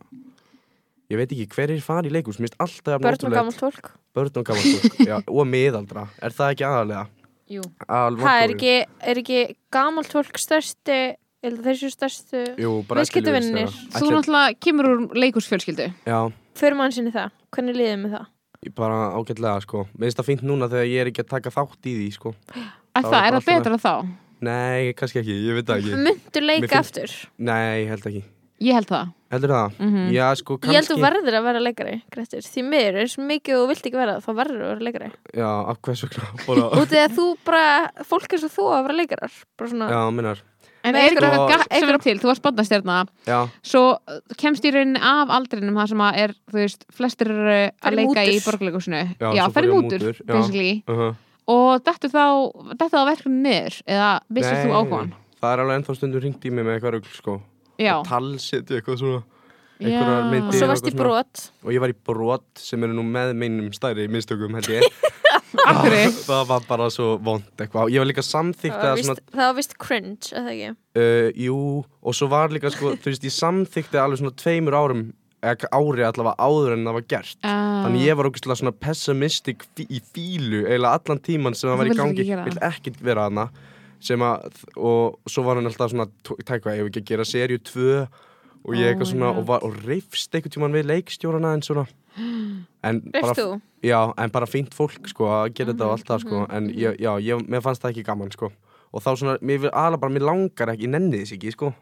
Ég veit ekki hver er farið í leikhús Mér finnst alltaf jafn
Börn og
ótrúlegt.
gammalt fólk
Börn og gaman fólk Já, og miðaldra Er það ekki aðalega?
Jú.
Al
Það er ekki, er ekki gammalt fólk stærsti Ég held að þeir séu stærstu
Jú, bara
Viðskiptavinir.
Þú náttúrulega kemur úr leikusfjölskyldu
Já,
Fyrir mann sinni það, hvernig liðið með það?
ég bara ágætlega sko Mér finnst það fínt núna þegar ég er ekki að taka þátt í því sko
að
Það
það
var
er
bara
það betra þá
Nei, kannski ekki, ég veit það ekki
Muntu leika
Mér finnst-
aftur
Nei, ég held ekki
ég held það
Heldur það?
Mhm.
Já, sko,
Ég held
kannski
þú verður að vera leikari, Grettir Því miður, eins og mikið og þú vilt ekki vera það, þá verður að vera leikari
Já, af hvers vegna bara...
Útið að þú bara, fólk eins og þú að vera leikarar Bara svona
Já, minnar
en
Nei,
er
sko-
eitthvað gatt sem er
eitthvað-
til, þú varst barnastjörna
Já,
svo uh, kemst í rauninni af aldrinum það sem að er, þú veist, flestir eru
Fara í
að leika í
mútur.
borgarleikusinu
Já,
já
svo fara
færi
í
mútur,
mútur, já.
basically
uh
og dættu þá, dættu þá verkefni niður eða vissir þú ákvæðan
Það er alveg ennþá stundum ringt í mig með eitthvað rugl sko
já,
Talsetju eitthvað svona
Já.
Einhverjar
Og
myndir
svo
og
varst í
eitthvað svona.
brot
Og ég var í brot sem eru nú með meinum stærri mistökum held ég
akkur
Það var bara svo vond eitthvað Ég var líka samþykkt
Það var
að
víst-
svona
það var vist cringe, eða ekki
uh, Jú, og svo var líka sko Þú veist, ég samþykti alveg svona tveimur árum eða ári allavega áður en það var gert
Ah.
Þannig ég var okkur svona pessimistic fí í fílu eiginlega allan tíman sem það
Þú
var í
vildir
gangi
ekki gera það.
vil ekkert vera hana sem að, og svo var hann alltaf svona t- tækvað, ég hef ekki að gera serju 2 og
Oh
ég eitthvað
my
svona og,
God.
var, og reyfst einhvern tíman við leikstjórana en svona en
Reifst þú?
bara, já, en bara fínt fólk sko að gera þetta og allt það
Mhm,
sko en ég, já, ég, mér fannst það ekki gaman sko og þá svona, mér aðla bara, mér langar ekki, ég nenni þess ekki sko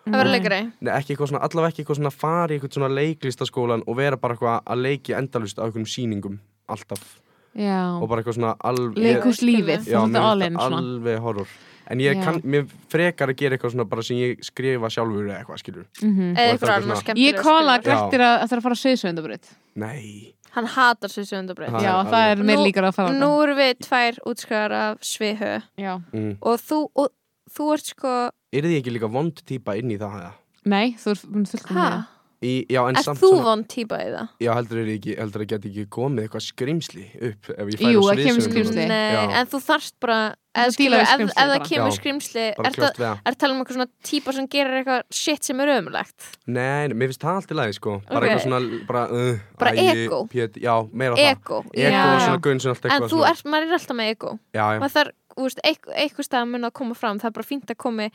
Að
Mm.
vera leikari?
Nei, ekki eitthvað svona, allavega ekki eitthvað svona að fara í eitthvað svona leiklistaskólan og vera bara eitthvað að leiki endalust á einhverjum sýningum alltaf og
já,
bara eitthvað svona alveg
leikurslífið
Já,
þú fórst all in svona
alveg horror en ég
Já.
kann, mér frekar að gera eitthvað svona bara sem ég skrifa sjálfur eða eitthvað, skilur
Mhm.
Eða
Og
ykkur
það er
annar
svona-
skemmtileg
ég kóla
skrifar.
Grettir að það er að fara að söðsveindabrið
Nei,
Hann hatar sér sögundabröð
Það
já,
er
það er
alveg-
mér líkar að fara
Nú erum við tvær útskriðar af Svihö
já.
mm.
og þú, og, þú ert sko
er þið ekki líka vond típa inn í það eða?
nei, þú er fullt
Hæ?
Í, já, en
Er
samt
þú vond típa í það?
já, heldur þið ekki, heldur þið geti ekki komið eitthvað skrimsli upp ef ég færi
Jú,
á
það kemur
sviðsögum.
skrímsli.
Nei,
Já.
en þú þarft bara
Þú
eða
dílar
skilur,
við
ef, ef
skrímslið
það
bara.
kemur
Já.
skrimsli
bara
er það
kljóst við það
Er talað um eitthvað svona típa sem gerir eitthvað shit sem er ömulegt
Nei, nei, mér finnst það allt í lagi sko Bara
Ok.
eitthvað svona, bara uh,
Bara
æi,
ego.
pét, Já, meira það
Ego
Ego
Já.
og svona gunn sem allt
En
eitthvað
þú
svona-
ert, maður er alltaf með ego
Já, já,
Maður þarf, þú veist, eitthvað, eitthvað stað mun að koma fram Það er bara fínt að komi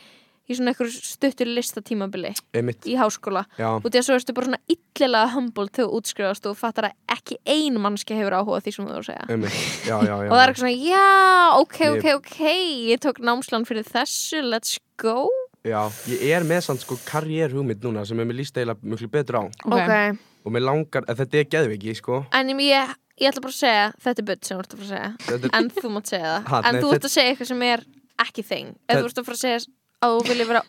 í svona eitthvað stuttur listatímabili
einmitt
í háskóla
Já,
út í að svo ertu bara svona illilega humble þegar þú útskrifast og fattar að ekki ein mannski hefur áhuga á því sem þú voru að segja
Einmitt. já, já, já
og það er eitthvað svona, já, ok,
Ég-
ok, ok ég tók námslan fyrir þessu, let's go
já, ég er með samt sko karriérhugmynd núna sem er mér líst eiginlega mjög betur á
ok,
og mér langar, en þetta er geðviki sko
en ég, ég, ég ætla bara að segja þetta er butt sem þú ert að fara að
Þetta
segja
er-
en þú mátt segja það,
Ha,
en
nei,
þú ert
þetta-
að segja eitthvað sem er ekki þing,
Þetta-
eða þú ert að fara að segja að þú vilja vera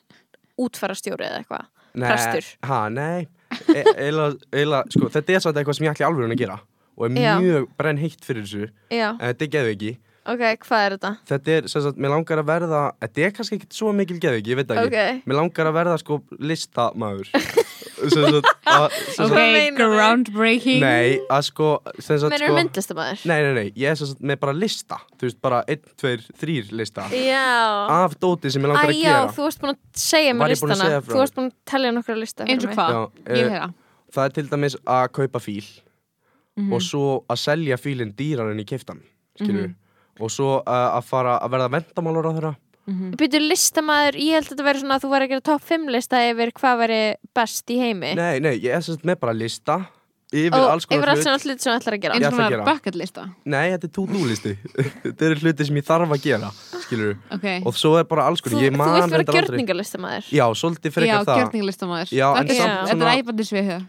útfarastjóri eða eitthvað,
Nei,
prestur
ha, nei e eila, eila, sko, þetta er samt eitthvað sem ég ætla í alveg að gera og er
Já.
mjög brenn heitt fyrir þessu en
já,
þetta er geðviki
ok, hvað er þetta?
þetta er, sem sagt, mér langar að verða þetta er kannski ekkert svo mikil geðviki, ég veit það ekki
Ok.
mér langar að verða sko listamaður sem sagt, að,
Hvað
sem
Ok,
meinarðu?
groundbreaking
nei, að sko, sem sagt,
Menur
sko
sko... myndlistamæður?
nei, nei, nei, ég er sem sagt með bara lista þú veist, bara 1, 2, 3 lista
Já
af dóti sem
Æ,
ég langar að
já,
gera
þú varst búin að segja
Var
mér
ég búin að
listana
segja frá
Þú varst búin að telja nokkra lista
eins
fyrir
og
mig.
hvað,
Já,
ég
eh,
vil heyra
það er til dæmis að kaupa fíl
Mhm.
og svo að selja fílinn dýrar en ég keftan skilur
Mhm.
og svo uh, að fara að verða vendamálur á þeirra
Býtu listamæður, ég held að þetta væri svona að þú væri að gera topp 5 lista yfir hvað væri best í heimi
nei, nei, ég er sérst með bara lista yfir
Og
alls
yfir
konar
alls
hlut
svona hlut sem þú ætlar að gera
Já.
eins
ætla
og
að
svona
gera.
bucket lista
nei, þetta er to-do-listi þetta eru hluti sem ég þarf að gera skilur
okay.
og svo er bara alls
Þú,
konar ég
þú
man
vilt vera
reyndar aldrei-
gjörningalistamæður
já, svolítið
já,
frekar það
gjörninglistamaður
Já, en
þetta er,
samt
þetta
svona-
er æfandi svið hér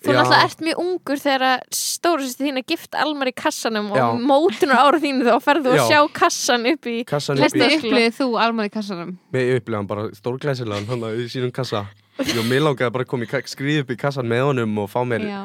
Þú
Já.
náttúrulega ert mjög ungur þegar að stóru sýsti þín að gift almar í kassanum
Já.
og mótunar ára þínu þá ferðu
Já.
að sjá kassan upp í
kassan upp
hvernig
í
Flestir-
upplýðið þú almar í kassanum
Mér upplega hann bara stórglæsilegan hann í sínum kassa Jó, mér langaði bara að koma í ka- skríða upp í kassan með honum og fá mér
já,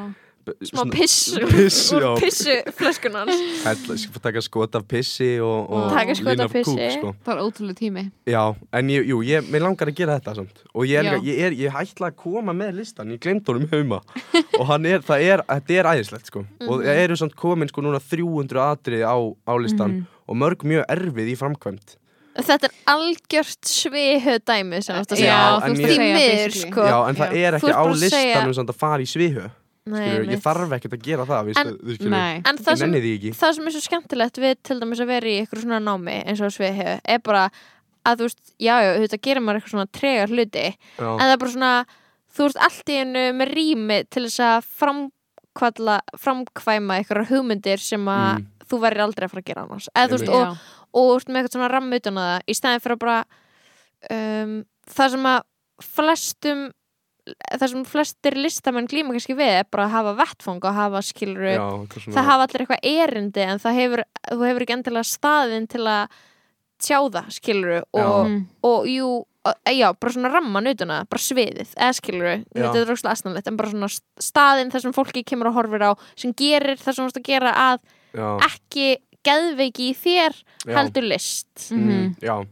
smá
svona-
piss
Piss,
úr
já.
pissu flöskunans
Hella, sko, taka skot af pissi og, og
Taka skot
lína
af
kúk,
pissi.
sko.
það var ótrúlega tími
Já, en ég, jú, ég, mér langar að gera þetta samt Og ég, er,
Já.
líka- ég, er, ég ætla að koma með listan, ég glemt honum heima Og hann er, það er, þetta er æðislegt sko
Mhm.
Og það eru samt komin sko núna 300 atrið á, á listan
Mhm.
Og mörg mjög erfið í framkvæmt
Þetta er algjört svihuð dæmi sem þetta
Já,
segja
þú ert að
en ég-
segja
Því miður,
basically.
sko.
Já, en það er
Þú
ekki
ert
á
bara að segja-
listanum samt að fara í sviðhö Skilur, ég
einmitt.
þarf ekkert að gera það,
En-
veistu, þú skilur
nei,
En
Ég
það sem,
nenni því ekki
það sem er svo skemmtilegt við til dæmis að vera í eitthvað svona námi eins og svið hefur er bara að þú veist, já, já, þetta gerir maður eitthvað svona tregar hluti en
Já,
það er bara svona þú ert allt í einu með rými til þess að framkvæma, framkvæma eitthvað hugmyndir sem að
Mm.
þú verður aldrei að fara að gera annars eða þú veist,
Einmitt.
og
já,
og þú ert með eitthvað svona ramm utan að það í staðin fyrir að bara um, það sem að flestum það sem flestir listamenn glíma kannski við er bara að hafa vettfang og hafa skiluru,
já, þetta er svona-
það hafa allir eitthvað erindi en það hefur, þú hefur ekki endilega staðin til að tjá það skiluru og,
Mm.
og jú, að- já, bara svona ramman utan að það, bara sviðið, eða skiluru
Já.
þetta er rokslega astanlegt, en bara svona staðin þar sem fólki kemur og horfir á sem gerir það sem þú veist að gera að
já,
ekki geðveiki í þér
já.
heldur list
mhm.
Mm, Já,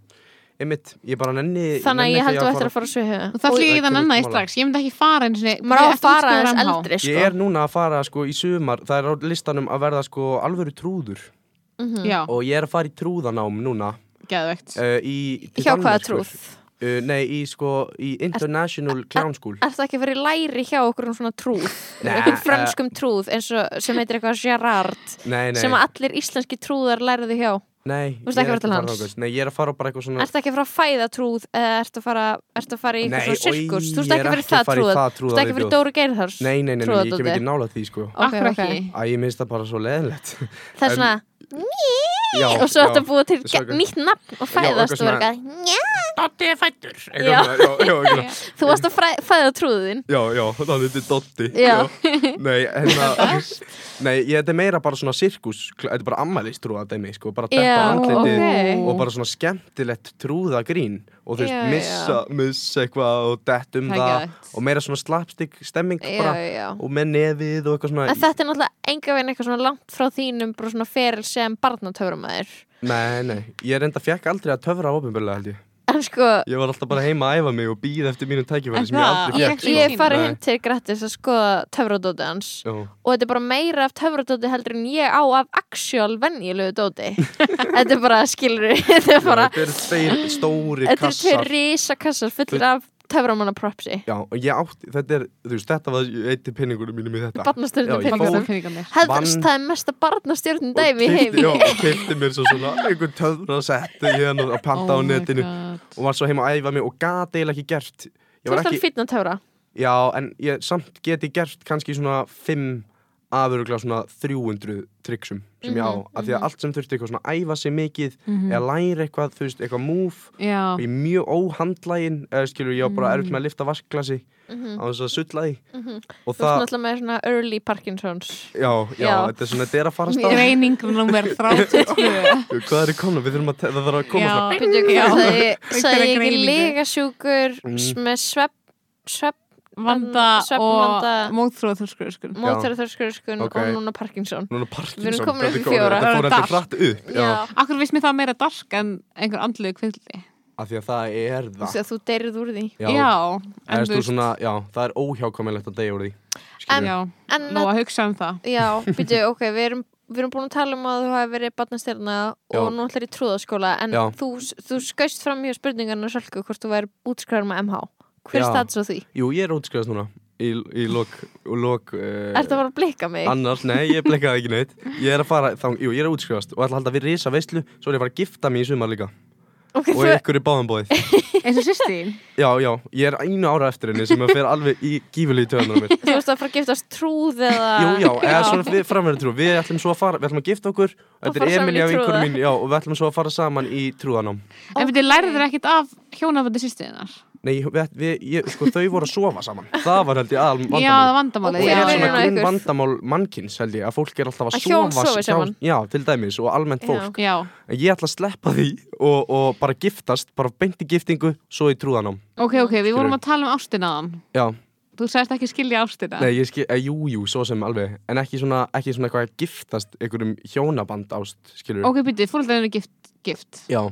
einmitt, ég bara nenni
þannig að
nenni
ég heldur
ekki
eftir að fara að
og
sviðhauða
það flýði
Ekki
þann annað í
útmála.
strax ég myndi ekki fara eins og
maður á að fara aðeins eldri sko.
Ég er núna að fara sko í sumar, það er á listanum að verða sko alvöru trúður
já,
og ég er að fara í trúðanám núna
geðvegt
uh, í, til
hjá hvaða
Danmerkur.
trúð
Uh, nei, í sko, í International Clown School
er það ekki að vera í læri hjá okkur um svona trúð um
Nei,
einhvern
eh.
franskum trúð eins og sem heitir eitthvað Gerard
Nei, nei,
sem að allir íslenski trúðar læriðu hjá
nei
Þú veist ekki
ég er
að fara til
að
hans?
þangað. Nei, ég er að fara á bara eitthvað svona
er það ekki að fara að fæða trúð eða ertu að fara, ertu að fara í
Nei,
eitthvað svona sirkus
oi,
þú veist ekki
ég er
að vera í
ekki að
það
fara í
trúð
það
þú veist ekki að vera í
trúðarviðbjóð.
Dóru Geirhars
Nei, nei, nei, nei, ég kem
trúðardótið.
ekki nála því sko
Ok,
akkur
ok.
ekki
Æ, ég minnst það bara svo leðilegt
það er
En-
svona
Já,
og svo ertu að búa til
Svo eitthvað-
nýtt nafn og
eitthvað
fæðast og
svona-
verka njá
Doddi er fættur.
Eitthvað svona, Já, já, eitthvað svona.
þú varst að fræ- fæða trúðin
Já, já, það er þetta Dotti
Já.
Nei, hérna Nei, ég, þetta er meira bara svona sirkus Þetta er bara ammælistrúða dæmi, sko Bara detta
Já,
á andlitið
ok.
og bara svona skemmtilegt trúða grín Og þú veist,
Mm. Já,
missa, missa eitthvað og dett um
Það er
það
geðvægt.
Og meira svona slapstick stemming
já,
bara
já
Og með nefið og eitthvað svona
En þetta er náttúrulega enga veginn eitthvað svona langt frá þínum bara svona feril sem barnatöframæður
Nei, nei, ég reynda fekk aldrei að töfra ofinbjörlega held ég
En sko,
Ég var alltaf bara heima að æfa mig og býða eftir mínu tækifæri
En
sem ég
það-
aldrei
ég,
fekk
ég er farið
Nei.
heim til Grettis að skoða töfradóti hans
Já.
og þetta er bara meira af töfradóti heldur en ég á af actual venjulegu dóti Þetta er bara, skilur þetta er bara,
Þetta eru tveir stóri
þetta er
kassar
tveir risa kassar fullir af töframanna propsi
Já, og ég átti, þetta er, þú veist, þetta var eitt í penningunum mínum í þetta
Barnastjörnum
Já, ég
peningunum.
fór
Fangast af peningarnir.
Heldur
Vann-
það er mesta barnastjörnum dæmi í
og keypti-
heimi
Já, og keipti mér svo svona einhver töfra sett hérna að panta á
Oh my
netinu
god.
og var svo heima að æfa mig og gat eiginlega ekki gert Ég
Þú
var
ert alveg
ekki,
fínn að töfra
já, en ég samt geti gert kannski svona fimm af öruglega svona 300 tryggsum sem ég á,
Mhm,
af því að allt sem þurfti eitthvað svona að æfa sig mikið eða læra eitthvað, þú veist, eitthvað move
Já,
og ég er mjög óhandlægin eða skilur, ég á bara
Mhm.
erfitt með að lifta vasklasi á þess að sulla því og
Þú ert
það,
náttúrulega með svona early Parkinsons
já, já,
Já.
þetta er svona þetta er að fara af stað,
greining nummer 32
hvað er í komna við þurfum að, te- það þarf að koma svona
Já, já.
Sæði
Einhverja
ég ekki
greiningu.
legasjúkur
Mm.
s- með svepp svepp
Vanda og sko.
Svefnvanda.
mótþróð þurrskur
mótverðarþörskuriskun
Ok.
og núna Parkinson Við
núna
erum
Parkinson,
komin upp í
þetta kom-
fjóra.
þetta fór
Það er
heldur hratt upp já,
Akkur veist mér það meira dark en einhver andluðu kvildi
af því að það er
Þú
það
veist að þú deyrið úr því
Já, já
Það
en
er,
þú
þú svona, já, það er óhjákvæmilegt að deyja úr því
En-
Skilur.
Já,
En
má að hugsa um það
Já, býtu, ok, við erum, við erum búin að tala um að þú hafi verið barnastjarna og
Já.
nú ætlar í trúðaskóla en
Já.
þú, þú skauðst fram hjá spurningarna svolgu hvort þú væri útskræður með MH Hver er
Já.
status á því?
Jú, ég er útskrifast núna Í, í lok, og lok uh,
Ertu að fara að blika mig?
Annars, nei, ég blekkaði ekki neitt Ég er að fara, þá, jú, ég er að útskrifast Og ætla að halda við risa veislu Svo er ég að fara að gifta mig í sumar líka
ok,
Og
þú,
ykkur er báðan bóðið
Eins og sýsti
Já, já, ég er einu ára eftir henni Sem að fer alveg í gífulegi töðunar mér
þú ert að fara að giftast trúð eða
Jú, já, eða svona við framverðum trú Við ætlum svo að fara, við ætlum að gifta okkur
Og
Þetta
fara
er
saman í
Emilja vinkur
trúða.
mín, já Og við ætlum svo að fara saman í trúðanám
En við lærið þér ekkit af hjónafandi sýstiðinar
Nei, við, við, ég, sko, þau voru að sofa saman Það var held ég aðal
Já, það
Og
er vandamálið
vandamálið. og
já.
er svona
Munurinn á ykkur.
grunn vandamál mannkins held ég að fólk er alltaf að,
Að hjón
sofa
sofi
hjá-
saman.
já, til dæmis og almennt
Já.
fólk
Já,
en ég ætla að sleppa því og, og bara giftast, bara beint í giftingu svo í trúðanám
ok, ok, við vorum
Skilurðu.
að tala um ástinnaðan
já,
Þú sagðist ekki skilja ástina
nei, ég skil, eh, jú, jú, svo sem alveg en ekki svona, ekki svona eitthvað að giftast einhverjum hjónaband ást, skilur
Ok, byrju, fólkdæðin er gift, gift
já,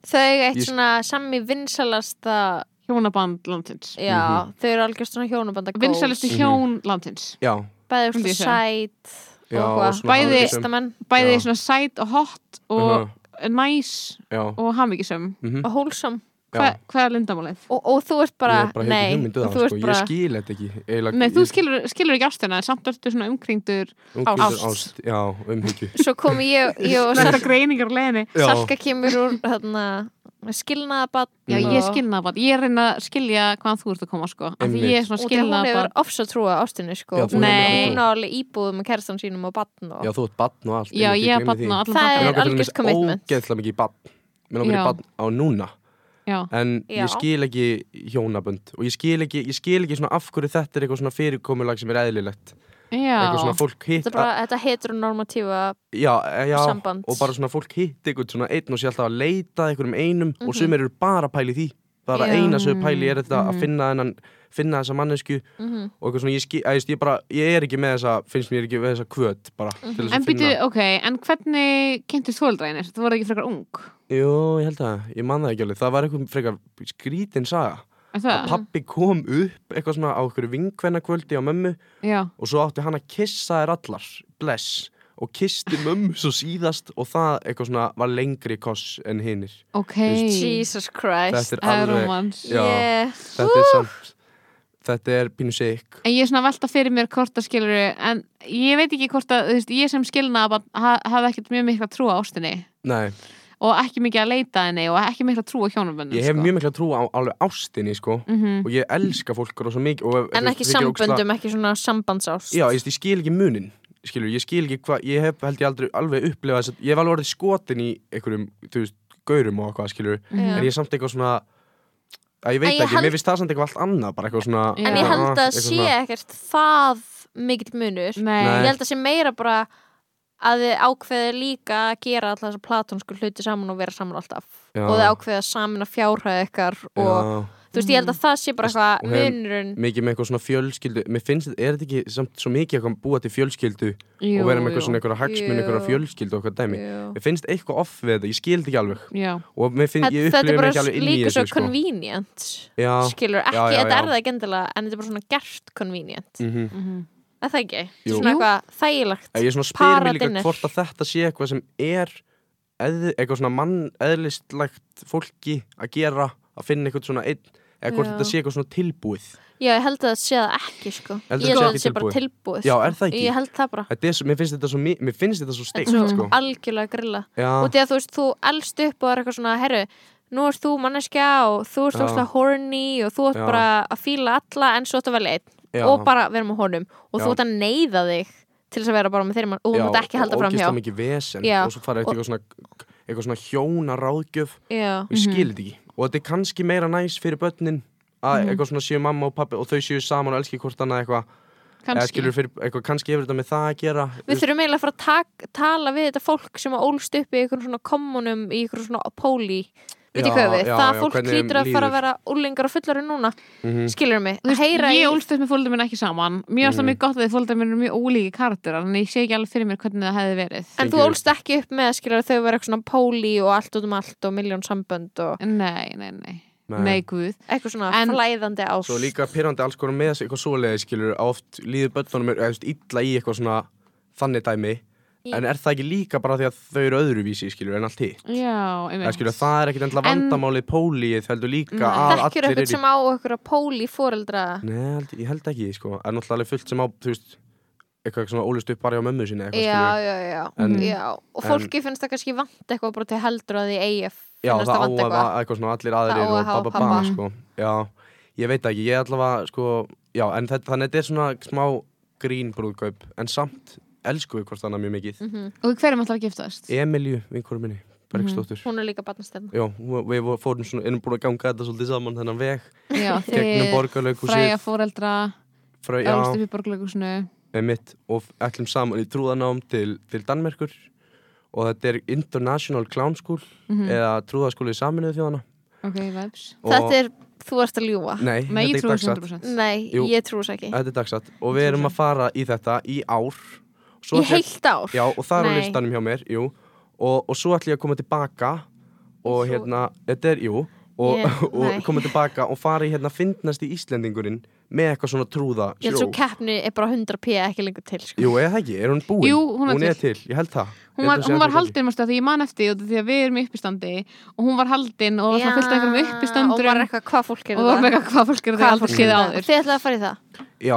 Þau eitt
Ég-
svona sami vinsalasta
Hjónaband landins
Já,
Mhm.
þau eru algjörst svona hjónabanda góð
Vinsælustu hjón landins
já,
Bæði svona
myndi ég segja.
sæt
já
og hvað
svona
Bæði-
hamingjusöm.
Listamenn
Bæði
Já.
svona sæt og hot og
Mhm.
næs
já,
og hamingisum
og hólsam
já
Hva, Hvað er lindamálið?
og, og þú ert bara,
Ég er bara hef ekki
nei
hugmynd um
og þú
það, sko.
ert
ég
bara
skil þetta ekki eiginlega-
Nei, þú
ég-
skilur, skilur ekki ástina en samt ertu svona umkringdur
Unglingur
ást.
ást, já, umhyggju
Svo kom ég, ég og
Þetta greiningar á leiðinni
Já.
Salka kemur úr hérna, skilnaðabann
Já, ég skilna bara, ég er að reyna að skilja hvaðan þú ert að koma sko Af því
Einmitt.
ég er svona
Og þegar
skilna
hún hefur
bara
ofsa trúa ástinni sko
Já, þú hefur
Nei.
Hún á alveg íbúðum og kærastan sínum og bann
Já,
og
þú ert badn og allt
Já,
einmitt,
ég er
gleymi því.
barn og allan
Það
þáttan.
er-
Mér langar til
algjört
dæmis
commitment.
ógeðslega mikið í bann Mér langar
Já.
í bann á núna
Já.
En
Já.
ég skil ekki hjónabönd Og ég skil ekki, ég skil ekki svona af hverju þetta er eitthvað svona fyrirkomulag sem er eðlilegt
Já,
Eitthvað svona fólk hitt
Þetta er bara þetta heteronormatífa
já, eh, já,
samband.
Og bara svona fólk hitt eitthvað svona einn og sé alltaf að leita að einhverjum einum Og sumir eru bara að pæli því Það er að
Mhm. Já.
eina sem þau pæli er þetta að finna þennan finna þessa mannesku
Mhm.
og eitthvað svona, ég, skil, ég, ég, bara, ég er ekki með þessa finnst mér ekki með þessa kvöt bara
Mhm.
til þess að
En býtu,
finna
ok, en hvernig kynntist fóreldræðinir? Þú voru ekki frekar ung,
Jú, ég held það, ég man það ekki alveg það var eitthvað frekar skrítin saga
er
að
það?
pappi kom upp eitthvað svona á einhverju vinkvennakvöldi á mömmu
Já,
og svo átti hann að kissa þær allar bless og kisti mömmu svo síðast og það eitthvað svona var lengri koss en hinnir
ok
Jesus Christ
þetta er
Það er
alveg
romans
já,
yeah.
þetta er samt þetta er pínu sikk
En ég er svona að velta fyrir mér hvort að skilur En ég veit ekki hvort að, þú veist, ég sem skilna ha, hafði ekkert mjög mikla trú á ástinni
Nei,
og ekki mikið að leita henni og ekki mikla trú á hjónaböndum
ég hef
sko.
mjög mikla trú á alveg ástinni sko
Mhm.
og ég elska fólk og svo mikið og,
En ekki
þú
um
veist, þykir ógeðslega-
samböndum, ekki svona sambandsást
Já, ég, ég skil ekki munin skilur, ég skil ekki hvað, ég hef held ég aldrei alveg upplifað þess að, ég hef alveg orðið skotin í einhverjum, þú veist, gaurum og eitthvað skilur,
Já.
mhm.
en ég er samt eitthvað svona að ég
En
veit
ég
ekki,
held-
mér finnst það samt eitthvað allt annað bara eitthvað svona
En ég
Já.
eitthvað,
held að
ah,
það
eitthvað
sé
svona-
ekkert það mikill munur
Nei,
Ég held að sé meira bara að þið ákveði líka að gera alltaf þessa platónsku hluti saman og vera saman alltaf
Já.
og þið ákveði að samin að fjárhæða ykkar og
Já,
þú veist, ég held að það sé bara eitthvað
Mm. Og hefur-
munurinn
mikið með eitthvað svona fjölskyldu mér finnst þetta, er þetta ekki samt svo mikið eitthvað að búa til fjölskyldu
jú,
og vera með eitthvað svona eitthvað hagsmun
Jú.
eitthvað fjölskyldu og eitthvað dæmi
Jú.
mér finnst eitthvað off við þetta, ég skil þetta ekki alveg
jú. Já,
og mér finn, ég
Þetta þetta
upplifir
er
mig
bara
ekki alveg inn í
líka svo
þessu sko.
convenient
Já,
skilur, ekki,
já,
þetta
já.
er það ekki endilega en þetta er bara svona gert convenient
mhm
er það ekki?
Jú.
Svona
Jú.
eitthvað þægilegt
Ég svona spyr mig líka
Paradinner.
hvort að þetta sé eitthvað sem er eð, eitthvað svona manneðlistlegt fólki að gera að finna eitthvað svona einn eða hvort
Já.
þetta sé eitthvað svona tilbúið
Já, ég held að það sé það ekki sko Ég
Heldur
held
það
að
sé
það sé bara
ekki
tilbúið
Já,
sko.
er það ekki?
Ég held það bara
Þetta er, svo- mér finnst þetta svo, mi- mér finnst þetta svo steikt
Þetta er svo
sko.
algjörlega grilla
Já,
og því að þú veist, þú elst upp og er eitthvað svona, herru, nú ert þú manneskja og þú ert
Já.
óslega horny og þú ert
Já.
bara að fíla alla en svo ert að velja einn
já,
og bara vera með honum og
Já.
þú ert að neyða þig til þess að vera bara með þeirri mann og þú mátt ekki halda fram hjá
ógislega mikið vesen
Já.
og svo fara eitthvað svona, eitthvað svona hjóna ráðgjöf
Já,
og ég skil þetta ekki og þetta er kannski meira næs fyrir börnin að
Mhm.
eitthvað svona séu mamma og pappi og þau séu saman og elski hvort annað eitthvað eða
kannski
skilur fyrir eitthvað kannski hefur þetta með það að gera
við þurfum eiginlega að fara að tak, tala við þetta fólk sem að ólst upp í einhverjum svona kommunum, í einhverjum svona póli veit
Já,
ekki hvað við,
já,
það
já,
fólk
hvernig þeim
hlýtur að fara að
líður. Mhm.
vera úlingar og fullari núna, skilur mig
Þú veist,
heyra
ég
í-
ólst upp með fólkdæmi minn ekki saman Mér
Mm.
er alltaf mjög gott að því fólkdæmi minn er mjög ólíki karakterar en ég sé ekki alveg fyrir mér hvernig það hefði verið
en þú
Skilur.
ólst ekki upp með skilur þau vera eitthvað svona póli og allt út um allt og miljón sambönd og
Nei, nei, nei,
Nei.
nei guð
eitthvað svona
En-
flæðandi ást
svo líka pyrrandi alls konar með þessi eitthvað svoleiði skilur að oft líður börnunum er eða illa í eitthvað svona þannig dæmi en er það ekki líka bara því að þau eru öðruvísi skilur en allt hitt
Já,
eða
einmitt
skilur það er ekkit endla
En-
vandamálið pólíið heldur líka
þekkjur
að allir
eitthvað
eru
sem á eitthvað póli fóreldra
Nei, held, ég held ekki, sko er náttúrulega alveg fullt sem á, þú veist eitthvað svona ólist upp bara hjá mömmu sinni eitthvað,
já,
skilur.
já, já, Mm.
En-
já og fólki finnst það kannski vant eitthvað bara til heldur að því eigi
já
finnast
það á
vant
að
eitthvað
va- eitthvað svona allir
Það á
aðrir
að
og
hafa
bababa,
pabba.
sko Já, ég veit ekki, ég allavega, sko Já, en þetta, þannig að þetta er svona smá grín brúðkaup, en samt elsku við hvort annað mjög mikið
Mhm.
Og hverjum alltaf að giftast?
Emilju, vinkurum minni, Bergsdóttur
hún er líka barnastelna
Já, hún- við vo- fórum svona, erum búin að ganga þetta svolítið saman þennan veg,
Já, þið
gegnum
fræja
borgarleikhúsið
fóreldra
frá,
Ólst
já,
upp í borgarleikusinu
mitt og ætlum saman í trúðanám til, til Danmerkur og þetta er International Clown School eða trúðaskóli saminuðu þjóðana
Ok, veps
og,
þetta er, þú ert að ljúa
Nei,
Nei,
þetta
ég
er
trúi þessu
dagsatt
100%
nei,
Jú.
ég trú þess ekki
Þetta er dagsatt og við erum að fara í þetta í ár Svo
í
ætlum-
heilt ár
Já, og það er á
Nei.
listanum hjá mér, jú og, og svo ætlum ég að koma tilbaka og
Svo-
hérna, þetta er, jú og,
Ég- nei.
og koma tilbaka og fara í hérna fyndnast í Íslendingurinn með eitthvað svona trúða
ég held svo keppni er bara 100 p ekki lengur til sko.
Jú, eða það ekki, er hún búin?
Jú, hún er
er til, ég held það Ég
Hún
held
var,
hún sé
hún var
ennþá til.
haldin, mástu, því ég man eftir því að við erum í uppistandi og hún var haldin og var svona fullt af einhverjum
og var
uppistandur
eitthvað hvað fólk er
og var með eitthvað hvað fólk er því aldrei séð áður
þið ætlaði að fara í það
Já,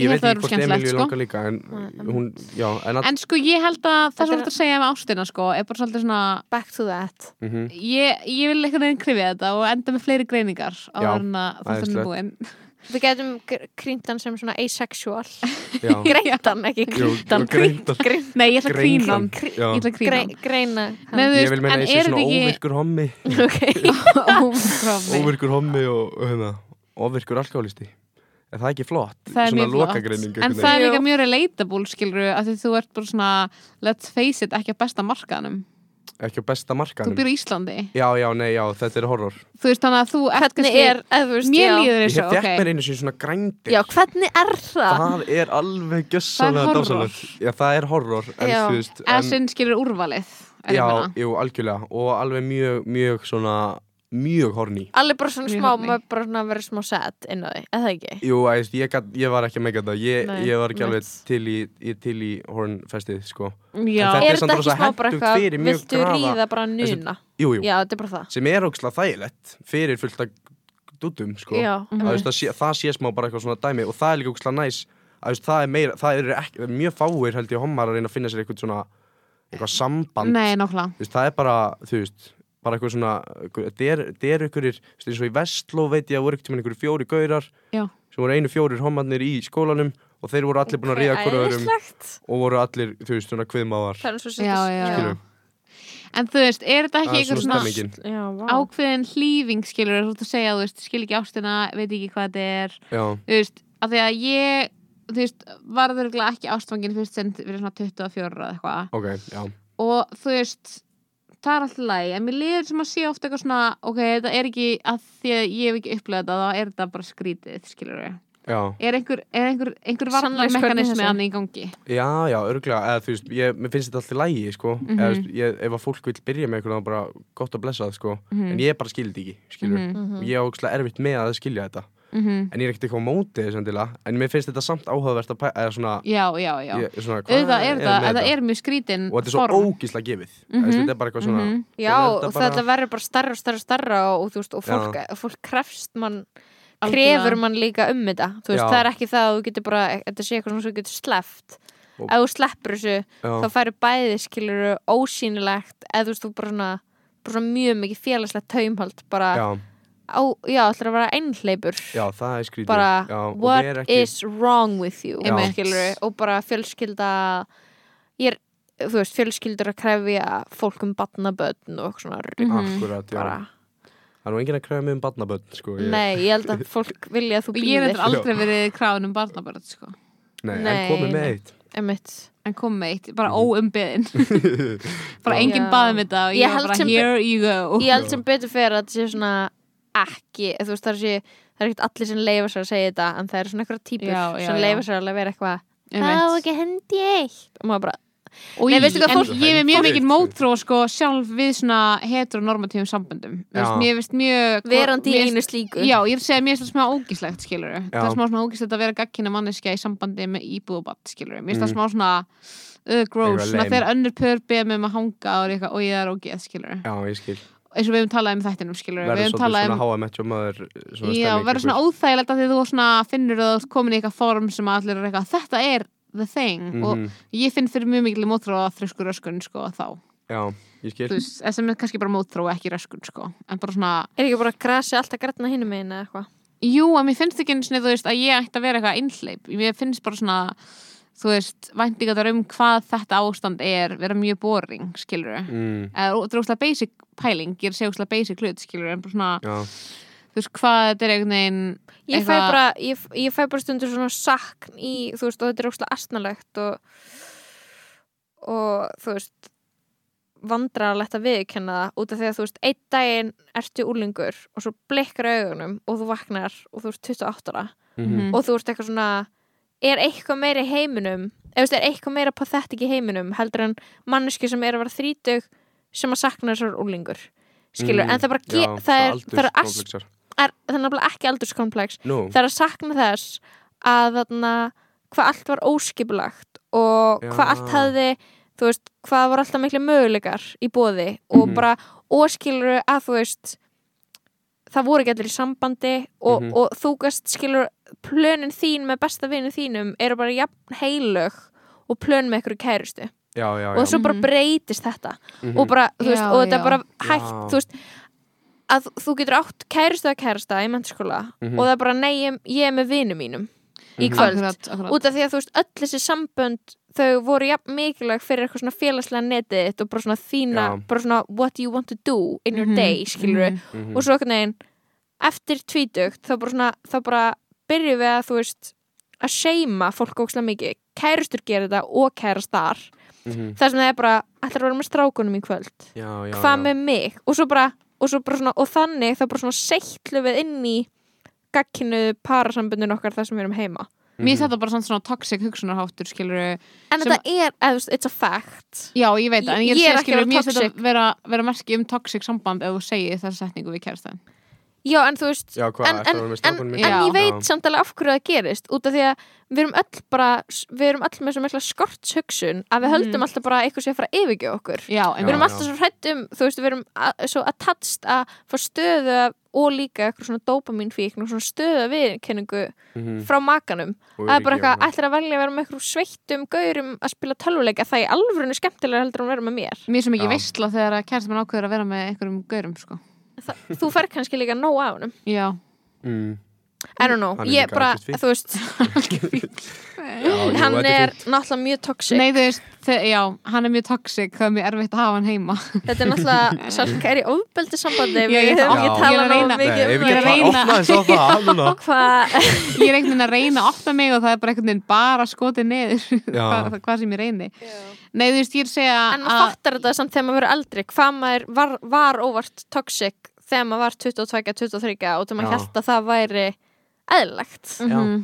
Ég held
ég veit
það
ekki
verður
hvort
skemmtilegt,
Emilíu
sko.
langar líka en hún, já, en að
En sko ég held að það sem
Þetta
þú
er-
ert að segja með ástina sko er bara svolítið svona
back to that
Mm.
ég, ég vil einhvern veginn krifja þetta og enda með fleiri greiningar á
Já,
þarna þáttunum er
æðislegt.
búinn
við gætum krýndan sem svona asexual
já,
greindan, ekki krýndan
greindan.
Nei, ég ætla að krína hann.
Greinland,
Ég
já.
ætla að krína hann.
greina
Nei, þú
Ég
veist,
vil meina
en
að ég sé
er
svona
þetta ekki
óvirkur hommi
okay.
óvirkrámi
Óvirkur hommi og, og hérna, óvirkur alkoholisti Er það ekki flott?
það er
svona
mjög flott
lokagreining
en
einhvern
það er
Jú.
líka mjög relatable skilur af því þú ert bara svona let's face it, ekki að besta markaðanum
veginn. Ekki á besta
þú
markanum
býr í Íslandi
Já, já, nei, já, þetta er horror
þú veist þannig að þú ert
hvernig
kannski-
er eða þú veist,
mér
já.
líður
Ég
þessu,
fekk
ok
mér einu sinni svona grændir
já, hvernig er það
Það er alveg gjössalega
horror.
dásalegt Já, það er horror en,
Já.
þú veist,
eða
en,
sinn skilur úrvalið er
Já,
ég að meina.
jú, algjörlega Og alveg mjög, mjög svona Mjög horny
allir bara svona
Mjög
smá,
horny.
maður bara svona verið smá sad inn á því, eða það ekki
Jú, æst, ég, gat, ég var ekki að meika þetta ég,
Nei,
ég var ekki alveg
mitt.
til í, í, til í hornfestið, sko
já,
en þetta
er þetta
samt
ekki
rosa
smá bara
hentugt
eitthvað,
fyrir mjög
viltu
grafa-
ríða bara
þessu-
núna
Jú, jú,
já, þetta er bara það
sem er ógslag þægilegt Fyrir fullt að dútum, sko
Já, mhm.
að, þú veist, það, sé, það sé smá bara eitthvað svona dæmi Og það er líka ógslag næs að, þú veist, það, er meira, það er ekki, mjög fáir, held ég, homar að reyna að finna sér eitthvað svona Eitthvað samband
nei, nákvæmlega
þú veist, það er bara, þú veist bara eitthvað svona, einhver- þetta er- þetta er einhverjir þú veist, eins og í Vestló veit ég að voru ekkert með einhverjir fjóri gaurar,
Já.
sem voru einu fjórir homarnir í skólanum og þeir voru allir búin að ríða um- hverju öðrum
Æðislegt.
og voru allir, þú veist, svona kviðmáðar
það er eins og
Já, já, já.
skilur,
en þú veist, er þetta
það
ekki
er svona
eitthvað svona
stemmingin
já, vá.
ákveðin hlýfing skilur þú ert að segja, þú veist, skil ekki ástina veit ekki hvað þetta er
já,
þú veist, af því að ég þú veist, varður ekki ástfangin fyrst send fyrir svona 24 eða eitthvað
ok, já,
og þú veist það er alltaf læg, en mér liður sem að sé ofta eitthvað svona, ok, þetta er ekki að því að ég hef ekki upplegað þetta, þá er þetta bara skrítið skilur við,
já,
er einhver, er einhver, einhver
Sannleikskönnun
varnarmekanismi
þessi.
hann í gangi
já, já, örgulega eða þú veist, ég, mér finnst þetta alltaf lægi, sko mm eða, þú veist, ég, ef að fólk vil byrja með eitthvað þá bara gott að blessa það, sko en ég bara skildi ekki, skilur og ég er ógstlega erfitt með að skilja þetta
mm
en ég er ekkert eitthvað á móti þessu endilega en mér finnst þetta samt áhugavert að pæ- eða svona,
já, já, já,
ég, svona hvað
auðvitað er
með
þetta þetta er mjög skrítin
og þetta er svo ógísla gefið mm -hmm. þetta er bara eitthvað svona
Mhm.
Já,
svona er
og
bara-
þetta verður bara starra og starra og starra og, þú veist, og fólk, fólk krefst mann
Algjörlega.
krefur mann líka um þetta þú veist,
Já.
það er ekki það að þú getur bara þetta sé eitthvað svona sem þú getur sleppt
Og-
ef þú sleppur þessu,
já,
þá færi bæði skilur ósýnilegt, eða þú veist þú bara svona, bara svona mjög mikið félagslegt taumhald bara
já,
á, já, ætlar að vera einhleipur
já, það er skrítið
bara,
já, og
what
vera ekki-
is wrong with you
Já.
skilurðu, og bara fjölskylda ég er, þú veist, fjölskyldur að krefja fólk um batnabötn og eitthvað svona rugl,
Akkurat, já
bara,
Það er nú enginn að kræða mig um barnaböld sko. ég-
nei, ég held að fólk vilja að þú
og ég
býðir
veit aldrei verið kráðin um barnabörð sko.
nei,
nei,
En komið með
nei.
eitt
einmitt
en kom með eitt,
Mhm.
bara óumbeðin bara
Já.
enginn baði með þetta og ég,
Ég
var
held
bara
sem-
here you go
ég held sem betur fyrir að þetta sé svona ekki, þú veist það er, sé, það er ekkert allir sem leifa sér að segja þetta en það eru svona eitthvað típur
Já, já,
sem
já.
leifa sér alveg að vera eitthvað það á
Einmitt.
ekki hendi eitt og maður bara,
og
Ah, Nei,
ég,
veistu hvað
en
fólk-
ég er mjög
Fólk-
mikið mótró sko, sjálf við svona heteronormatífum samböndum Þú veist,
Já.
mér finnst mjög
verandi í
mér
einu slíku
Já, ég er að segja, mér finnst það smá ógíslegt, skilur
Já.
Það er smá svona ógíslegt að vera gagkina manneskja í sambandi með íbúðubatt, skilur Mér finnst það
Mm.
smá svona uh, gross,
Eitthvað
svona
lame.
þegar önnur pör beða mig um að hanga og er eitthvað, og ég er ógíð, skilur
Já, ég skil
Eins og við höfum talað um þættinum, skilur Við
Verður
höfum
svolítið
talað
svona
um,
háa með tjómaður
já, verður svona óþægilegt að því þú svona finnur að þú ert komin í eitthvað form sem að allir er eitthvað, þetta er the thing og
Mhm.
ég finn fyrir mjög mikil mótró að þrösku röskun, sko, þá
Já, ég skil
Þú veist, sem er kannski bara mótró, ekki röskun, sko en bara svona,
er ekki bara að grasi alltaf grætna hinum einu eða eitthvað
Jú, að mér finnst ekki einu sinni, þú veist, að ég ætti að vera eitthvað innleip. Mér finnst bara svona, þú veist, væntingar um hvað þetta ástand er, vera mjög boring, skilur við.
mm,
Eða þú- þetta er óslega basic pæling, ég er að segja óslega basic hlut, skilur við, en bara svona,
Já,
þú veist, hvað þetta er einhvern veginn,
ég fæ,
Eitthvað-
bara, ég, ég fæ bara stundur svona sakn í, þú veist, og þetta er óslega astnalegt og, og þú veist vandrarlegt að viðkenna það út af því að þú veist, einn daginn ertu úlingur og svo blikkar augunum og þú vaknar og þú ert 28 ára
Mm.
mhm,
og þú ert eitthvað svona er eitthvað meira í heiminum eða þú veist, er eitthvað meira pathetik í heiminum heldur en manneski sem er að vera þrítug sem að sakna þessar úlingur skilur,
Mm,
en það bara
já,
ge- það er, það er, as,
aldurskomplexar.
er, það er nefnilega ekki aldurskompleks
Nú,
það er að sakna þess að þarna, hvað allt var óskipulagt og
Já.
hvað allt hafði þú veist, hvað var alltaf miklu möguleikar í bóði og
Mhm.
bara óskilur að þú veist það voru ekki allir í sambandi og,
Mhm.
og þú gast skilur plönin þín með besta vinnu þínum eru bara jafn heilög og plön með ykkur kærustu
já, já, já
og svo bara
Mhm.
breytist þetta
mhm,
og bara, þú veist,
Já,
og þetta er
já.
bara hægt, þú
Já.
veist að þú getur átt kærustu að kærasta í mennskóla
Mhm.
og það er bara, nei, ég, ég er með vinum mínum í
Mhm.
kvöld,
akkurat, akkurat.
út af því að þú veist öll þessi sambönd, þau voru jafn mikilvæg fyrir eitthvað svona félagslega netið þitt og bara svona þína,
Já.
bara svona what you want to do in your
Mhm,
day, skilur við
mhm.
mhm.
og svo okkur neginn, eftir tvítugt þá bara svona, þá bara byrjum við að þú veist, að seima fólk ókslega mikið, kærustur gera þetta og kærastar,
Mhm.
þar sem það er bara ætlar að vera með strákunum í kvöld
Já, já,
hvað
já.
með mig og, svo bara, og, svo bara svona, og þannig þá bara svona seitlu við inn í gagginu parasambundin okkar þar sem við erum heima
Mér finnst þetta bara samt svona toxic hugsunarháttur, skilur
en
Sem-
þetta er, eða, þú veist, it's a fact
Já, ég veit, það, en ég
Ég er
er að segja,
ekki að vera
skilur, mér finnst
toxic.
þetta vera, vera merki um toxic samband ef þú segir þessa setningu við kærastan.
já en þú veist
Já, hvað,
en, en,
ertu að vera með
en,
strákunum í
en
Já.
ég veit
Já.
samt alveg af hverju það gerist út af því að við erum öll bara við erum öll með svo mikla skortshugsun að við höldum alltaf bara að eitthvað sé að fara yfirgjöð okkur
Já,
við erum
einmitt.
alltaf svo hrættum, þú veist, við erum að, svo attached að fá stöðu af- og líka eitthvað svona dopamínfíkn og svona stöðu viðkenningu
Mhm.
frá makanum
Og
það er bara
öryggi og
eitthvað, ættir að velja að vera með einhverjum sveittum gaurum að spila tölvuleika það er alvöru skemmtilega heldur en að vera með mér
Mér er svo
Já.
mikið veistla þegar að kærastan mann ákveður að vera með einhverjum gaurum, sko.
Þa, þú fer kannski líka nóg á honum
Já.
Mm.
I don't know,
Hann er
ég
líka
bara,
algjört fínt.
þú veist
Já, jú,
hann
þetta
er
fínt.
náttúrulega mjög toxic
Nei, þú veist, þe- já, hann er mjög toxic, það er mjög erfitt að hafa hann heima.
þetta er náttúrulega, Salka er í ofbeldi sambandi
Já, ég
við höfum ekki
ætla- Ég er
Já.
talað
að
nóg
reyna-
Nei,
mikið um
ef ekki
Ég er
að
það
að
fara
reyna.
opna þess á það núna
hvað,
Ég er einhvern veginn að reyna að opna mig og það er bara einhvern veginn bara skotið neður,
Já.
hvað, hvað sem ég reyni. Nei, þú veist, ég er að segja
en maður
að,
fattar þetta samt þegar maður verður eldri hvað maður var, var óvart toxic þegar maður var 22, 23 og þegar maður
Já.
held að það væri eðlilegt
Mhm.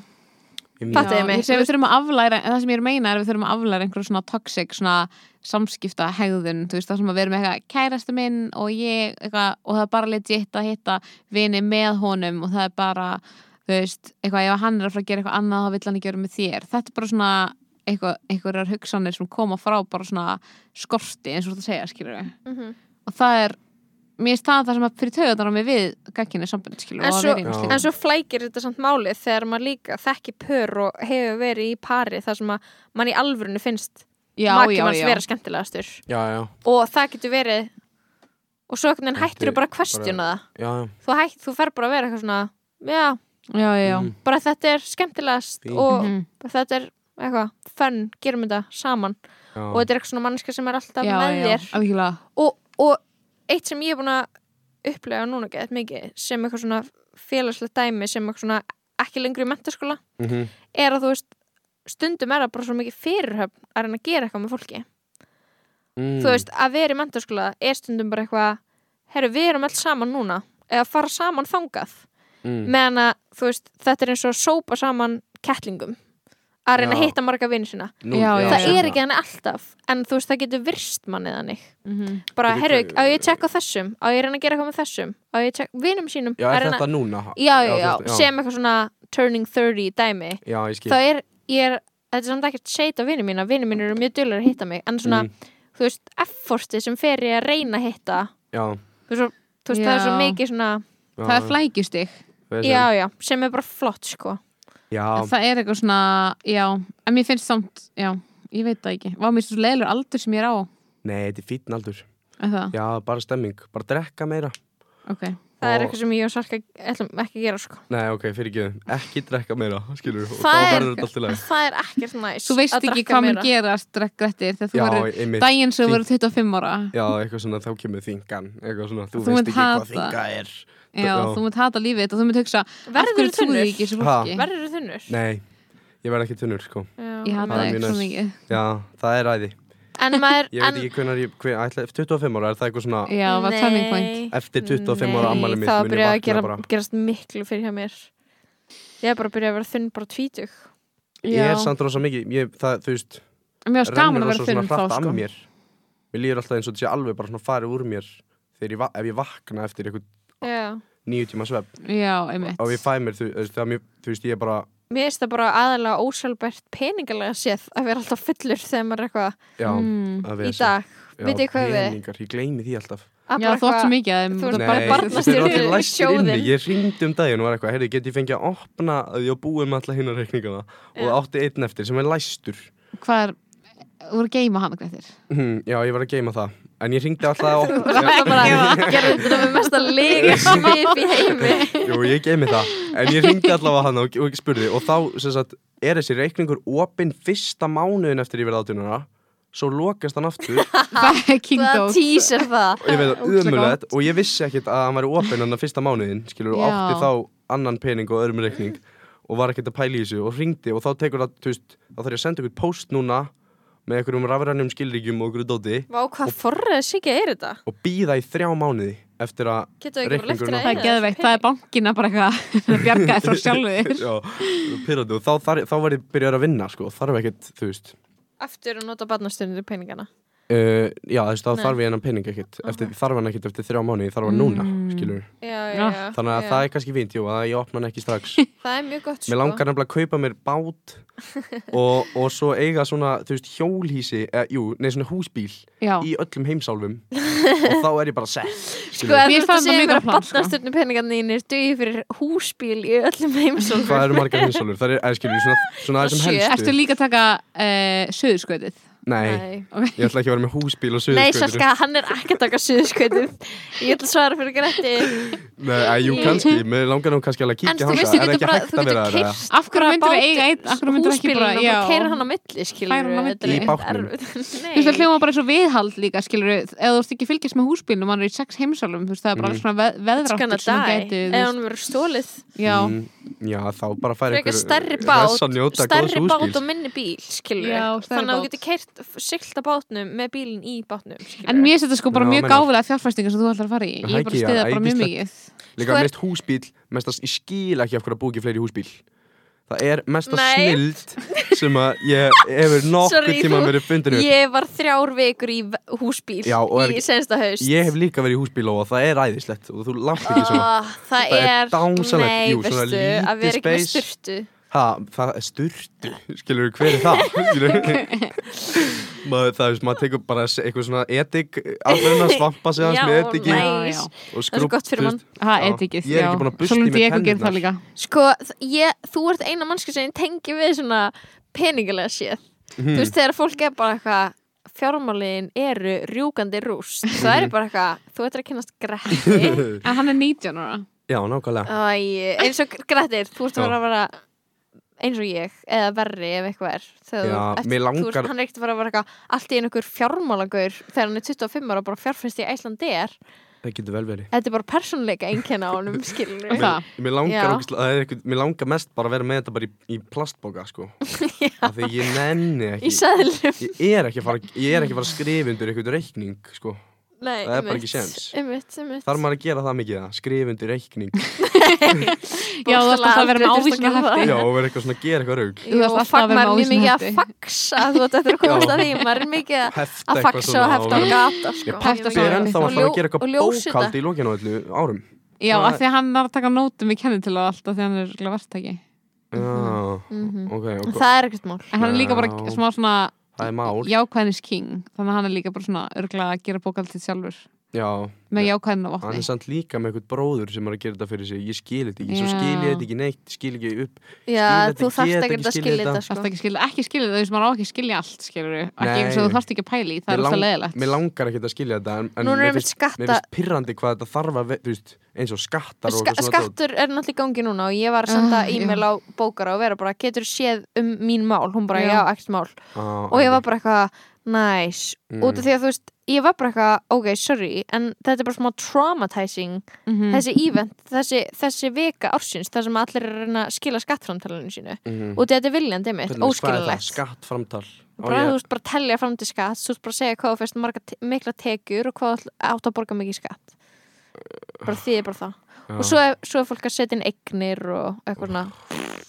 Ég
Fatta
meina-
ég
Já,
mig.
ég segi við þurfum að aflæra, en það sem ég er að meina er að við þurfum að aflæra einhverjum svona toxic, svona samskipta hegðun, þú veist, það sem að vera með eitthvað kærastu minn og ég, eitthvað, og það er bara legit að hitta vini með honum og það er bara, þú veist, eitthvað, ef hann er að fara að gera eitthvað annað, þá vill hann ekki vera með þér. Þetta er bara svona eitthvað, einhverjar hugsanir sem koma frá bara svona skorti, eins og þú ert að segja, skilur
Mhm.
Og það er, mér er staðan það sem að fyrir taugarnar á mig við gagkinni sambönd, skilur,
En
og
svo-
að vera í einhverju
Já.
slíku.
En svo flækir þetta samt málið þegar maður líka þekki pör og hefur verið í pari þar sem að mann í alvörunni finnst
Já,
maki
já,
manns
já.
vera skemmtilegastur
Já, já
og það getur verið og svo einhvern veginn hættur
Þetta
þú bara
er
að questiona það
já, já.
þú, hætt, þú fer bara að vera eitthvað svona já,
já, já, já.
Mm.
bara þetta er skemmtilegast
Fínt.
og
Mhm.
þetta er eitthvað, fun, gerum þetta saman
já.
og þetta er eitthvað svona mannska sem er alltaf
já,
með
já,
þér
algjörlega
og, og eitt sem ég er búin að upplega núna gett mikið sem eitthvað svona félagslegt dæmi sem eitthvað svona ekki lengur í mentaskóla
Mhm.
er að þú veist stundum er það bara svo mikið fyrirhöfn að reyna að gera eitthvað með fólki
Mm.
þú veist að vera í mentaskóla er stundum bara eitthvað herru við erum alls saman núna eða fara saman þangað
mm.
meðan að þú veist þetta er eins og að sópa saman kettlingum að reyna að
Já.
hitta marga vini sína
Nú,
Já, já.
það
seinna.
er ekki hann alltaf en þú veist það getur virst mannið þannig
mm -hmm.
bara
Bíddu,
herru
hvað-
á ég að tjekka á þessum á ég að reyna að gera eitthvað með þessum á ég að tjekka vinum sínum
Já,
að
er
reyna,
þetta núna?
já, já, já,
þú veist,
sem eitthvað svona turning 30 dæmi
Já, ég skil
þá er ég er þetta er samt ekkert seit á vinum mína vinum mín eru mjög dölur að hitta mig en svona
Mm.
þú veist effortið sem fer ég að reyna að hitta
Já,
þú veist, svo- þú veist það er svo
Já.
mikið svona
já,
það er flækjustig
flæg
já já sem er bara flott sko
já,
En það er eitthvað svona, já en mér finnst samt, já, ég veit það ekki var mér svo leiðilegur aldur sem ég er á
nei, þetta er fítn aldur
er það,
Já, bara stemming, bara drekka meira
ok
það er
Og-
eitthvað sem ég og Salka ætlum ekki að gera sko
Nei, ok, fyrir ekki Ekki drekka meira, skilur Og
Það
þá
er-
verður þetta allt í lagi
það er ekkert næst
þú veist ekki hvað mér gerast drekkrættir þegar þú
Já,
verður
einmitt
daginn sem þú
Fínt.
verður 25 ára
Já, eitthvað svona, þá kemur þingan Eitthvað svona, þú,
Þú
veist
munt
ekki hvað
hata.
þinga er
já,
Já.
þú munt hata lífið þetta og þú munt hugsa, af
verður
hverju
þú
trúðu
þunnur
ég ekki þessu
Ha.
fólki
verður þú þunnur
Nei, ég verð ekki tunnur, sko
Já, ok.
ég hata
Það er
það
mjög
ekki svo
næs.
mikið
Já, það er æði
En maður
Ég
en,
veit ekki hvenar ég, hver, ætla, 25 ára, er það eitthvað svona
já, það var turning point
Eftir 25 ára
Nei,
ammæli mitt
Það
mun ég
byrjaði að
vakna
gera,
bara.
gerast miklu fyrir hjá mér Ég er bara að byrja að vera þunn bara tvítug
Ég
já,
er samt rosa mikið, ég, það, þú veist
En mér varst gaman
rennur
að
rosa
vera
svona
þunn þá
hratt af
sko
mér Mér líður alltaf eins og þetta sé alveg bara svona farið úr mér þegar ég, va- ef ég vakna eftir eitthvað
Já.
nýju tíma svepp
já, einmitt
og ég fæ mér, þú, þú veist, það mér, þú veist, ég er bara
Mér finnst það bara aðalega ósjálfbært peningalega séð að vera alltaf fullur þegar maður er eitthvað
já,
Mm.
að
í dag
Já,
vitið þið hvað við-
peningar, ég gleymi því alltaf
Að
já,
bara
þú átt svo
eitthvað-
mikið að þeim,
þú ert
þú
bara
bara
barnastur. barnastyrjur
barnastur
í sjóðinn.
inni Ég ringdi um daginn og var eitthvað, heyrðu, get ég fengið að opna að ég á búið með alla hinn reikningana og
Já.
átti einn eftir sem er læstur
hvað er, þú voru að geima hann grættir
Hm, Já, ég var að geima það En ég ringdi alltaf að
Og
opna
það bara gerði þetta með mesta lega svip í heimi
Jú, ég geimi það En ég ringdi allavega hann og, og spurði Og þá, sem sagt, er þessi reikningur opinn fyrsta mánuðin eftir ég verið átununa Svo lokast hann aftur Og
það er
Það
kingdótt
tísir það
ég veit það,
Ógeðslega
umulegt Og ég vissi ekkit að hann væri opinn hann að fyrsta mánuðin Skilur, og
Já.
átti þá annan pening og öðrum reikning Og var ekkit að pæla í þessu Og ringdi og þá tekur það, þú veist Þá þarf ég að senda ykkur post núna Með einhverjum rafrænum skilríkjum og ykkur dóti
Vá, hvað forrið sikið er þetta?
Og býða í þrjá mánuði Eftir að
Getur það ekki bara leftir
Reikningurinn
Það er geðveikt, það er bankina bara eitthvað að bjarga þér frá sjálfu þér.
Já, pirrandi. og þá, þar, þá var ég byrjar að vinna sko, þarf ekkert, þú veist
Aftur að nota barnastunni peningana
Uh, já, þú veist, þá
Nei.
þarf ég hennan pening ekkert eftir, Þarf hann ekkert eftir þrjá mánu, þarf hann núna skilur.
Já, já,
Já.
já
Þannig að
Mm. já.
það er kannski fínt, jú, að ég opna hann ekki strax
Það er mjög gott sko
Mér langar nefnilega að kaupa mér bát og, og svo eiga svona, þú veist, hjólhísi eh, Jú, nei, svona húsbíl
Já,
í öllum heimsálfum og þá er ég bara sett
Sko,
skilur.
ef
Mér
þú ert að segja ykkur að
fannst það mjög gott plan, sko.
barnastunni peningarnir dugi fyrir húsbíl í öllum heimsólfur
Hvað eru margar heimsálfur? Það er, er skilur, svona, svona aðeins sem
Sjö.
helstu
ertu líka að taka uh, söðurskautið
Nei,
Nei,
okay.
ég ætla ekki að vera með húsbíl og suðurskautur
Nei Salka, hann er ekki að taka suðurskautið Ég ætla að svara fyrir Gretti
Nei, að jú, kannski, mér langar nú kannski alveg að
En
kíkja
þú
hans
veist, þú getur bara, þú getur
það?
kyrst
Af hverju myndum við eiga einn, af hverju myndum við ekki
Húsbílinn
bara
og bara keira hann á milli, skilur
Færa hann á milli.
Í bátnum.
Þú veist, það
Nei,
hljóma bara eins og viðhald líka, skilur við, ef þú ert ekki að fylgjast með húsbílnum, hann er í sex heimsálum, þú veist, það er bara
Mm.
alls svona veð,
it's gonna
veðráttur sem hann
die
gæti, þú
Ef
veist,
hann verður stólið
já,
Mm, já, þá bara færi
Frekar stærri bát Stærri bát og minni bíl, skilur
Já, stærri
Þannig að þú
bát.
getur keirt silt að bátnum með bílinn í bátnum skilurðu.
en mér setja sko bara
Já,
mjög
meina.
gáfulega fjárfæstingar sem þú ætlar að fara í, ég
Hækki,
bara
já,
stiða bara mjög
æðislegt.
mikið,
Líka
Sko er-
mest húsbíl, mestast, ég skil ekki af hverju að búi ekki fleiri húsbíl Það er mesta
Nei.
snild sem að ég hefur nokkuð
Sorry,
tíma
þú-
verið fundinu ég...
Ég var þrjár vikur í v- húsbíl
Já, og er-
í sensta haust
hef líka verið í húsbíl og það er æðislegt og þú langt ekki svona
Ah, það,
Það er
er,
dásamlegt.
nei,
Jú, svona
veistu,
lítið
að vera ekki með
space.
styrtu
ha, Það er sturtu, skilur hver er það? Skilur maður, Það er, maður tekur bara se- eitthvað svona etik alveg að svampa sig hans með etiki
nei.
næs.
Já,
og
Það er svo
skrúb,
gott fyrir
þú
mann.
veist,
það er
Já.
ekki,
Ég er
já,
ekki búin að busta
svo
í
lundi
mér
ég ekki að gera
tennurnar.
það líka,
Sko, þ- ég, þú ert
Mhm.
eina mannski sem ég tengi við svona peningilega séð Þú veist, þegar fólk er bara eitthvað fjármálin eru rjúkandi rúst það
Mhm.
er bara eitthvað, þú ættir að kynast Gretti
En hann er 19 ára
Já, nákvæmlega
Æ, eins og Grettir, þú ert að
Já.
fara að vera eins og ég, eða verri ef eitthvað er þegar
Já,
þú,
mér
þú
langar-
ert, hann er ekkert að fara að vera eitthvað allt í einu ykkur fjármálangur þegar hann er 25 ára og bara fjárfæst í Æslandi er
Það getur vel verið
þetta er bara persónleika einkenna á honum skilur
Mér- Það.
Mér langar,
Já.
ógeðslega- það er eitthvað, mér langar mest bara að vera með þetta bara í, í plastbóka sko. af því ég nenni
í
ekki
sæðlum
ég er ekki að fara, ég er ekki að fara að skrifa undir eitthvað reikning sko.
Nei,
það er bara ekki séns.
einmitt, einmitt.
þarf maður að gera það mikið það, skrifa undir reikning
Já, þú ætti
Aldrei
að vera með
þurft að
ávísuna
gera
hefti
já, og vera eitthvað svona að gera eitthvað raug
Þú
Jú,
þarft alltaf
fag
að vera
maður er
með
mjög mikið að
ávísunarhætti.
faxa þú veist þetta er að komast að því, maður er mikið að-
hefta
að faxa og hefta og gata sko.
Ég
hefta
Ég er
saman.
ennþá
Og
að fara
ljó-
að gera
og
eitthvað
ljósrita.
bókald í lokinu á öllu árum
Já, af því að hann er að taka nótum í kennitölu og allt af því að hann er örugglega verktaki
Já, ok, ok
Mhm. það er ekkert mál
En hann er líka bara
Já.
smá svona
Það er mál
jákvæðnis king Þannig að hann er líka bara svona örgla að gera bókaldið sjálfur
Já,
Með jákvæðin og
hann
vatni
er samt líka með eitthvað bróður sem er að gera þetta fyrir sig Ég skil þetta ekki, svo
Já.
skil ég þetta ekki neitt Skil ekki upp
Já,
Skil
þú
þetta,
þarft
get
ekkert
ekki
að
skilið
skilja
þetta.
þetta
Þarftu
sko.
ekki að skilja, ekki skilja það, þú veist maður á ekki að skilja allt, skilur Ekki
Nei.
eins og þú þarft ekki að pæli, það
Mér
er alltaf
lang-
leðilegt
Mér langar ekki að skilja þetta en, en
Núna er
mér
einmitt
finnst-
skatta-
Mér finnst pirrandi hvað þetta þarf að ve- Þú veist, eins og skattar og
Ska
eitthvað svona dót.
skattur er náttúrulega í gangi núna og ég var að senda
Ah,
e-mail á bókara og vera bara, getur séð um mín mál hún bara,
Já.
já, ekkert mál
Á,
og ég var
æði.
bara eitthvað, næs
Mm.
út af því að þú veist, ég var bara eitthvað ok, sorry, en þetta er bara smá traumatizing
Mhm.
þessi event, þessi, þessi vika ársins þar sem allir er að reyna að skila skattframtalinu sínu
Mhm.
og þetta er viljandi mitt,
Hvernig- hvað er það?
óskilinlegt
Skattframtal Á,
bara,
ég-
þú veist, bara telja fram til skatt þú veist bara segja hvað þú fyrst marga, te- mikla tekjur og hvað þú ætl- átt að borga mikið í skatt bara því er bara það
já,
og svo er, svo er fólk að setja inn eignir og eitthvað svona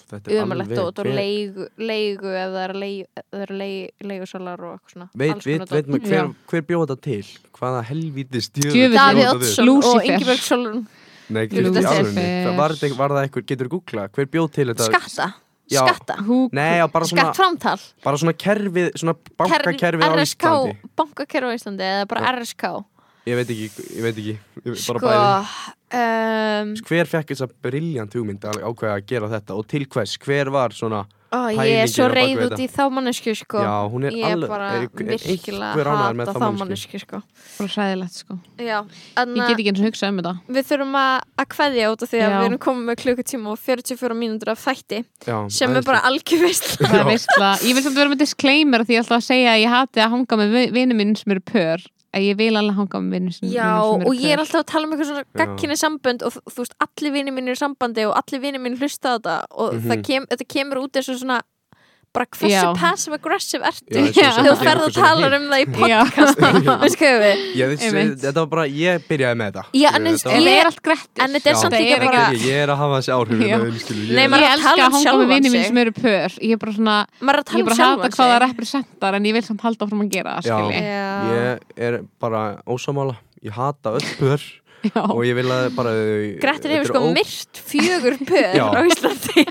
þetta er
umalegt og,
alveg
og
hver-
leigu, leigu ef það eru leigu, ef það eru leigu, leigusalar og eitthvað svona
Veit,
alls konar
veit, veit
dót.
maður hver, hver bjóða þetta til? Hvaða helvítist
Djöfull.
Davíð
Lúcifer.
Oddsson og
Lúcifer.
Ingeborg Solun
Nei,
Ég veit
ekki
ekki.
alveg Það var, þetta- var það eitthvað, getur þú googlað Hver bjóð til þetta?
skatta,
Já.
skatta
Hú-
Nei, já, bara svona,
skattframtal
bara svona kerfið, svona bankakerfið á
RSK,
Íslandi
bankakerfi á Íslandi eða bara RSK
Ég veit ekki, ég veit ekki ég veit bara
sko
bæði.
um,
Hver fekk þess að briljant hugmynd að ákveða að gera þetta og til hvers, hver var svona
ó, ég er svo
pælingin á bak
reyð
við
út í þá mannesku sko
Já, hún er
ég
alveg-
bara
er- er einhver
virkilega
ánægður með
hata
þá
þá
manneskju?
mannesku sko
Bara sæðilegt, sko
já,
Ég
anna,
get ekki eins og hugsa um þetta
við þurfum að, að kveðja út af því að
Já.
við erum komið með klukkutíma og 44 mínútur af þætti
já,
sem er bara algjörvist
Það er veistla, ég vil samt vera með disclaimer því ég ætla að segja að ég hati að hanga með vinnum minn sem eru pör að ég vil alveg hanga með vinnum sem,
Já,
vinum sem eru
og ég er
pör.
alltaf að tala um eitthvað svona gagkinni sambönd og þú þú veist, allir vinir minn eru í sambandi og allir vinir minn hlusta á þetta og mm
Mhm.
kem, þetta kemur út eins og svona bara hversu
Já.
passive-aggressive ertu
Já, eins og
Já.
sem
þegar
að
þú
gera
ferð að tala
eitthvað svona hitt.
um það í
Já.
podcasti veistu hvað ég við
Ég vissi,
Einmitt.
þetta var bara, ég byrjaði með þetta
Já,
Skilur,
en eins-
þetta var-
En
Ég-
það er allt grettir
en þetta er
Já.
samt
Þetta
líka
er
bara
Ég- Ég er að hafa þessi áhrif hérna,
Já.
Nei,
Ég
maður er að
elska
tala um
að hanga
sjálfan
með vinnum minn
sig.
sem eru pör Ég er bara svona,
maður er að
ég
tala
er
um
bara að
sjálfan
hata hvað það
sig
representar en ég vil samt halda áfram að gera það,
Já.
skilji
Já.
Ég er bara ósamála Ég hata öll pör
Já.
og ég vil að bara þau-
Grettir hefur
þetta
sko
eru ó-
myrt fjögur pör
Já.
á Íslandi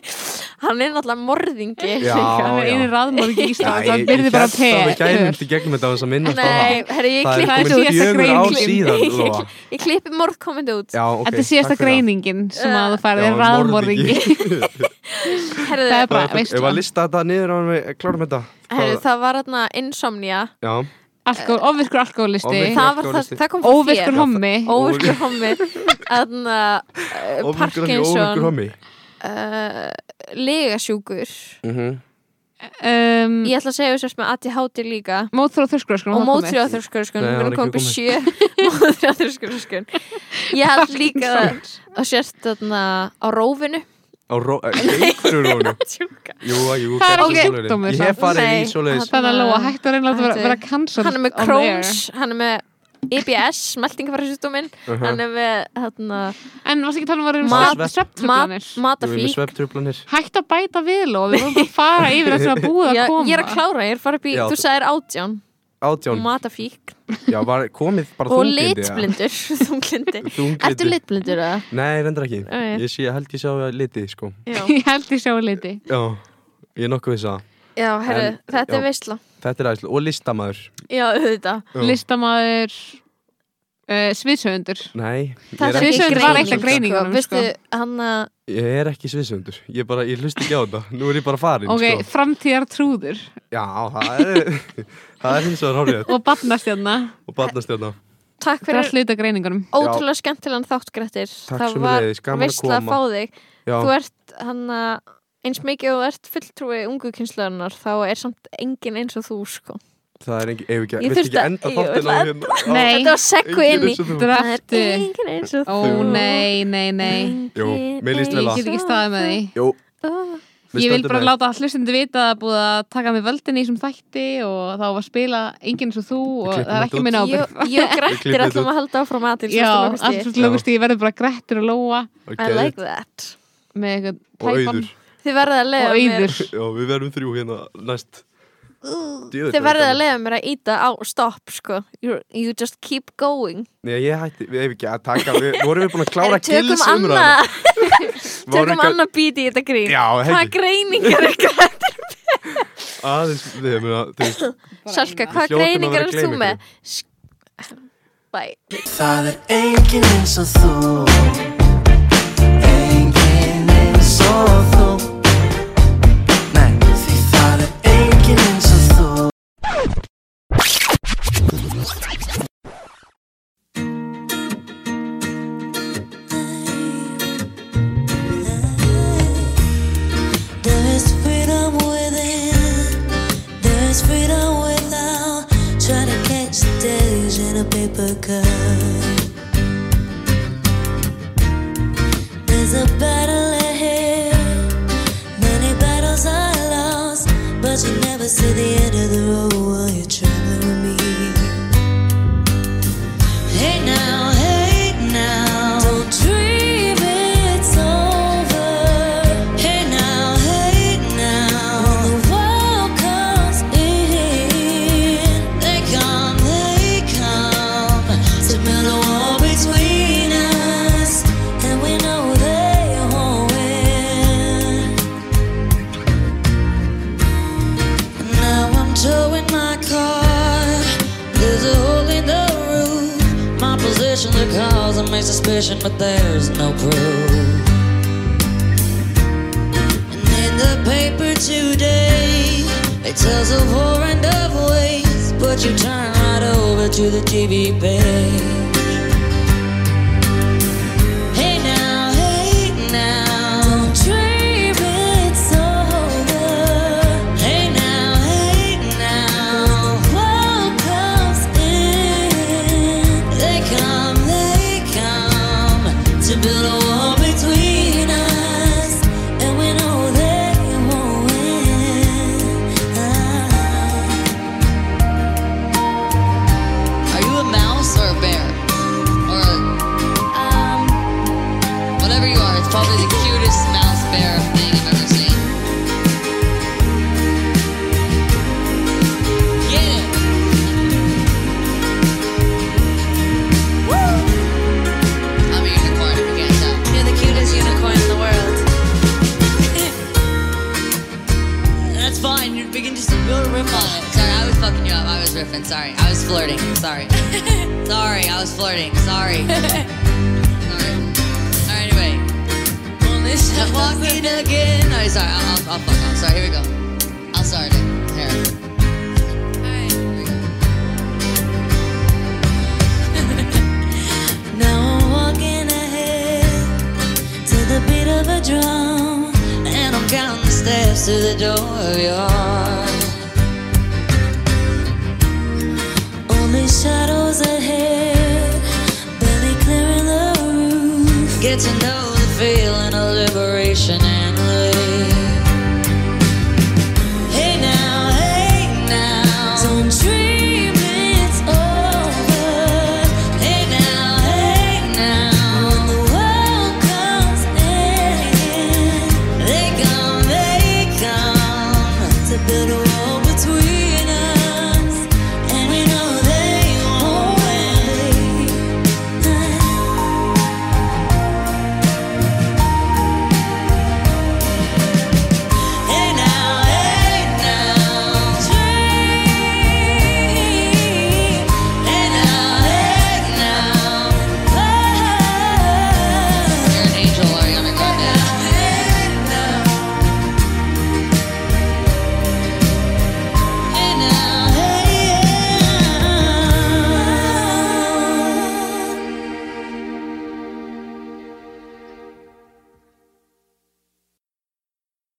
hann er náttúrulega morðingi
Já,
Það er
já.
einu raðmóri í
Já,
Ísland
ég-
það byrði bara
Ég held að við gæðum
pör
til gegnum þetta á þess að minnast á
Nei, herri, ég
Það er
klippi
klippið út.
komin fjögur
Síðasta
ár
greinin.
síðan, Lóa
ég klippi morðkomandi út
Já, ok,
Þetta er
takk
síðasta
fyrir það.
greiningin sem að þú farið
Já,
er raðmóringi
Herðu,
Það er bara,
Ég var að
veist,
lista þetta niður á við klárum þetta
herðu,
Hvað-
það var þarna insomnia
Já,
alkohol, ofvirkur alkoholisti
Ofvirkur-
það, var það,
alkohólisti.
það kom frá
Óvirkur
þér.
hommi
óvirkur hommi Þarna, uh,
ofurkur homi, ofurkur
Parkinson
homi
uh, legasjúkur
Mhm.
um,
ég ætla að segja þess með ADHD líka
Mótþróð þurrskur
og mótrjáþurskun
Nei,
við erum komið
það var ekki
upp í sjö mótrjáþurskun ég held líka að sérst þarna á rófinu
Á ró- eh, einhverju rónu
Tjúka.
Jú, jú,
Það er
kannski
ekki
svoleiðis.
sjúkdómur,
Ég hef
samt.
farið í
Nei,
svoleiðis
Þannig að Lóa hættu að reyna að vera,
Hættu.
vera cancelled
hann er með
on
Crohn's hann er með IBS, smeltingafærisjúdómin
Uh-huh.
hann er með þarna,
air. En varstu ekki að tala um að vera
Mat-
með
mat,
svefntröflanir?
Jú, ég er með
matafík
svefntröflanir
Hættu að bæta við Lóa, við vorum bara að fara yfir það sem að búið að
Já,
koma
ég er að klára, ég er að fara upp í
Já,
þú
þú-
sagðir átján,
Átján,
matafík
já, var komið bara
og
þunglindi eða?
litblindur þunglindi,
Þunglindi.
ertu litblindur eða?
Nei, reyndar ekki
Nei.
Ég sé, held ég sjá að liti, sko
Ég held ég sjá liti
Já, ég er nokkuð viss að
já, herru,
En-
þetta
já.
er veistla
Þetta er aðeinslega, og listamaður
já, auðvitað,
Já.
Listamaður uh, Sviðsöfundur
Nei, ég
það
er
er
Sviðsögn
ekki
var eitt af
greining
greiningunum,
veistu,
sko.
hann að
Ég er ekki sviðsöndur, ég bara, ég hlust ekki á þetta Nú er ég bara farin,
ok,
sko
framtíðar trúður
Já, það er, það er hins vegar hálfrið
og barnastjarna
Og barnastjörna
Takk
það er
fyrir
sluta greiningunum
ótrúlega skemmtilegan þátt, Grettir
Takk
Það var
sömuleiðis, gaman að
veistla að
koma.
fá þig
Já,
Þú ert hann að eins mikið og þú ert fulltrúi ungu kynslaðunar þá er samt enginn eins og þú sko
það er engin, ef ekki,
Ég
viltu
þurfti
ekki
að-
enda
ég
þáttin á
ætla að-
hérna á-
Nei.
Þetta var sekku inn í
Enginn eins og þú.
Það er
Dreftu.
enginn eins og þú
ó nei, nei, nei
Jú, mér líst
ég
vel á.
get ekki staðið með því
Jú,
því
við
Ég vil
stöndum
bara
með.
láta hlustundu vita að það er búið að taka mig völdin í þessum þætti og þá var að spila enginn eins og þú og
klippum
það er ekki
þetta
minna ábyrg.
Ég ég og Grettir
klippum
ætlum
þetta
að halda áfram aðeins
Já, allt fyrir lókust ég verður bara grettir og lóa
Ok,
I like that
með eitthvað
Og
tæpan
auður
Þið verðið að leiða
og
mér
auður.
Já, við verðum þrjú hérna næst Djöfull,
Þið
það er
verðið að
gaman.
leiða mér að íta á stopp sko You, you just keep going
Nei, ég hætti, við hefum ekki að taka Við vorum við búin að klára
En Tökum
gillis umræðina
annað Tökum annað bíti í þetta grín
Já,
Hvað
hegði
greiningar er
Aðeins, við hefum að, þú veist
Salka,
Við
hvað
hljótum að vera
greiningar
að
er
gleyma
þú með? Sk- Bye
Það er enginn eins og þú Enginn eins og þú Nei, því það er enginn eins og þú
There's freedom within, there's freedom without. Trying to catch the days in a paper cup. There's a battle ahead, many battles are lost, but you never see the end of the road while you're traveling with me. Hey now, hey now, don't dream it's over. Hey now, hey now, when the world comes in, they come, they come to build a wall between us, and we know they won't win. Now I'm towing my car. There's a hole in the roof. My position, the cause of my suspicion, but there's no proof. And in the paper today, it tells of war and of ways, but you turn right over to the TV page. Hey now, hey now, don't dream it's over. Hey now, hey now, world comes in. They come, they come to build a wall between us, and we know they won't win. Are you a mouse or a bear or Um. Whatever you are, it's probably the cutest mouse bear thing I've ever seen. Get it! Woo! I'm a unicorn if you can't tell. You're the cutest unicorn in the world. That's fine, you're begin just to build a riff on it. Sorry, I was fucking you up. I was riffing, sorry. I was flirting, sorry. sorry, I was flirting, sorry. sorry. Alright, anyway. I'm walking again. Alright, sorry, I'll, I'll, I'll fuck off. Sorry, here we go. I'll start it. Here. Alright. Here we go. Now I'm walking ahead to the beat of a drum, and I'm counting the steps to the door of your heart. Only shadows ahead, barely clearing the roof. Get to know the feeling a little.